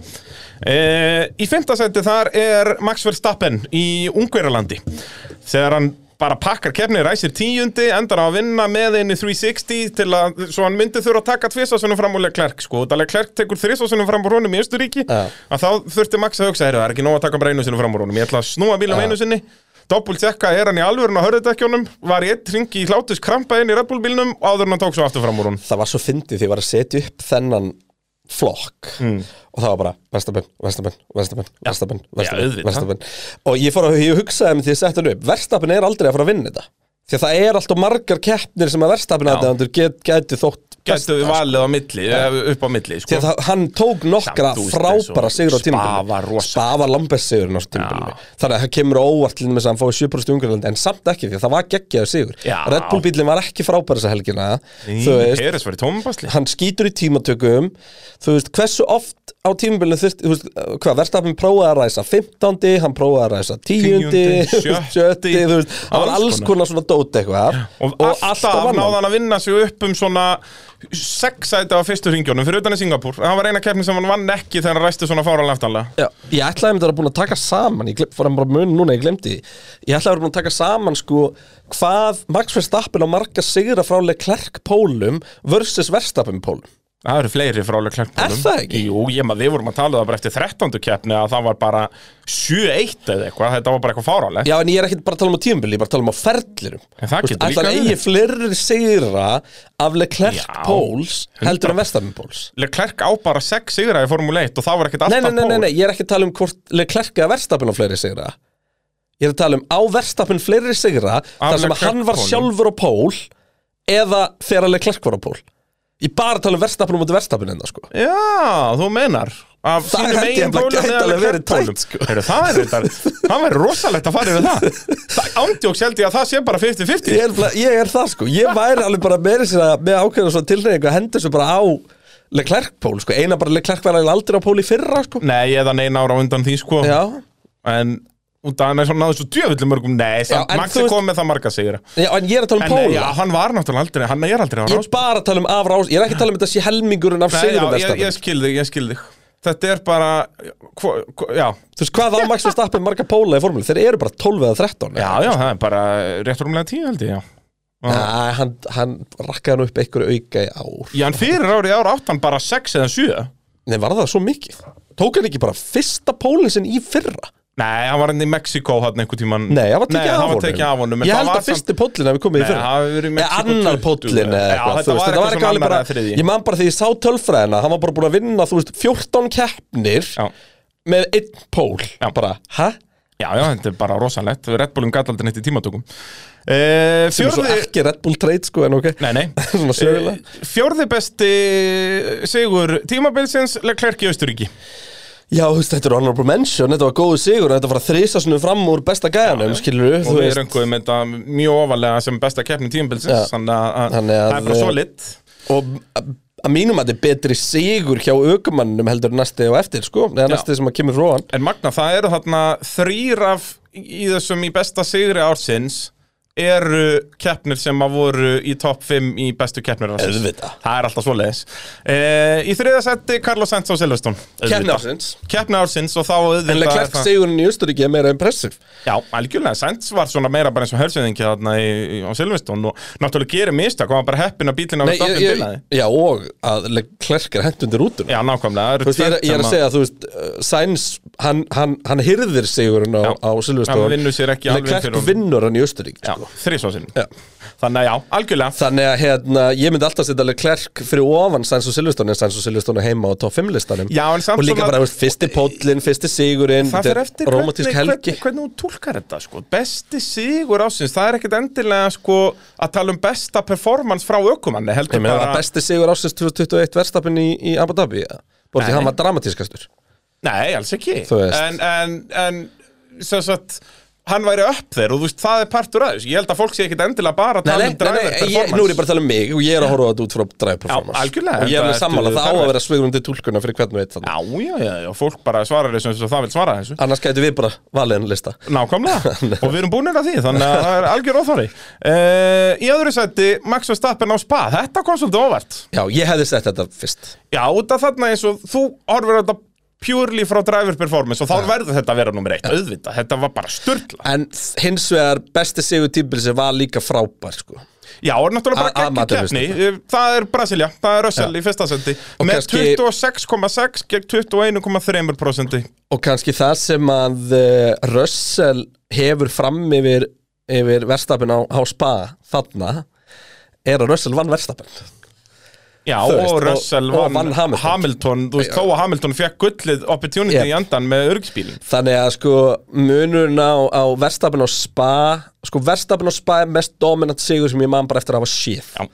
Speaker 4: uh, í fintasætti þar er Max Verstappen í Ungverjalandi þegar hann bara pakkar keppni, ræsir tíundi, endar á að vinna með inn í 360 til að, svo hann myndi þurfa að taka tvisasunum fram úr Leclerc, sko, og Dalega Klerk tekur þrisasunum fram úr honum í Östuríki,
Speaker 3: Já.
Speaker 4: að þá þurfti Max að hugsa, heyrðu, það er ekki nóg að taka bara einu sinni fram úr honum, ég ætla að snúa bílum
Speaker 3: Já.
Speaker 4: einu sinni, doppult sekka, er hann í alvörun á hörðutekjunum, var í eitt ringi í hlátus krampa inn í Red Bull bílnum, áður en hann tók svo aftur fram úr honum.
Speaker 3: Það var svo fyndið því ég var að setja upp þennan flokk
Speaker 4: Mm.
Speaker 3: og það var bara Verstabenn, Verstabenn, Verstabenn, Verstabenn, Verstabenn,
Speaker 4: auðvitað.
Speaker 3: Verstabenn og ég fór að ég hugsaði með því að setja hann upp Verstabenn er aldrei að fara að vinna þetta því að það er alltaf margar keppnir sem að Verstabenn aðdæðandur get, gæti þótt
Speaker 4: Gæstu við valið á milli, eh, upp á milli,
Speaker 3: því
Speaker 4: sko.
Speaker 3: að það, hann tók nokkra
Speaker 4: Samt, þú veist, eins
Speaker 3: frábæra
Speaker 4: og
Speaker 3: sigur á tímabilinu
Speaker 4: Spa var rosalegt.
Speaker 3: Spafa Lambes sigurinn á tímabilinu
Speaker 4: Já.
Speaker 3: þannig að það kemur á óvart til þess að hann fái 7% ungarlandi en samt ekki því að það var geggjaður sigur
Speaker 4: Já.
Speaker 3: Red Bull bílinn var ekki frábæra þessa helgina þú veist,
Speaker 4: Peres var í tómabasli.
Speaker 3: hann skýtur í tímatökum þú veist, hversu oft á tímabilinu þurft, þú veist, hvað, verðstafin prófaði að ræsa 15, hann prófaði að ræsa 10,
Speaker 4: 10.,
Speaker 3: 70, þú veist það
Speaker 4: alls
Speaker 3: var alls
Speaker 4: konar.
Speaker 3: konar svona dót eitthvað
Speaker 4: og, alltaf
Speaker 3: vann hann.
Speaker 4: náði hann að vinna sig upp um svona sex sæti á fyrstu ringjónum fyrir utan í Singapúr það var eina keppni sem hann vann ekki þegar hann ræsti svona fáralega aftanlega
Speaker 3: Já, ég ætlaði að vera búin að taka saman ég glem, fór hann bara mun núna, ég glemdi því ég ætlaði að vera búin að taka saman sko hvað Max Verstappen á marga sigra frá Leclerc pólum versus Verstappen pólum
Speaker 4: það eru fleiri frálega
Speaker 3: Er
Speaker 4: klerkbólum
Speaker 3: það ekki?
Speaker 4: Jú, ég maður við vorum að tala um það bara eftir 13. keppni að það var bara 7-1 eða eitthvað þetta var bara eitthvað fáralegt
Speaker 3: Já, en ég er ekkert bara að tala um á tímabili, ég er bara að tala um á ferlirum
Speaker 4: En það getur líka
Speaker 3: Ætlaði að
Speaker 4: verið.
Speaker 3: eigi fleiri sigra af Leclerc
Speaker 4: Já,
Speaker 3: póls
Speaker 4: 100%.
Speaker 3: heldur en Verstappen póls
Speaker 4: Klerk á bara 6 sigra í Formule 1 og það var ekkert
Speaker 3: nei
Speaker 4: alltaf
Speaker 3: nei, nei, nei,
Speaker 4: pól.
Speaker 3: nei, ég er ekki að tala um hvort Leclerc eða Verstappen á fleiri sigra Ég er að tala um á Verstappen fleiri sigra þar sem að
Speaker 4: Leclerc
Speaker 3: hann var
Speaker 4: pólum.
Speaker 3: sjálfur á pól eða þegar Leclerc var á pól Ég er bara að tala um Verstappen á móti Verstappen enda sko
Speaker 4: Já, þú menar Af
Speaker 3: Það
Speaker 4: sínum
Speaker 3: held ég
Speaker 4: eigin
Speaker 3: bara
Speaker 4: pólum
Speaker 3: gæti
Speaker 4: eða
Speaker 3: alveg verið
Speaker 4: Leclerc-pólum.
Speaker 3: tætt, sko.
Speaker 4: Heyrðu, Það er þetta, það verður rosalegt að fara yfir það. það Ándjóks held ég að það sé bara 50-50
Speaker 3: ég er, bara- ég er það sko, ég væri alveg bara meiri sér að með ákveðna svona tilreyningu að henda þessu bara á Leclerc pól sko, eina bara Leclerc var eiginlega aldrei á pól í fyrra sko
Speaker 4: Nei, eða neina ára undan því sko
Speaker 3: Já,
Speaker 4: En út af hann er svona náðu svo djöfullu mörgum Nei, samt,
Speaker 3: Já, en
Speaker 4: Maxi
Speaker 3: þú veist-
Speaker 4: kom með það marga sigra
Speaker 3: já en ég er að tala um
Speaker 4: En nei, já,
Speaker 3: póla
Speaker 4: hann var náttúrulega aldrei, hann er aldrei á
Speaker 3: Ég er
Speaker 4: rás
Speaker 3: bara að tala um af rás Ég er ekki að tala um þetta sé helmingurinn af
Speaker 4: Nei, já,
Speaker 3: sigurum
Speaker 4: ég, ég
Speaker 3: Verstappen
Speaker 4: skil þig, ég skil þig Þetta er bara, hva, hva, já
Speaker 3: Þú veist hvað á Max Verstappen marga póla í formúlu Þeir eru bara 12 eða 13
Speaker 4: Já, já, það er bara rétt rúmlega tíu held ég, já
Speaker 3: Næ, hann, hann rakkaði hann upp einhverju auka í ár
Speaker 4: Já, en fyrir árið ára átt hann bara 6 eða 7
Speaker 3: Nei, var það svo mikið? Tók hann ekki bara fyrsta pólinn sinn í fyrra?
Speaker 4: Nei, hann var hann í Mexíkó hann einhver tíman
Speaker 3: Nei, það var tekið af
Speaker 4: hann
Speaker 3: honum
Speaker 4: var tekið af honum en
Speaker 3: Ég
Speaker 4: það
Speaker 3: held
Speaker 4: var
Speaker 3: að fyrsti póllinn hefði komið í
Speaker 4: Nei,
Speaker 3: fyrra
Speaker 4: það hafi verið í
Speaker 3: Eða
Speaker 4: Mexíkó
Speaker 3: annar
Speaker 4: 20
Speaker 3: póllinn eða
Speaker 4: eða
Speaker 3: eitthvað
Speaker 4: þetta
Speaker 3: þú veist,
Speaker 4: var
Speaker 3: þetta var
Speaker 4: eitthvað
Speaker 3: eitthvað
Speaker 4: svona
Speaker 3: alveg
Speaker 4: annar eða
Speaker 3: bara
Speaker 4: þriðji.
Speaker 3: Ég man bara því ég sá tölfræðina Hann var bara búin að vinna, þú veist, 14 keppnir
Speaker 4: Já.
Speaker 3: Með einn pól
Speaker 4: Já.
Speaker 3: Bara, hæ?
Speaker 4: Já, já, þetta er bara rosalegt Red Bullum gæti aldrei neitt í tímatökum uh,
Speaker 3: Sem er svo
Speaker 4: Fjörði
Speaker 3: ekki Red Bull trade, sko, en ok
Speaker 4: Nei, nei
Speaker 3: Svona sögulega.
Speaker 4: Eh, Fjórði besti sigur tímabilsins Leclerc í Austuríki
Speaker 3: Já, þú veist, þetta er honorable mention, þetta var góðu sigur Þetta var að þrýsa svona fram úr besta gæjanum, skilur við
Speaker 4: og við rönguðum þetta mjög ofalega sem besta keppni tímabilsins
Speaker 3: Já.
Speaker 4: þannig að
Speaker 3: Þannig að- eh,
Speaker 4: það er bara svo lit
Speaker 3: Og að að mínum að þetta er betri sigur hjá aukumannum heldur en næsti og eftir, sko Eða næsti sem að kemur frá hann
Speaker 4: En Magna, það eru þarna þrýr af í þessum í besta sigri ársins eru keppnir sem að voru í topp 5 í bestu keppnir ársins
Speaker 3: Auðvitað.
Speaker 4: Það er alltaf svo leiðis Í þriða seti Carlos Sainz á Silveston
Speaker 3: Kemni ársins
Speaker 4: Keppni ársins og þá auðvitað
Speaker 3: En
Speaker 4: er
Speaker 3: Leclerc
Speaker 4: það-
Speaker 3: sigurinn í Austuríki er meira impressiv
Speaker 4: Já, algjörlega, Sainz var svona meira bara eins og hörsöðingi þarna í, í, á Silveston og náttúrulega gerir mistak og hann var bara heppin að bílina
Speaker 3: Nei, ég, ég, Já, og að Leclerc er hent undir rútuna
Speaker 4: Já, nákvæmlega það eru
Speaker 3: Þú veist, ég er,
Speaker 4: tvennt
Speaker 3: ég er
Speaker 4: sem
Speaker 3: að segja að þú veist uh, Sainz hann, hann, hann hirðir sigurinn á,
Speaker 4: Já.
Speaker 3: á Silvestóð
Speaker 4: Hann vinnur sér ekki alveg fyrir honum.
Speaker 3: vinnur hann í Östurík
Speaker 4: Já,
Speaker 3: sko.
Speaker 4: þrísvað sinn
Speaker 3: Já.
Speaker 4: Þannig að já, algjörlega
Speaker 3: Þannig að hérna, ég myndi alltaf setja alveg klerk fyrir ofan Sæns og Silvestóð en Sæns og Silvestóð er heima á top 5 listanum
Speaker 4: Já, en samt
Speaker 3: og líka
Speaker 4: svona-
Speaker 3: bara, þú veist, fyrsti póllin, fyrsti sigurinn
Speaker 4: Það
Speaker 3: þetta
Speaker 4: fer
Speaker 3: er
Speaker 4: eftir
Speaker 3: rómantísk helgi
Speaker 4: hvernig, hvernig hún túlkar þetta sko. Besti sigur ásins, það er ekkit endilega sko, að tala um besta performance frá ökumanni heldur
Speaker 3: Ég meina,
Speaker 4: bara
Speaker 3: var besti sigur ásins 2021 verðstapin í, í Abu Dhabi Borti,
Speaker 4: Nei.
Speaker 3: hann var dramatískastur
Speaker 4: Nei, alls ekki
Speaker 3: Þú veist.
Speaker 4: En, en, en sem sagt, hann væri upp þeir og þú veist, það er partur aðeins Ég held að fólk sé ekkit endilega bara að
Speaker 3: Nei,
Speaker 4: tala
Speaker 3: nei,
Speaker 4: um
Speaker 3: nei,
Speaker 4: driver
Speaker 3: nei ég, nú er ég bara að tala um mig og ég er að horfa á þetta út frá drive performance
Speaker 4: algjörlega,
Speaker 3: Og ég er
Speaker 4: en
Speaker 3: alveg
Speaker 4: það
Speaker 3: sammála,
Speaker 4: ertu-
Speaker 3: það á
Speaker 4: það
Speaker 3: að
Speaker 4: er-
Speaker 3: vera svigrum til tólkunar fyrir hvern og einn þannig
Speaker 4: Já, já, já, já, fólk bara svarar þessu eins og það vil svara þessu
Speaker 3: Annars gætu við bara valið hann lista
Speaker 4: Nákvæmlega, og við erum búinir að því, þannig að það er algjör óþári uh, Í öðru sætti, Max Verstappen á spa, þetta kom svolítið óvart
Speaker 3: Já, ég hefði sett þetta fyrst
Speaker 4: Já, út af þarna eins og þú horfir á þetta purely frá driver performance og þá verður þetta að vera nummer eitt, auðvitað, þetta var bara störtla
Speaker 3: En hins vegar besti sigur tímbilsi var líka frábær sko.
Speaker 4: Já, og náttúrulega
Speaker 3: A-
Speaker 4: bara
Speaker 3: að mati
Speaker 4: gegn keppni það er Brasilia, það er Russell í fyrsta sendi
Speaker 3: Og
Speaker 4: með
Speaker 3: kannski-
Speaker 4: 26,6 gegn 21,3%
Speaker 3: Og kannski það sem að eh, Russell hefur fram yfir, yfir verðstapin á, á spa þarna er að Russell vann verðstapin
Speaker 4: Já,
Speaker 3: Þú veist,
Speaker 4: og
Speaker 3: og-
Speaker 4: Russell
Speaker 3: og
Speaker 4: vann
Speaker 3: vann Hamilton.
Speaker 4: þú veist, þó að Hamilton fekk gullið opportunity í
Speaker 3: Yep.
Speaker 4: andan með örgisbílin
Speaker 3: Þannig að sko munurinn á, á verðstapin á spa sko verðstapin á spa er mest dominant sigur sem ég man bara eftir að hafa séð
Speaker 4: Já.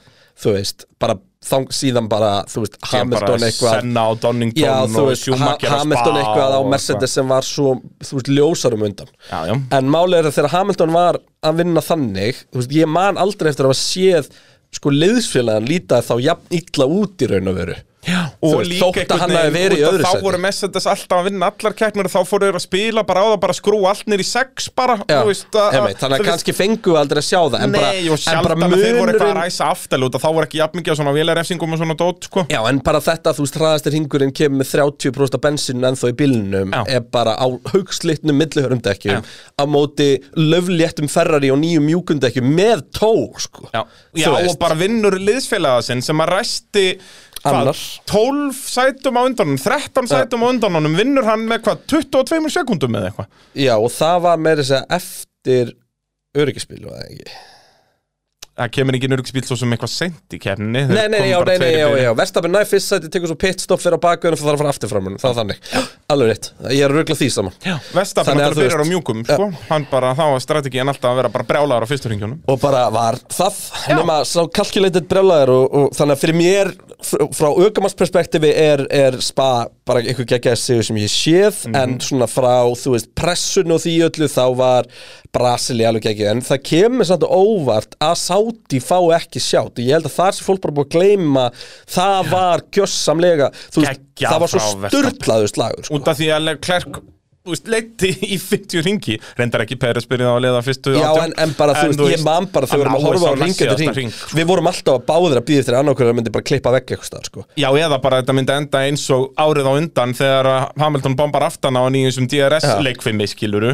Speaker 3: þú veist, bara þang síðan bara þú veist, Hamilton eitthvað
Speaker 4: Senna og Donington
Speaker 3: Já, þú
Speaker 4: og
Speaker 3: veist, ha
Speaker 4: Schumacher og
Speaker 3: Hamilton
Speaker 4: Spa
Speaker 3: eitthvað á
Speaker 4: og
Speaker 3: Mercedes sem var svo, þú veist, ljósarum undan
Speaker 4: Já, já.
Speaker 3: En málið er að þegar Hamilton var að vinna þannig, þú veist, ég man aldrei eftir að hafa séð, sko, liðsfélagan líta þá jafn illa út í raun og veru Já,
Speaker 4: og
Speaker 3: veist,
Speaker 4: líka
Speaker 3: þótt
Speaker 4: einhvern
Speaker 3: að hann hafi
Speaker 4: veginn,
Speaker 3: verið í
Speaker 4: út af
Speaker 3: öðru
Speaker 4: þá
Speaker 3: sæti
Speaker 4: voru Mercedes alltaf að vinna allar keppnir og þá fóru þeir að spila bara á það bara skrú allt nýr í sex bara
Speaker 3: Já,
Speaker 4: þú veist, að-
Speaker 3: einmitt, þannig
Speaker 4: þú
Speaker 3: að
Speaker 4: veist,
Speaker 3: kannski fengum við aldrei að sjá það en bara,
Speaker 4: Nei, og
Speaker 3: en bara
Speaker 4: sjaldan að þeir voru eitthvað að
Speaker 3: munurinn
Speaker 4: ræsa aftal út að þá voru ekki jafn mikið af svona vélarefsingum og svona dót sko.
Speaker 3: Já, en bara þetta að þú veist hraðastir hingurinn kemur með 30% af bensinu ennþá í bílnum
Speaker 4: Já.
Speaker 3: er bara á haugslitnum millihörumdekkjum á móti löfléttum Ferrari og nýjum mjúkundekkjum með tó, sko
Speaker 4: Já,
Speaker 3: Þú
Speaker 4: já og
Speaker 3: veist.
Speaker 4: bara vinnur liðsfélaga sinn sem að ræsti hvað,
Speaker 3: Annars.
Speaker 4: 12 sætum á undanum 13 sætum á undanum vinnur hann með hvað 22 sekundum eða eitthvað
Speaker 3: Já, og það var meira þess að eftir öryggispil, var það ekki?
Speaker 4: það kemur ekki nörgsbíl svo sem eitthvað sent í keppninni
Speaker 3: Nei, nei, já, nei, nei, já, já, Verstafinn næði fyrst sæti, tekur svo pitstopp fyrir á bakveðinu og það þarf að fara aftur framunum, það er þannig Alveg rétt, ég er að rugla því saman já.
Speaker 4: Vestafinn
Speaker 3: Þannig
Speaker 4: náttúrulega
Speaker 3: að þú
Speaker 4: byrjar á
Speaker 3: veist-
Speaker 4: mjúkum sko. hann bara, þá var strategin alltaf að vera bara brjálaður á fyrstu ringjónum
Speaker 3: og bara var það nema svo kalkjuleitit brjálæður og, og þannig að fyrir mér fr- frá aukumannsperspektífi er, er spa bara einhver geggjaði sigur sem ég séð en svona frá þú veist pressun og því öllu þá var Brasili alveg geggjaði en það kemur samt óvart að Saudi fá ekki sjátt og ég held að þar sem fólk bara búið að gleyma það var gjössamlega þú veist,
Speaker 4: Geggjað
Speaker 3: það var svo
Speaker 4: frá Verstappen.
Speaker 3: styrlaðu slagur sko.
Speaker 4: út af því að Le- Klerk þú veist, leiti í 50 ringi reyndar ekki Peres byrjað á að leiða fyrstu
Speaker 3: Já,
Speaker 4: átján.
Speaker 3: en, en bara, þú veist, ég man bara þegar við
Speaker 4: hann
Speaker 3: vorum að horfa á
Speaker 4: náði
Speaker 3: ring
Speaker 4: sá
Speaker 3: eftir
Speaker 4: næstjasta
Speaker 3: ring Við vorum alltaf að báðir að býða eftir að annarkur myndi bara klippa vekk eitthvað staðar, sko
Speaker 4: Já, eða bara þetta myndi enda eins og árið á undan þegar að Hamilton bombar aftan á hann í þessum
Speaker 3: Já.
Speaker 4: DRS-leikfimi, skiluru.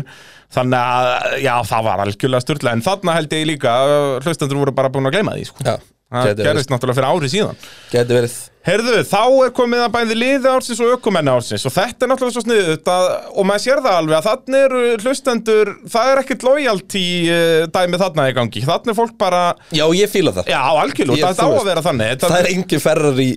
Speaker 4: Þannig að, já, það var algjörlega sturla. En þarna held ég líka, að hlustendur voru bara búin að gleyma því, sko.
Speaker 3: Já,
Speaker 4: Það
Speaker 3: gæti verið,
Speaker 4: gerðist náttúrulega fyrir ári síðan.
Speaker 3: gæti verið
Speaker 4: Herðu, þá er komið að bæði liði ársins og ökumenni ársins og þetta er náttúrulega svo sniðut að, og maður sér það alveg að þarna eru hlustendur, það er ekkert lojalty eh, dæmi þarna í gangi. Þarna er fólk bara,
Speaker 3: Já, ég fíla það
Speaker 4: já,
Speaker 3: Ég-
Speaker 4: algjörlega,
Speaker 3: þú
Speaker 4: þetta á
Speaker 3: veist,
Speaker 4: að vera þannig. Þetta-
Speaker 3: Það er engin ferrar í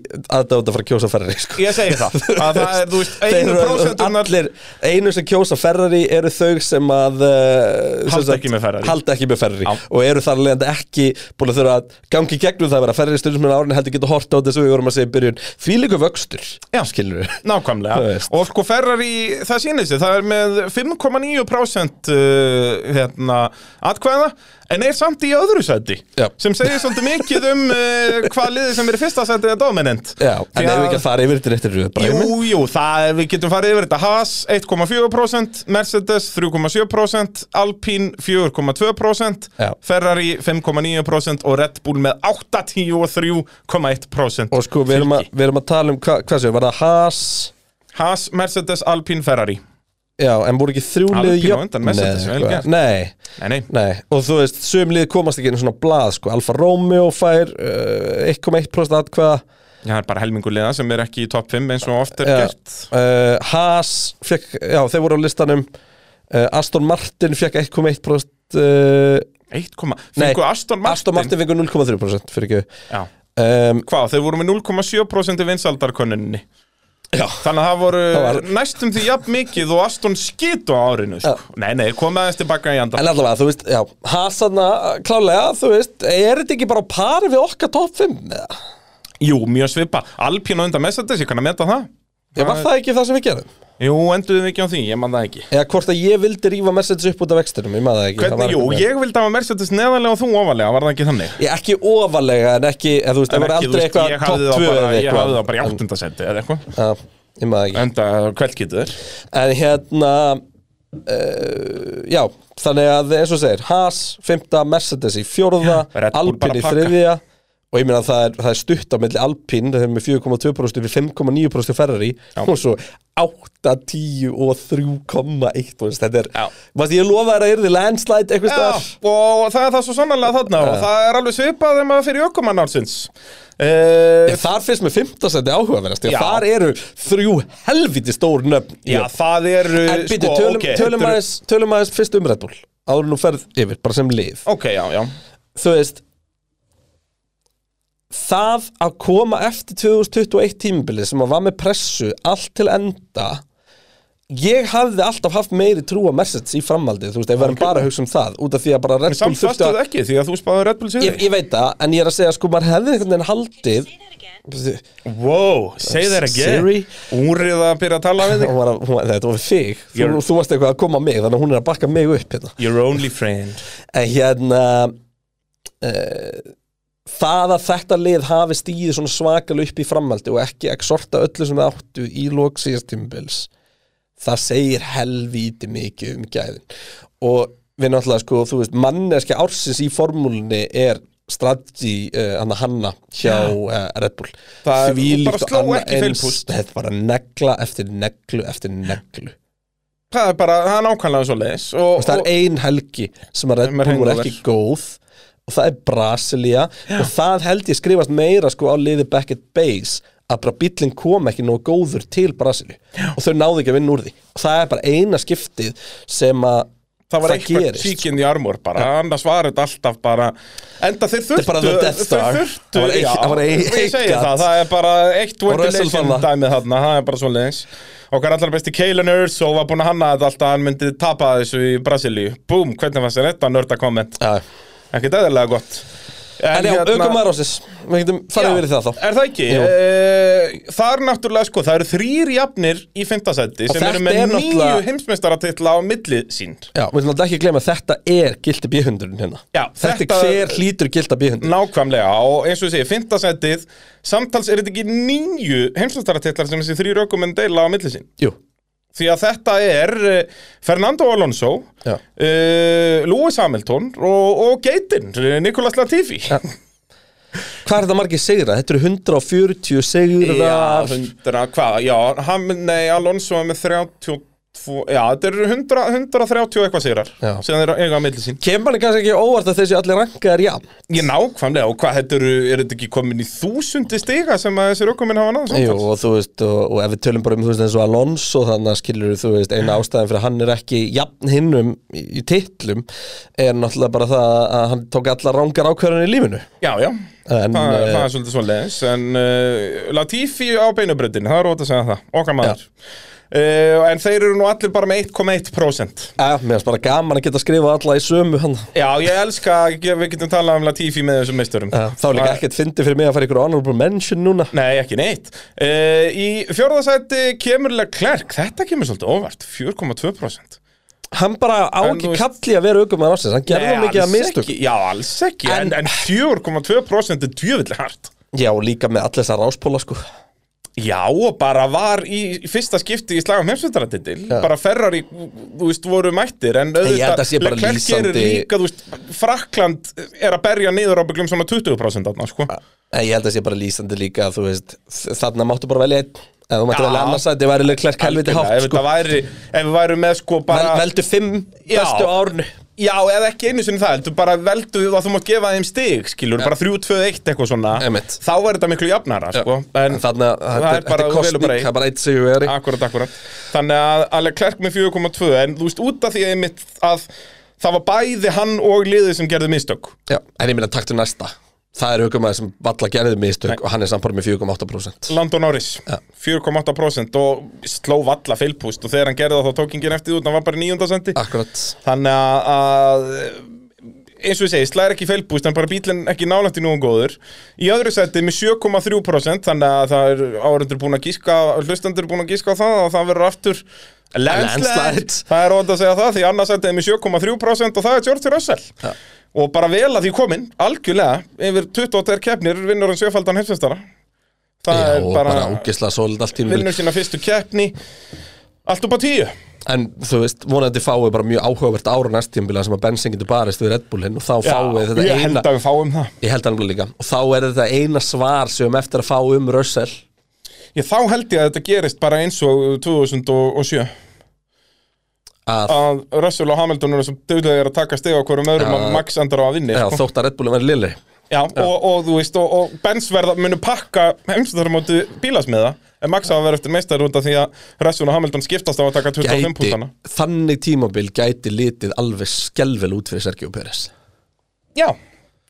Speaker 3: aðdáta frá kjósa ferrari, sko
Speaker 4: Ég segi það, að það er, þú veist,
Speaker 3: Þeir
Speaker 4: einu
Speaker 3: eru
Speaker 4: prósentunar
Speaker 3: allir, einu sem kjósa ferrari eru þau sem að uh,
Speaker 4: Halda ekki með Ferrari.
Speaker 3: halda ekki með ferrari
Speaker 4: Já.
Speaker 3: og eru þar leiðandi ekki búin að þurfa að gangi gegnum það að vera ferrari stundismenn árin heldur geta hort á þess að við vorum að segja í byrjun því líka vöxtur,
Speaker 4: Já.
Speaker 3: skilur við Þú
Speaker 4: Nákvæmlega,
Speaker 3: veist.
Speaker 4: og sko Ferrari, það sýnir sig, það er með 5,9% uh, hérna, atkvæða, en er samt í öðru sæti,
Speaker 3: Já.
Speaker 4: sem segir svolítið mikið um uh, hvað liðið sem er í fyrsta sæti er dominant.
Speaker 3: Já, en ef við ekki að fara yfir þetta eftir röð bara
Speaker 4: Jú, jú, það, er- við getum farið yfir þetta Haas 1,4%, Mercedes 3,7%, Alpine 4,2%,
Speaker 3: Já.
Speaker 4: Ferrari 5,9% og Red Bull með 8,10 og 3,1%
Speaker 3: Og sko, við erum, að, við erum að tala um, hva, hvað séu, var það Haas
Speaker 4: Haas, Mercedes, Alpine, Ferrari
Speaker 3: Já, en voru ekki þrjú
Speaker 4: Alpín
Speaker 3: lið
Speaker 4: á
Speaker 3: jöfn
Speaker 4: undan Mercedes,
Speaker 3: eða
Speaker 4: vel
Speaker 3: eitthvað?
Speaker 4: gert.
Speaker 3: Nei,
Speaker 4: Nei, nei,
Speaker 3: nei, og þú veist, söm lið komast ekki einu svona blað, sko Alfa Romeo fær uh, 1,1% atkvæða
Speaker 4: það er bara helmingur liða sem er ekki í topp 5 eins og oft er
Speaker 3: Já.
Speaker 4: gert
Speaker 3: uh, Haas fekk, já þeir voru á listanum uh, Aston Martin fekk 1,1% uh,
Speaker 4: 1, fengu Aston Martin,
Speaker 3: Aston Martin fengur 0,3% fyrir ekki
Speaker 4: Já.
Speaker 3: um,
Speaker 4: Hvað, þeir voru með 0,7% í vinsaldarkönninni
Speaker 3: Já.
Speaker 4: Þannig að það voru
Speaker 3: Það var-
Speaker 4: næstum því jafn mikið og Aston skitu á árinu sko. Nei, nei, komið aðeins tilbaka í andan
Speaker 3: En allavega, þú veist, já, Haas þarna klálega, þú veist, er þetta ekki bara á pari við okkar topp 5? eða?
Speaker 4: Jú, mjög svipa, Alpín á undan Mercedes, ég kann að meta það
Speaker 3: Já, var það ekki það sem við gerum?
Speaker 4: Jú, enduðum við ekki á því, ég man það ekki
Speaker 3: Eða hvort að ég vildi rífa Mercedes upp út af vextinum, ég maður það ekki það
Speaker 4: Hvernig,
Speaker 3: var
Speaker 4: jú,
Speaker 3: eitthvað með-
Speaker 4: ég vildi hafa Mercedes neðarlega og þú ofalega, var það ekki þannig?
Speaker 3: Ég ekki ofalega, en ekki, eða, þú veist, það
Speaker 4: En
Speaker 3: var
Speaker 4: ekki, þú veist,
Speaker 3: aldrei eitthvað
Speaker 4: ég hafði
Speaker 3: topp
Speaker 4: það
Speaker 3: 2
Speaker 4: bara-
Speaker 3: eða
Speaker 4: Ég hafði það
Speaker 3: eitthvað
Speaker 4: bara í áttundasendi eða eitthvað
Speaker 3: Já, ég maður það ekki
Speaker 4: Enda kveldkýtuður
Speaker 3: En hérna, uh, já, þannig að eins og segir, Haas, 5. Mercedes í 4.
Speaker 4: Red Bull bara
Speaker 3: Alpine í
Speaker 4: að
Speaker 3: 3. Og ég meina að það er, það er stutt á milli Alpine, þeir eru með 4,2% upp í 5,9% Ferrari og svo 8, 10 og 3,1 þú veist, þetta er,
Speaker 4: Já.
Speaker 3: varst ég lofa þér að yrði landslide eitthvað
Speaker 4: Já,
Speaker 3: starf
Speaker 4: og það er það svo sannlega þarna og það er alveg svipað þegar maður fyrir ökumann ársins uh,
Speaker 3: Ég, Eh, þar finnst mér 15 senti áhugaverðast því
Speaker 4: Já.
Speaker 3: að þar eru þrjú helviti stór nöfn í
Speaker 4: Já,
Speaker 3: honum.
Speaker 4: það eru sko,
Speaker 3: En býtu, tölum,
Speaker 4: ok,
Speaker 3: tölum,
Speaker 4: þetta eru-
Speaker 3: aðeins, tölum aðeins fyrst um Red Bull áður en þú ferð yfir, bara sem lið
Speaker 4: Ok, já, já
Speaker 3: Þú veist Það að koma eftir 2021 tímabilið sem að var með pressu allt til enda Ég hafði alltaf haft meiri trú á Mercedes í framhaldið, þú veist, ef við erum bara að hugsa um það út af því að bara Red Bull
Speaker 4: Samt
Speaker 3: þurfti
Speaker 4: fastuð
Speaker 3: að
Speaker 4: ekki því að þú spáði Red Bull
Speaker 3: ég,
Speaker 4: sigri
Speaker 3: ég veit það, en ég er að segja sko, maður hefði einhvern veginn haldið
Speaker 4: Wow, say that again
Speaker 3: Siri?
Speaker 4: Úrið að byrja að tala við
Speaker 3: Hún
Speaker 4: þig
Speaker 3: var að, hún, þetta var þig þú,
Speaker 4: You're-
Speaker 3: þú varst eitthvað að koma á mig þannig að hún er að bakka mig upp hérna.
Speaker 4: Your only friend
Speaker 3: en hérna uh, það að þetta lið hafi stíði svona svakal upp í framaldi og ekki exorta öllu sem það áttu í lók síðastimbils það segir helvíti mikið um gæðin og við náttúrulega sko þú veist manneski ársins í formúlunni er strategi uh, hann hanna hjá uh, Red Bull
Speaker 4: Það er-
Speaker 3: Þvílíkt
Speaker 4: bara
Speaker 3: og
Speaker 4: sló
Speaker 3: annað
Speaker 4: ekki
Speaker 3: eins,
Speaker 4: feilpúst.
Speaker 3: þetta er bara negla eftir neglu eftir neglu
Speaker 4: Það er bara, það er nákvæmlega svo leis og,
Speaker 3: Þú veist, það er ein helgi sem að Red
Speaker 4: Sem er
Speaker 3: Bull er
Speaker 4: hangover.
Speaker 3: ekki góð og það er Brasilia og það held ég skrifast meira sko á liði Beckett Base að bara bíllinn kom ekki nógu góður til Brasilia og þau náðu ekki að vinna úr því og það er bara eina skiptið sem að
Speaker 4: það var eitthvað kíkinn í armor bara, annars var þetta alltaf bara enda þeir þurftu
Speaker 3: er bara The Death Star.
Speaker 4: þeir þurftu,
Speaker 3: Það var eitt-
Speaker 4: já,
Speaker 3: það var eitt-
Speaker 4: ég
Speaker 3: eitt
Speaker 4: segi
Speaker 3: gat.
Speaker 4: það, það er bara eitt ventilation
Speaker 3: WrestleMania.
Speaker 4: dæmið þarna, það er bara svo leins okkar allar besti Kalen Urso var búin að hanna þetta alltaf, hann myndi tapa þessu í Brasilíu, búm, hvernig fannst þér þetta nörda komment,
Speaker 3: ja.
Speaker 4: ekkert eðlilega gott
Speaker 3: En já, hérna... aukum ásins Við getum farið yfir í það þá
Speaker 4: Er það ekki?
Speaker 3: Jú.
Speaker 4: Eh, Það er náttúrulega sko, það eru þrýr jafnir í fymtasætti sem
Speaker 3: þetta
Speaker 4: eru með
Speaker 3: er
Speaker 4: nýju
Speaker 3: náttúrulega-
Speaker 4: heimsmeistaratitla á milli sín
Speaker 3: Já, við ætlum alltaf ekki að gleyma að þetta er gildi bíhundurinn hérna
Speaker 4: Já,
Speaker 3: Þetta er
Speaker 4: þetta-
Speaker 3: hver hlýtur gilda bíhundurinn
Speaker 4: Nákvæmlega og eins og ég segi, fintasættið samtals er þetta ekki nýju heimslastarartitlar sem þessi þrý rökum en deila á milli sín
Speaker 3: Jú,
Speaker 4: því að þetta er eh, Fernando Alonso
Speaker 3: Já.
Speaker 4: uh, Lewis Hamilton og, og Geitin, Nikolas Latifi
Speaker 3: Já. hvað er þetta margir sigra? Þetta eru 140 sigrar
Speaker 4: hundra, hvað, já ham, nei, Alonso er með 32 já, þetta eru 100, 130 og eitthvað sigrar
Speaker 3: Já.
Speaker 4: sem þeir eiga á milli sín
Speaker 3: Kemur manni kannski ekki óvart að þessi allir rankaðar jafn
Speaker 4: ég nákvæmlega, og hvað, þetta eru er þetta ekki komin í þúsundi stiga sem að þessi rökuminn hafa náð
Speaker 3: Jú,
Speaker 4: samtals?
Speaker 3: og þú veist, og, og ef við tölum bara um þú veist eins og Alonso, þannig að skilur þú veist, eina ástæðan fyrir að hann er ekki jafn hinnum í, í titlum er náttúrulega bara það að hann tók allar rángar ákvörðan í lífinu
Speaker 4: Já, já,
Speaker 3: En,
Speaker 4: það,
Speaker 3: eh,
Speaker 4: það er svolítið svo leiðis En uh, Latifi á beinubröndin, það er rót að segja það Okkar maður uh, En þeir eru nú allir bara með 1,1%
Speaker 3: Já, mér finnst bara gaman að geta skrifað alla í sömu hann
Speaker 4: Já, ég elska, að ge- við getum talað um Latifi með þessum meisturum
Speaker 3: Já, Þá er líka ekkert fyndi fyrir mig að fara ykkur honorable mention núna
Speaker 4: Nei, ekki neitt uh, Í fjórðasæti kemur Leclerc, þetta kemur svolítið óvart 4,2%
Speaker 3: Hann bara á
Speaker 4: En þú
Speaker 3: ekki
Speaker 4: veist-
Speaker 3: kalli að vera aukum að rásins, hann gerði
Speaker 4: Nei,
Speaker 3: það mikið að
Speaker 4: Eh, alls
Speaker 3: mistök
Speaker 4: ekki. Já, alls ekki, en,
Speaker 3: En-
Speaker 4: en 4,2% er djöfillig hart
Speaker 3: Já, og líka með allir þessar ráspóla sko
Speaker 4: Já, og bara var í í fyrsta skipti í slagum heimsveitaratindil bara Ferrari, þú veist, voru mættir en
Speaker 3: Ég held að sé bara
Speaker 4: Leclerc
Speaker 3: lýsandi-
Speaker 4: gerir líka, þú veist, Frakland er að berja niður á bygglum svona 20% þarna, sko
Speaker 3: En ég held að sé bara lýsandi líka að þú veist, þarna máttu bara velja einn En þú máttu
Speaker 4: Já.
Speaker 3: velja annars að þetta væri leiklerk helviti
Speaker 4: Algjörlega,
Speaker 3: hátt
Speaker 4: ef
Speaker 3: sko.
Speaker 4: þetta væri, ef við værum með sko bara
Speaker 3: Vel- Veldu fimm
Speaker 4: Já.
Speaker 3: bestu árnu
Speaker 4: Já, eða ekki einu sinni það, heldur bara veldu að þú mátt gefa þeim stig, skilur, bara 3, 2, 1 eitthvað svona,
Speaker 3: Einmitt.
Speaker 4: þá er þetta miklu jafnara, sko, en,
Speaker 3: þannig að
Speaker 4: það
Speaker 3: þetta
Speaker 4: er
Speaker 3: er-
Speaker 4: bara, þú
Speaker 3: þetta er
Speaker 4: velur
Speaker 3: kostning,
Speaker 4: bara eitt.
Speaker 3: það er bara eitt sigurveri
Speaker 4: Akkurat, akkurat Þannig að alveg klerk með 4,2 En þú veist, út af því einmitt að Það var bæði hann og liðið sem gerði mistök
Speaker 3: Já, en ég minna taktu næsta Það er aukumæður sem valla gerði mistök og hann er samt bara með 4,8%
Speaker 4: Landon Norris, 4,8% Og sló valla feilpúst Og þegar hann gerði það þá tók enginn eftir því út Hann var bara í níunda sendi
Speaker 3: Akkurat
Speaker 4: Þannig að- að eins og ég segi, slæðir ekki feilbúst en bara bílinn ekki nálægt í núum góður í öðru seti með 7,3% þannig að það er áhverjandur búin að gíska hlustandur búin að gíska á það og það verður aftur landslide
Speaker 3: Landslide.
Speaker 4: það er ótt að segja það því annars seti er með 7,3% og það er George Russell
Speaker 3: Ja.
Speaker 4: og bara vel að því komin, algjörlega yfir 22 keppnir vinnur hann sjöfaldan hefstastara það
Speaker 3: Já,
Speaker 4: er
Speaker 3: og
Speaker 4: bara,
Speaker 3: bara ógislega sólid allt tíma
Speaker 4: vinnur sína fyrstu keppni allt upp á tíu
Speaker 3: En þú veist, vonandi fáið bara mjög áhugavert ára næst tíma sem að bensin getur barist við Red Bullinn og þá fáið þetta
Speaker 4: ég held
Speaker 3: eina
Speaker 4: að við fáum það
Speaker 3: Ég held alveg líka Og þá er þetta eina svar sem við höfum eftir að fá um Russell
Speaker 4: Ég þá held ég að þetta gerist bara eins og 2007
Speaker 3: að
Speaker 4: að Russell og Hamilton eru svo döðlegir að taka steg á hverjum öðrum
Speaker 3: Já.
Speaker 4: að Max endar á að vinni
Speaker 3: já,
Speaker 4: sko.
Speaker 3: þótt að Red Bullinn verði lili
Speaker 4: Já, og, og þú veist, og, og Benz verða munu pakka heimstarmóti bílasmiða en Max hafa verið eftir meistar út af því að Russell og Hamilton skiptast á að taka 25
Speaker 3: gæti,
Speaker 4: púntana
Speaker 3: Þannig tímabil gæti litið alveg skelvel út fyrir Sergio Pérez
Speaker 4: Já,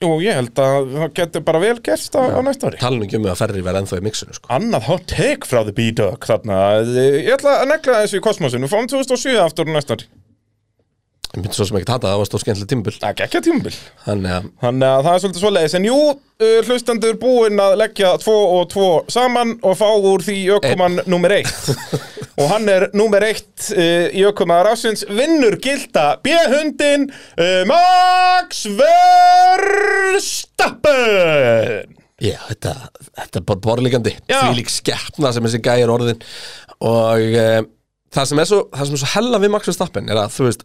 Speaker 4: og ég held að það getur bara vel gerst á, á næsta ári
Speaker 3: Talnum ekki um að ferri verði ennþá í mixinu sko.
Speaker 4: Annað hot take frá The B-Dog þarna Ég ætla að negla þessu í kosmosinu Fáum 2007 aftur á næsta ári
Speaker 3: Ég myndi svo sem ekki tata, það var stór skemmtileg tímabil
Speaker 4: Það er ekki að tímabil
Speaker 3: Þannig að
Speaker 4: Þannig að það er svolítið svoleiðis En jú, uh, hlustendur búinn að leggja 2 og 2 saman og fá úr því ökumann nummer 1 Og hann er nummer 1 uh, í ökumaðar ásins Vinnur gilda B-hundin uh, Max Verstappen
Speaker 3: Já, þetta, þetta er bara borlíkandi
Speaker 4: Já.
Speaker 3: því lík skeppna sem þessi gæjar orðin og e, það sem er svo það sem er svo hella við Max Verstappen er að þú veist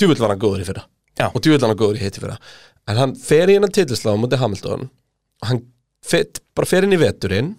Speaker 3: djúvill var hann góður í fyrra
Speaker 4: Já.
Speaker 3: og djúvill var hann góður í hitti fyrra en hann fer í hennan titilslá mútið Hamilton og hann fet, bara fer inn í veturinn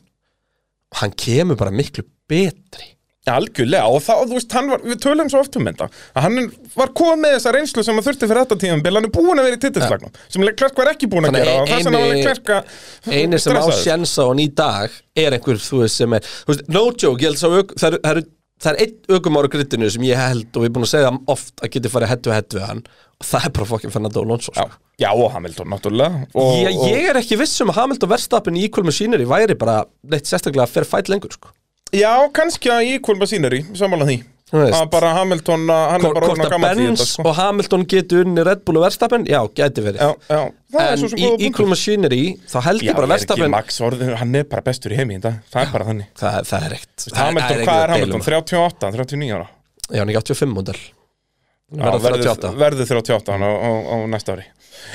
Speaker 3: og hann kemur bara miklu betri
Speaker 4: Algjörlega, og þá, þú veist, hann var, við tölum svo oft um þetta að hann var komið með þessa reynslu sem hann þurfti fyrir þetta tíðum hann er búin að vera í titillagnum sem Klerk var ekki búin að
Speaker 3: Þannig
Speaker 4: gera og þess að hann var
Speaker 3: eini-
Speaker 4: Klerk að
Speaker 3: eini sem á
Speaker 4: stressaður.
Speaker 3: sjensa hann í dag er einhver, þú veist, sem er þú veist, no joke, ég held sá ök, það, er, það, er, það er einn ökumár á grittinu sem ég held og ég er búin að segja það oft að geti farið hettu hett við hann og það er bara fokkin Fernando Alonso
Speaker 4: Já,
Speaker 3: sko.
Speaker 4: já, og Hamilton, náttúrulega og,
Speaker 3: ég, ég er ekki viss um að Hamilton verðstapin í Equal Machinery væri bara neitt sérstaklega að fer fætt lengur sko.
Speaker 4: og, Já, kannski að Equal Machinery, sammála því
Speaker 3: Þú veist.
Speaker 4: Að bara Hamilton, að hann
Speaker 3: Hvor-
Speaker 4: er bara
Speaker 3: hvort
Speaker 4: orðin að
Speaker 3: að
Speaker 4: gammal því
Speaker 3: Benz
Speaker 4: þetta, sko.
Speaker 3: og Hamilton getur unni Red Bull og verðstapin, já, gæti verið
Speaker 4: Já, já, það er
Speaker 3: en
Speaker 4: svo sem
Speaker 3: í
Speaker 4: góða
Speaker 3: Equal
Speaker 4: punktur
Speaker 3: Machinery þá held
Speaker 4: Já,
Speaker 3: ég bara
Speaker 4: er ekki
Speaker 3: verðstapin
Speaker 4: Max orðin, hann er bara bestur í heimi í dag Það er bara þannig
Speaker 3: það, það er ekkert það- það
Speaker 4: Hamilton,
Speaker 3: ekkert
Speaker 4: hvað
Speaker 3: að
Speaker 4: er
Speaker 3: deila
Speaker 4: Hamilton?
Speaker 3: um.
Speaker 4: 38, 39 ára
Speaker 3: Já, hann er ekki 85 model
Speaker 4: Já,
Speaker 3: Verða 38
Speaker 4: Verður 38 hann á, á, á næsta ári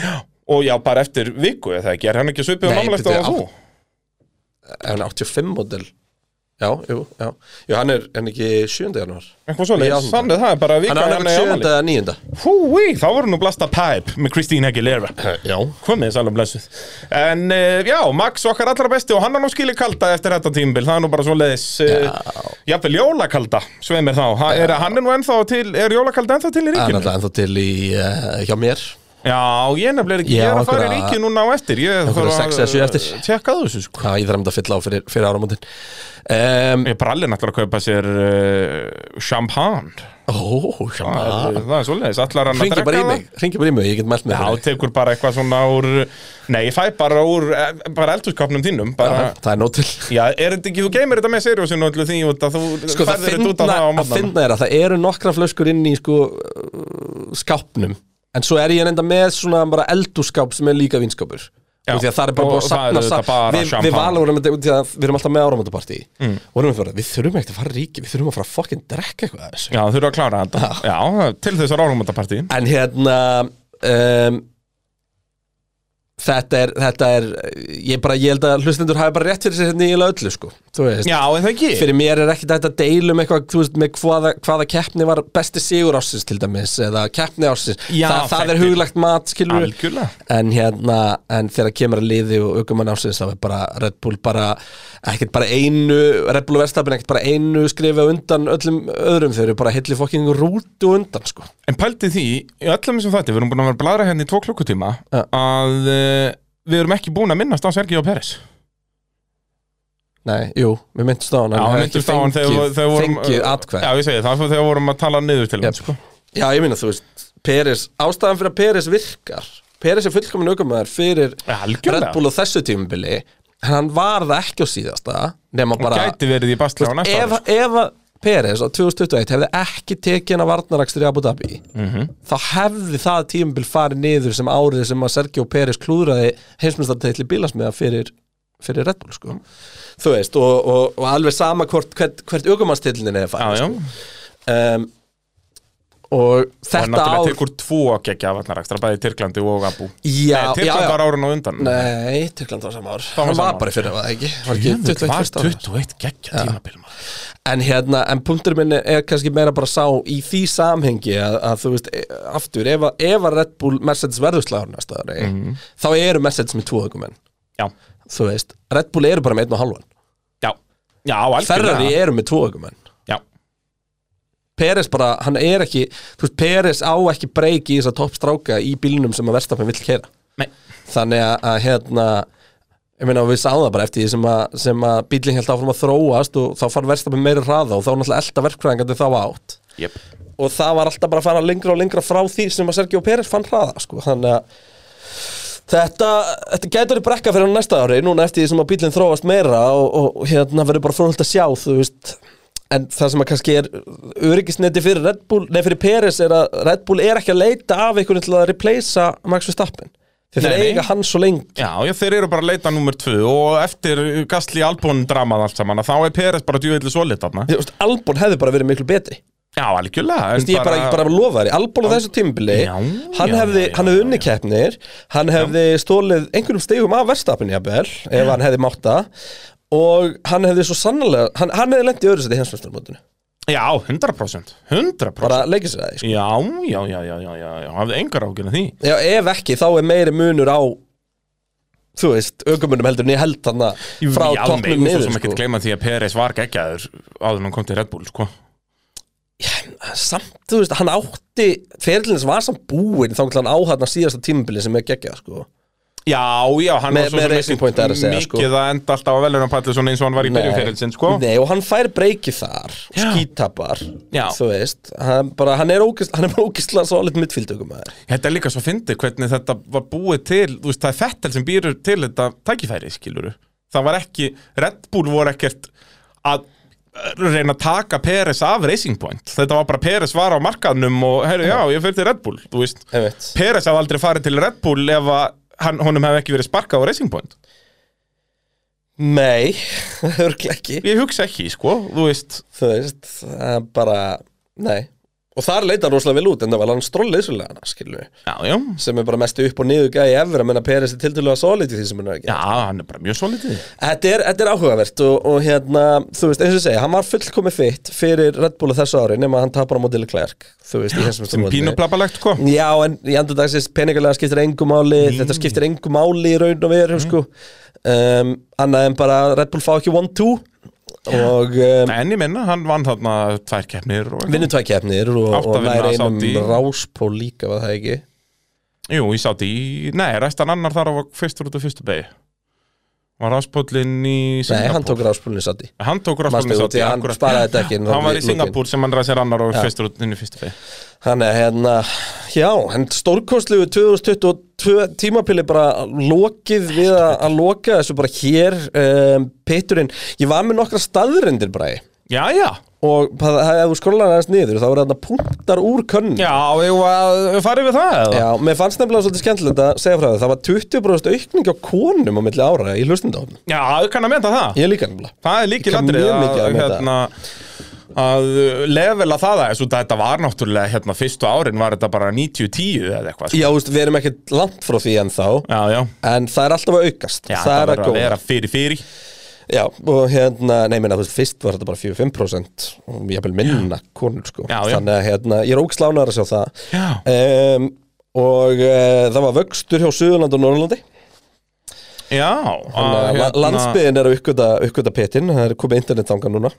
Speaker 4: Já, og já, bara eftir viku eða ekki, er hann ekki svipið og
Speaker 3: Nei,
Speaker 4: námlegt
Speaker 3: byrju,
Speaker 4: á þú?
Speaker 3: Er hann 85 model? Já, jú, já Jú, hann er hann er ekki 7. janúar
Speaker 4: Eitthvað svoleiðis,
Speaker 3: Í áttunda.
Speaker 4: þannig það er hérna bara
Speaker 3: Hann
Speaker 4: vikan
Speaker 3: er
Speaker 4: hann
Speaker 3: hann
Speaker 4: er
Speaker 3: 7.
Speaker 4: ámali
Speaker 3: eða 9.
Speaker 4: Húi, þá voru nú blasta pipe með Christine Aguilera
Speaker 3: Já
Speaker 4: komið þess alveg blessuð en uh, já, Max okkar allra besti og hann er nú skilið kalda eftir þetta tímbil, það er nú bara svoleiðis uh, jafnvel jólakalda sveið mér þá, ha, er, hann er nú ennþá til er jólakalda ennþá til í
Speaker 3: Hann er
Speaker 4: ríkinu?
Speaker 3: alltaf ennþá til í, uh, hjá mér
Speaker 4: Já, ég nefnilega er ekki,
Speaker 3: Já,
Speaker 4: ég er að fara í
Speaker 3: einhverja-
Speaker 4: ríkinu núna á eftir ég
Speaker 3: einhverja sex eða sjö eftir.
Speaker 4: tjekka á þessu sko
Speaker 3: Hvað ég þarf að fylla á fyrir, fyrir áramótin um,
Speaker 4: Ég brallir náttúrulega að kaupa sér uh, champagne
Speaker 3: Ó,
Speaker 4: það,
Speaker 3: hérna
Speaker 4: er, það er svoleiðis, allar hann að
Speaker 3: Ringi bara í mig, ringi bara í mig, ég get mælt mig
Speaker 4: Já,
Speaker 3: fyrir þig.
Speaker 4: tekur bara eitthvað svona úr Nei, ég fæ bara úr eh, bara eldurskapnum þínum bara,
Speaker 3: Já, Það er nóg til
Speaker 4: Já, er þetta ekki, þú geymir þetta með seriósinu og öllu því út að þú
Speaker 3: Sko það
Speaker 4: færðir þetta út
Speaker 3: finna,
Speaker 4: að það á
Speaker 3: að
Speaker 4: mótnana
Speaker 3: finna er að það eru nokkra flöskur inn í sko uh, skápnum En svo er ég enda með svona bara eldúskáp sem er líka vinskápur
Speaker 4: Já,
Speaker 3: Og því að það er bara
Speaker 4: og
Speaker 3: búið að
Speaker 4: það eru
Speaker 3: safna sa-
Speaker 4: þetta bara
Speaker 3: Við, við
Speaker 4: champagne.
Speaker 3: valum erum þetta út í að við erum alltaf með áramöndapartí mm. Og erum við fyrir, við þurfum ekkert að fara í ríki, við þurfum að fara að fokkin drekka eitthvað af þessu
Speaker 4: Já, þú eru að klára þetta
Speaker 3: hérna,
Speaker 4: Já, til þessar áramöndapartíð
Speaker 3: En hérna um, ehm, þetta er, þetta er ég, bara, ég held að hlustendur hafi bara rétt fyrir sér hérna í eiginlega öllu sko, þú veist
Speaker 4: Já, en það ekki
Speaker 3: fyrir mér er ekkert hægt að deila um eitthvað þú veist, með hvaða, hvaða keppni var besti sigur ásins til dæmis, eða keppni ásins
Speaker 4: Já,
Speaker 3: það, það er
Speaker 4: þetta er-
Speaker 3: huglagt mat, skilur við.
Speaker 4: Algjörlega.
Speaker 3: en hérna, en þegar kemur að liði og aukumann ásins, þá er bara Red Bull bara, ekkert bara einu Red Bull og Verstapin, ekkert bara einu skrifa undan öllum öðrum, þau eru bara hilli fokking rútu undan, sko
Speaker 4: En pælti því, í öllum þessum þætti, við erum búin að vera að bladra hérna í tvo klukkutíma
Speaker 3: Ja.
Speaker 4: að uh, við erum ekki búin að minnast á Sergio Peres
Speaker 3: Nei, jú, við myndumst á hann en
Speaker 4: Já,
Speaker 3: hann
Speaker 4: hann myndist
Speaker 3: hefur ekki
Speaker 4: á hann þegar
Speaker 3: fengið-
Speaker 4: vo- þegar vorum
Speaker 3: fengið atkvæð
Speaker 4: Já, ég segi það, þegar vorum að tala niður til
Speaker 3: Jep.
Speaker 4: hans sko.
Speaker 3: Já, ég minna, þú veist, Peres, ástæðan fyrir að Peres virkar Peres er fullkomin aukumæður fyrir
Speaker 4: Ja, algjörlega.
Speaker 3: Red Bull á þessu tímubili en hann var það ekki á síðasta nema
Speaker 4: Bara,
Speaker 3: bara
Speaker 4: Gæti verið í bastla á næsta
Speaker 3: ef,
Speaker 4: ári, sko.
Speaker 3: ef að Peres á 2021 hefði ekki tekið hann að varnarakstur í Abu Dhabi
Speaker 4: Mhm.
Speaker 3: þá hefði það tímubil farið niður sem árið sem að Sergio Peres klúðraði heimsmyndstarteitli bílasmiða fyrir, fyrir Red Bull sko. þú veist, og, og, og alveg sama hvort, hvert, hvert aukumannstillin er
Speaker 4: Já, já,
Speaker 3: farið sko. um, og
Speaker 4: og
Speaker 3: þetta
Speaker 4: náttúrulega
Speaker 3: ár
Speaker 4: tekur tvo geggja vatnarakstra, bæði í Tyrklandi og Abu
Speaker 3: já,
Speaker 4: Nei,
Speaker 3: já,
Speaker 4: Tyrkland
Speaker 3: já.
Speaker 4: var árun og undan
Speaker 3: Nei, Tyrkland var sama ár
Speaker 4: var
Speaker 3: Hann
Speaker 4: sama
Speaker 3: var
Speaker 4: ár.
Speaker 3: bara fyrir það ekki Var ekki
Speaker 4: Jöfull,
Speaker 3: 21
Speaker 4: var
Speaker 3: fyrsta ár?
Speaker 4: 21 geggja tímabil maður.
Speaker 3: En hérna, en punktur minn er kannski meira bara sá í því samhengi að, að þú veist, e- aftur, ef, að- ef að Red Bull Mercedes verður slagur næsta ári
Speaker 4: Mhm.
Speaker 3: þá eru Mercedes með tvo aukumenn
Speaker 4: Já,
Speaker 3: þú veist, Red Bull eru bara með einn og halvan
Speaker 4: já, já, algjörlega
Speaker 3: Ferrari eru með tvo aukumenn
Speaker 4: Já,
Speaker 3: Peres bara, hann er ekki þú veist, Peres á ekki breyk í þess að toppstráka í bílnum sem að Verstappen vill kera
Speaker 4: nei,
Speaker 3: þannig að, að hérna ég meina við sáum það bara eftir því sem að, sem að bílinn held áfram að þróast og þá fann verðstafin meiri hraða og þá náttúrulega elda verkfræðingandi þá átt
Speaker 4: jöp
Speaker 3: og það var alltaf bara að fara lengra og lengra frá því sem að Sergio Pérez fann hraða sko. þannig að þetta, þetta getur í brekka fyrir hann næsta ári núna eftir því sem að bílinn þróast meira og, og, og hérna verður bara frónhald að sjá þú veist en það sem að kannski er öryggisneti fyrir Red Bull, nei fyrir Pérez er að Red Bull er ekki að leita af einhvern til að replacea Max Verstappen því þeir
Speaker 4: Nei, nei.
Speaker 3: eiga hann svo lengi
Speaker 4: Já, já, þeir eru bara að leita nummer tvö og eftir Gastli Albon dramað allt saman að þá er Peres bara djúvillig svolít þarna.
Speaker 3: Þú veist, Albon hefði bara verið miklu betri
Speaker 4: Já, algjörlega. en
Speaker 3: Þú veist, ég bara, ég bara lofa þér, Albon á þessu tímbili
Speaker 4: Já,
Speaker 3: hann,
Speaker 4: já,
Speaker 3: hefði,
Speaker 4: já,
Speaker 3: hann hefði unni
Speaker 4: já.
Speaker 3: keppnir hann hefði stólið einhverjum stegum af verstapin jafnvel, ef hann hefði mátta og hann hefði svo sannlega hann, hann hefði lent í öðru seti hensmjöstarmótinu
Speaker 4: Já, 100%. 100%.
Speaker 3: bara leikir sér að því sko.
Speaker 4: Já, já, já, já, já, já, já, hafði engar ágjörna því.
Speaker 3: Já, ef ekki, þá er meiri munur á þú veist, aukumunum heldur en ég held hann frá
Speaker 4: já, megum
Speaker 3: toppnum
Speaker 4: Svo
Speaker 3: niður
Speaker 4: sem ekki
Speaker 3: sko.
Speaker 4: gleyma því að Peres var geggjaður áður en hann kom til Red Bull, sko.
Speaker 3: samt, þú veist, hann átti ferilins var samt búinn þá hann á hann síðasta tímbili sem er geggjað sko.
Speaker 4: Já, já, hann
Speaker 3: Með-
Speaker 4: var svo
Speaker 3: með
Speaker 4: sem
Speaker 3: Racing Point er að segja, sko.
Speaker 4: mikið að enda alltaf á velunarpallið svona eins og hann var í byrjun fyrirlsinn, sko.
Speaker 3: Nei, og hann fær breyki þar skítapar,
Speaker 4: Já.
Speaker 3: þú veist hann, bara, hann er ógist- hann er bara ógislega solid midfieldugum aður
Speaker 4: Þetta er líka svo fyndið hvernig þetta var búið til, þú veist, það er Fettel sem býrur til þetta tækifæri, skiluru. Það var ekki, Red Bull voru ekkert að eh, reyna að taka Peres af Racing Point. Þetta var bara Peres var á markaðnum og, heyrðu, já, ég fyrir til Red Bull, þú veist.
Speaker 3: Einmitt.
Speaker 4: Peres hafði aldrei farið til Red Bull ef að hann, honum hefði ekki verið sparkað á Racing Point.
Speaker 3: Nei, örglega ekki
Speaker 4: Ég hugsa ekki, sko, þú veist.
Speaker 3: þú veist, það er bara nei, og þar leita hann rosalega vel út en það var hann strollið svolítið hana, skilur við
Speaker 4: Já, já.
Speaker 3: sem er bara mestu upp og niður gæði efur að menna Peres er tildulega solid í því sem hann er ekki
Speaker 4: Já, hann er bara mjög solidið.
Speaker 3: Þetta er, þetta er áhugavert og, og hérna, þú veist, eins og ég segi, hann var fullkomið fitt fyrir Red Bull á þessu ári nema að hann tapar á mótileg klærk, þú veist, í þessum
Speaker 4: Sem pínuplebalegt, sko.
Speaker 3: Já, en í andur dagsins peningalega skiptir engu máli
Speaker 4: Mm.
Speaker 3: Þetta skiptir engu máli í raun og veru sko. um, Annað en bara að Red Bull fá ekki 1-2 Og um,
Speaker 4: En ég minna, hann vann þarna tvær keppnir og...
Speaker 3: vinnur tvær keppnir Og,
Speaker 4: Átta
Speaker 3: og
Speaker 4: vinna,
Speaker 3: næri einum
Speaker 4: Saudi. ráspól
Speaker 3: ráspól líka Var það ekki?
Speaker 4: Jú, ég sátt í, nei, restan annar þar á var fyrstur út af fyrstu begi Var ráspóllinn í
Speaker 3: Nei,
Speaker 4: Singapúr
Speaker 3: hann tók ráspólinu satt í
Speaker 4: Hann tók ráspóllinn
Speaker 3: Manstu,
Speaker 4: sátt
Speaker 3: því
Speaker 4: í,
Speaker 3: að hann
Speaker 4: akkurat.
Speaker 3: sparaði þetta ekki inn á
Speaker 4: Hann var í
Speaker 3: lokin.
Speaker 4: Singapúr sem hann ræsir annar og
Speaker 3: Já.
Speaker 4: fyrstur út inn í fyrstu begi
Speaker 3: Þannig að hérna, já, en stórkostlegu 2022 tímapili bara lokið við að, að loka þessu bara hér um, Peturinn, ég var með nokkra staðrendir bræði
Speaker 4: Já, já,
Speaker 3: og það, það- ef þú skrolar aðeins niður þá eru þarna punktar úr könn
Speaker 4: já, ég var, farið við það eða?
Speaker 3: Já, mér fannst nefnilega svolítið skemmtilegt að segja frá það það var 20% aukning á konum á milli ára í hlustendófnum,
Speaker 4: Já, þú kann að menta það
Speaker 3: ég líka nefnilega
Speaker 4: Það er líkil
Speaker 3: Ég kann
Speaker 4: andrið
Speaker 3: mjög mikið að meta.
Speaker 4: hérna, að uh, levela það aðeins út að þetta var náttúrulega hérna fyrstu árin var þetta bara 90-10 eða eitthvað sko.
Speaker 3: Já, þú veist, við erum ekkert langt frá því ennþá
Speaker 4: Já, já,
Speaker 3: En það er alltaf að aukast
Speaker 4: já
Speaker 3: Það er
Speaker 4: verður
Speaker 3: að góða
Speaker 4: vera fyrir fyrir
Speaker 3: Já, og hérna, nei, minna, þú veist, fyrst var þetta bara 4-5% og ég vil minna konur, sko
Speaker 4: Já, já.
Speaker 3: Þannig að, hérna, ég er ógslánaður að sjá það
Speaker 4: Já.
Speaker 3: um, Og uh, það var vöxtur hjá Suðurland og Norrlandi
Speaker 4: Já,
Speaker 3: Þannig að hérna... landsbyðin er að uppgöta, uppgöta pétin Það er komið internet þangað núna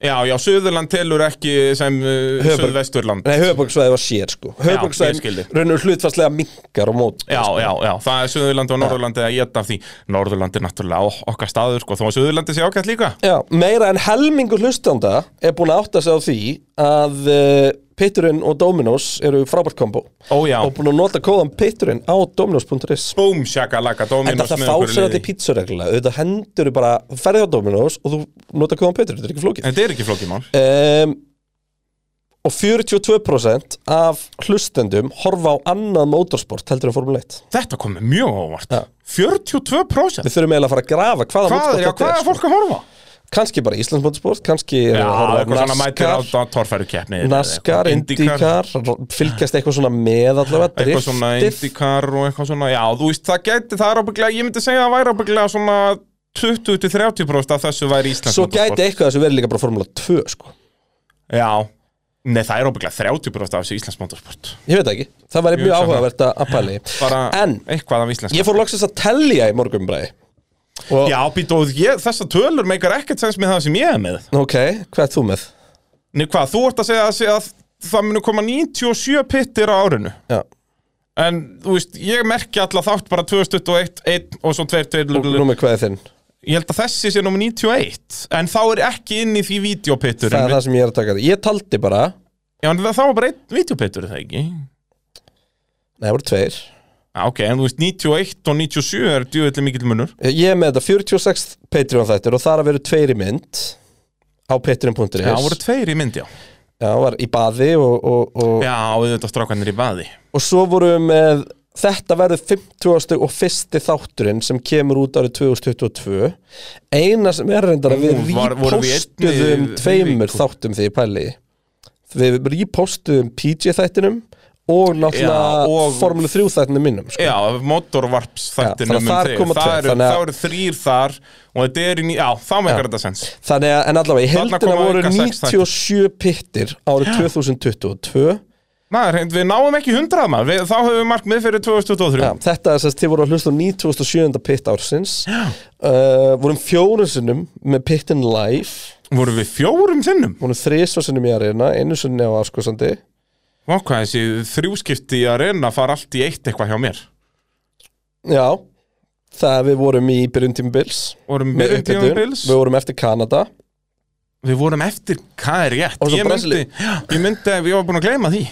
Speaker 4: Já, já, Suðurland telur ekki sem uh,
Speaker 3: Höfuðborg.
Speaker 4: Suðvesturland
Speaker 3: Nei, höfubóksvæði var sér, sko
Speaker 4: ég skil
Speaker 3: Höfubóksvæði
Speaker 4: þig.
Speaker 3: raunur hlutfarslega minkar og mót
Speaker 4: Já, já, já, það er Suðurland og Norðurland eða ég af því Norðurland er náttúrulega ok- okkar staður sko, þó að Suðurlandi sé ágætt líka
Speaker 3: Já, meira en helmingur hlustanda er búin að átta sig á því að uh, Pitturinn og Dominos eru frábært kombo
Speaker 4: Ó já,
Speaker 3: og búin að nota kóðan Pitturinn á dominos.is
Speaker 4: búm, shakalaka,
Speaker 3: En
Speaker 4: Dominos
Speaker 3: það
Speaker 4: með
Speaker 3: fá
Speaker 4: okkur í
Speaker 3: sér að
Speaker 4: liði.
Speaker 3: þetta í pítsureglulega auðvitað hendur bara, þú ferði á Dominos og þú nota kóðan Pitturinn, þetta er ekki flókið
Speaker 4: Þetta er ekki flókimál
Speaker 3: um, Og 42% af hlustendum horfa á annað motorsport heldur en Formule 1
Speaker 4: Þetta kom mér mjög á óvart
Speaker 3: Já.
Speaker 4: 42%
Speaker 3: Við þurfum eiginlega að fara að grafa hvaða
Speaker 4: Hvað er, já,
Speaker 3: motorsport
Speaker 4: hvað er
Speaker 3: þetta er sko.
Speaker 4: fólk að horfa?
Speaker 3: Kanski bara Íslands motorsport, kanski
Speaker 4: Já, eitthvað svona mætir á
Speaker 3: NASCAR
Speaker 4: torfæru keppni
Speaker 3: Nascar, Indycar, fylgjast eitthvað svona með allavega,
Speaker 4: Eitthvað svona
Speaker 3: driftið
Speaker 4: Indycar og eitthvað svona, já, þú veist, það gæti, það er ábygglega, ég myndi segja að það væri ábygglega svona 20-30% af þessu væri Íslands
Speaker 3: Svo gæti eitthvað þessu verið líka bara Formula 2 sko.
Speaker 4: Já, nei það er óbygglega 30% af þessu Íslands motorsport
Speaker 3: Ég veit það ekki, það væri
Speaker 4: Ég
Speaker 3: mjög
Speaker 4: hugsa
Speaker 3: áhugavert að- að pæli
Speaker 4: Bara
Speaker 3: En
Speaker 4: eitthvað af Íslands
Speaker 3: ég fór loksins að tellja í morgunbræði Og
Speaker 4: Já, býtu, og ég, þessar tölur meikar ekkert sens með það sem ég er með
Speaker 3: ok, hvað er þú með?
Speaker 4: Nei hvað, þú ert að segja að, segja að það munu koma 97 pittir á árinu
Speaker 3: Já,
Speaker 4: En, þú veist, ég merki alla þátt bara 2021, 1 og svo 2, 2,
Speaker 3: og
Speaker 4: 2
Speaker 3: númer hvað er þinn?
Speaker 4: Ég held að þessi sé nummer 91 En þá er ekki inn í því
Speaker 3: Það er
Speaker 4: videopitturinn
Speaker 3: það sem ég er að taka því Ég taldi bara,
Speaker 4: Já, en það þá var bara einn videopittur, er það ekki?
Speaker 3: nei það voru tveir
Speaker 4: Já, ok, en þú veist, 91 og 97 er djúvillig mikill munur
Speaker 3: Ég er með þetta 46 Patreon þættir og þar að veru tveir í mynd á patreon.is
Speaker 4: Já, voru tveir í mynd, já
Speaker 3: Já, var í baði og, og, og,
Speaker 4: Já, auðvitað strákanir í baði
Speaker 3: Og svo vorum við með Þetta verður 50. og fyrsti þátturinn sem kemur út árið 2022 Eina sem er reyndar að við
Speaker 4: Nú, var- vorum við einni-
Speaker 3: repostuðum tveimur
Speaker 4: viku?
Speaker 3: þáttum því ég pæli í. Við repostuðum PG-þættinum og náttúrulega
Speaker 4: Já, og-
Speaker 3: Formule 3-þættinum minnum sko.
Speaker 4: Já, motorvarps
Speaker 3: Já,
Speaker 4: þættinum
Speaker 3: þannig að þar koma
Speaker 4: það
Speaker 3: tvö,
Speaker 4: eru,
Speaker 3: þannig að-
Speaker 4: það eru þrýr þar og þetta er í ný... Já, þá meikar þetta sens
Speaker 3: Þannig að, en allavega, í
Speaker 4: Þarna
Speaker 3: heldina
Speaker 4: koma
Speaker 3: voru
Speaker 4: auka sex þættir.
Speaker 3: 97 pittir árið 2022
Speaker 4: Maður, hreint, við náum ekki hundrað maður við, Þá höfum við markmið fyrir 2023
Speaker 3: Já, þetta er sérst, þið voru að hlusta á 97. pitt ársins uh, Vorum fjórunsunum með pittin live
Speaker 4: Vorum við fjórum sinnum?
Speaker 3: Hún er þrísvarsinum í arena, einu sinni á afskosandi
Speaker 4: Vá, hvað þessi þrjúskipti að reyna fara allt í eitt eitthvað hjá mér
Speaker 3: Já, það við vorum í byrjun tímubils
Speaker 4: Vorum við upp í
Speaker 3: upptökum.
Speaker 4: Bils
Speaker 3: Við vorum eftir Kanada
Speaker 4: Við vorum eftir, hvað er rétt?
Speaker 3: Og svo
Speaker 4: Ég myndi,
Speaker 3: Brasilíu.
Speaker 4: já, ég myndi, ég var búin að gleyma því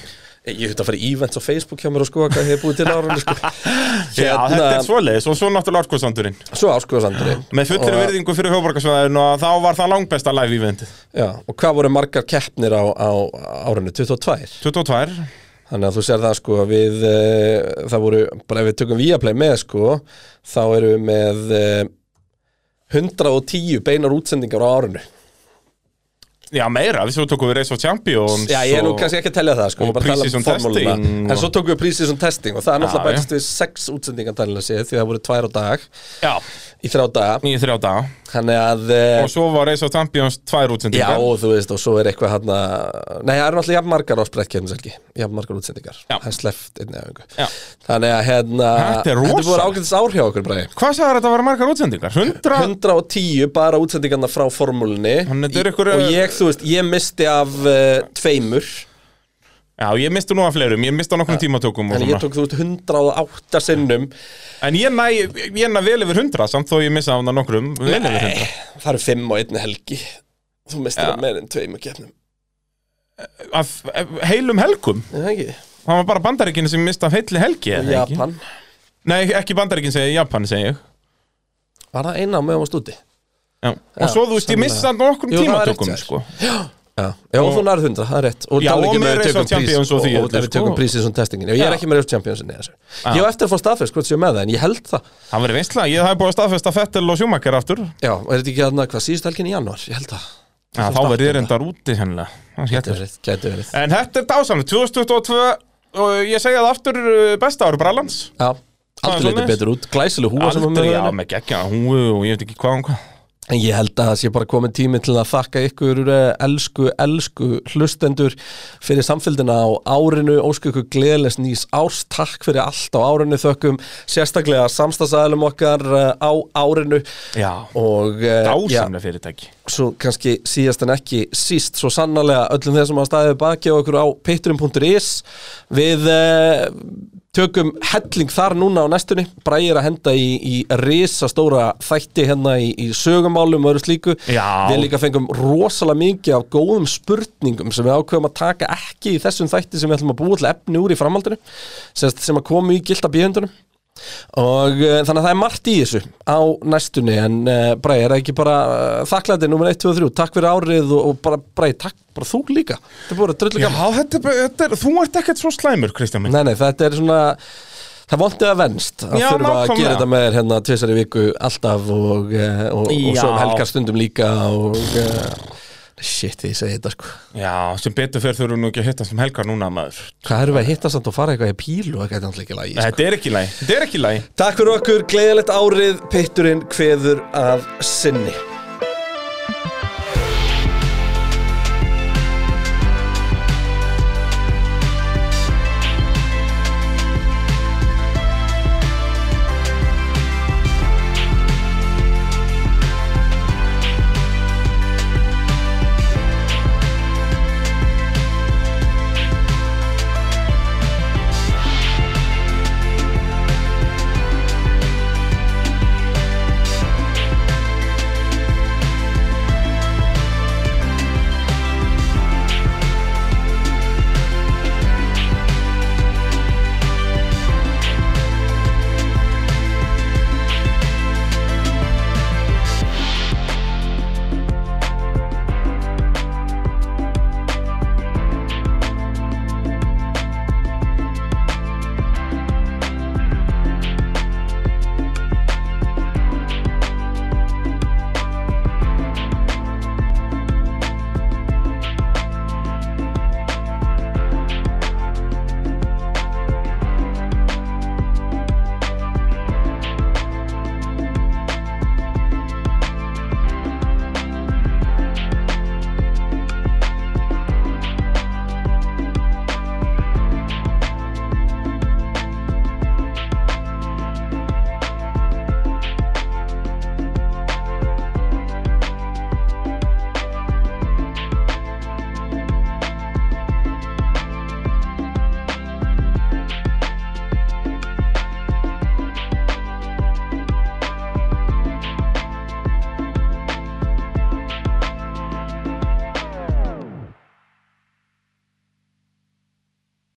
Speaker 3: Ég höfði að fara í events á Facebook hjá mér og sko hvað hefur búið til árunni sko
Speaker 4: Já,
Speaker 3: Hérna-
Speaker 4: þetta er svoleiðis og svo náttúrulega orkuðsandurinn
Speaker 3: Svo áskosandri
Speaker 4: Með fullri
Speaker 3: Og-
Speaker 4: virðingu fyrir höfborgarsvæðinu og þá var það langbesta live eventið
Speaker 3: Já, og hvað voru margar keppnir á, á árunni? 22
Speaker 4: 22
Speaker 3: Þannig að þú sér það sko að við e, það voru, bara ef við tökum Viaplay með sko þá erum við með e, 110 beinar útsendingar á árunnu
Speaker 4: Já, meira, við svo tókum við Race of Champions
Speaker 3: Já, ég er nú
Speaker 4: og-
Speaker 3: kannski ekki að tellja það sko,
Speaker 4: og
Speaker 3: ég er bara að tala
Speaker 4: pre-season
Speaker 3: um formúluna
Speaker 4: testing og-
Speaker 3: En svo tókum við prísísum testing og það er náttúrulega
Speaker 4: Já,
Speaker 3: bætist við sex útsendingartalina séð því það voru tvær á dag
Speaker 4: Já,
Speaker 3: í þrjá daga
Speaker 4: í þrjá daga
Speaker 3: Þannig að,
Speaker 4: Og
Speaker 3: eh,
Speaker 4: svo var Race of Champions tvær
Speaker 3: já
Speaker 4: útsendingar
Speaker 3: og þú veist og svo er eitthvað hann að Nei, það eru náttúrulega jafn margar á sprekkjæmselgi, jafn margar útsendingar
Speaker 4: Já.
Speaker 3: Það er sleft einni af einhver
Speaker 4: Já.
Speaker 3: Þannig að hérna,
Speaker 4: Þetta er
Speaker 3: þetta voru
Speaker 4: rosalegt.
Speaker 3: ágætis ár hjá okkur bræði
Speaker 4: Hvað sagði þetta var margar útsendingar? 100?
Speaker 3: 110 bara útsendingarna frá formúlunni
Speaker 4: Þannig að þetta er
Speaker 3: Í-
Speaker 4: ykkur,
Speaker 3: og
Speaker 4: eh,
Speaker 3: ég, þú veist, ég misti af uh, tveimur
Speaker 4: Já, ég misti nú að fleirum, ég misti á nokkrum tímatökum og
Speaker 3: Þannig Eh, ég
Speaker 4: svona
Speaker 3: tók, þú veist, 108 sinnum
Speaker 4: En ég næ, ég næ vel yfir 100 samt þó ég missa á hana nokkrum vel yfir
Speaker 3: Eh.
Speaker 4: 100
Speaker 3: Það eru fimm og einni helgi Þú mistir
Speaker 4: Já.
Speaker 3: að meira en tveimur keppnum
Speaker 4: Af af heilum helgum
Speaker 3: Er það ekki?
Speaker 4: Það var bara bandaríkinu sem misti af heilli helgi
Speaker 3: Og
Speaker 4: eða ekki?
Speaker 3: Japan
Speaker 4: Nei, ekki bandaríkinu segi, ég, Japan segi ég
Speaker 3: Var það eina á meðan varst úti?
Speaker 4: Já. Og svo þú veist, ég
Speaker 3: sannlega.
Speaker 4: missa á nokkrum
Speaker 3: Jú, það var rétt
Speaker 4: tímatökum
Speaker 3: hjá þér.
Speaker 4: sko.
Speaker 3: Já, já og þú nærð hundra, það er rétt Og
Speaker 4: Já,
Speaker 3: tala
Speaker 4: og
Speaker 3: ekki
Speaker 4: með
Speaker 3: með
Speaker 4: Race of
Speaker 3: tökum prís
Speaker 4: Champions og því
Speaker 3: Og
Speaker 4: öllu,
Speaker 3: um ef við
Speaker 4: sko.
Speaker 3: tökum prísið sem testingin Já, ég
Speaker 4: Já.
Speaker 3: er ekki með Race of Champions inni, í þessu. Ég á eftir að fá staðfest hvort séu með það En ég held það Já,
Speaker 4: Það verið veistla, ég hef búið að staðfesta Fettel og Schumacher aftur
Speaker 3: og er þetta ekki að hvað síðust helgin í janúar? Ég held það
Speaker 4: ja, þá verður ég reyndar úti hennilega Það sé
Speaker 3: Gæti
Speaker 4: eftir.
Speaker 3: verið, gæti verið
Speaker 4: En þetta er dásamlega, 2022 og ég segja það aftur uh, besta ári brallans
Speaker 3: Já,
Speaker 4: er
Speaker 3: aldrei
Speaker 4: svoleiðis.
Speaker 3: lítið betur út, glæsileg húa sem hún
Speaker 4: Aldrei,
Speaker 3: með
Speaker 4: já,
Speaker 3: henni
Speaker 4: með geggja húu og ég veit ekki hvað og hvað
Speaker 3: En ég held að það sé bara komin tími til að þakka ykkur eh, elsku, elsku hlustendur fyrir samfélgina á árinu, ósku ykkur gleðilegs nýs árs, takk fyrir allt á árinu þökkum, sérstaklega samstagsæðlum okkar eh, á árinu
Speaker 4: Já,
Speaker 3: og eh, já,
Speaker 4: dásamlega fyrirtæki
Speaker 3: svo kannski síðast en ekki síst svo sannarlega öllum þeir sem hafa staðið við baki á okkur á patreon.is við uh, tökum helling þar núna á næstunni Bræði er að henda í, í risastóra þætti hérna í, í sögumálum og öðru slíku
Speaker 4: Já.
Speaker 3: við líka fengum rosalega mikið af góðum spurningum sem við ákveðum að taka ekki í þessum þætti sem við ætlum að búa til efni úr í framhaldinu sem, sem að komu í gilda bíhundunum og uh, þannig að það er margt í þessu á næstunni en uh, Bræði er það ekki bara uh, þakklæði nummer 1, 2 og 3 takk fyrir árið og, og bara Bræði takk bara þú líka þetta er bara drullu
Speaker 4: Já,
Speaker 3: gaman
Speaker 4: þetta er, bara- þetta er, þú ert ekkert svo slæmur, Kristján minn
Speaker 3: nei, nei, þetta er svona það vondið að venst að
Speaker 4: Já,
Speaker 3: þurfa að
Speaker 4: nákvæmlega.
Speaker 3: gera þetta með þér hérna tvisari viku alltaf og, uh, og, og svo um
Speaker 4: Já.
Speaker 3: helgarstundum líka og uh, shit því ég segi þetta sko
Speaker 4: Já, sem betur fyrir þurfum við nú ekki að hittast um helgar núna, maður
Speaker 3: hvað erum við að hitta samt og fara eitthvað í píl og eitthvað er náttúrulega ekki lægi sko.
Speaker 4: Þetta er ekki lægi, þetta er ekki lægi
Speaker 3: takk fyrir okkur, gleðilegt árið pitturinn kveður af sinni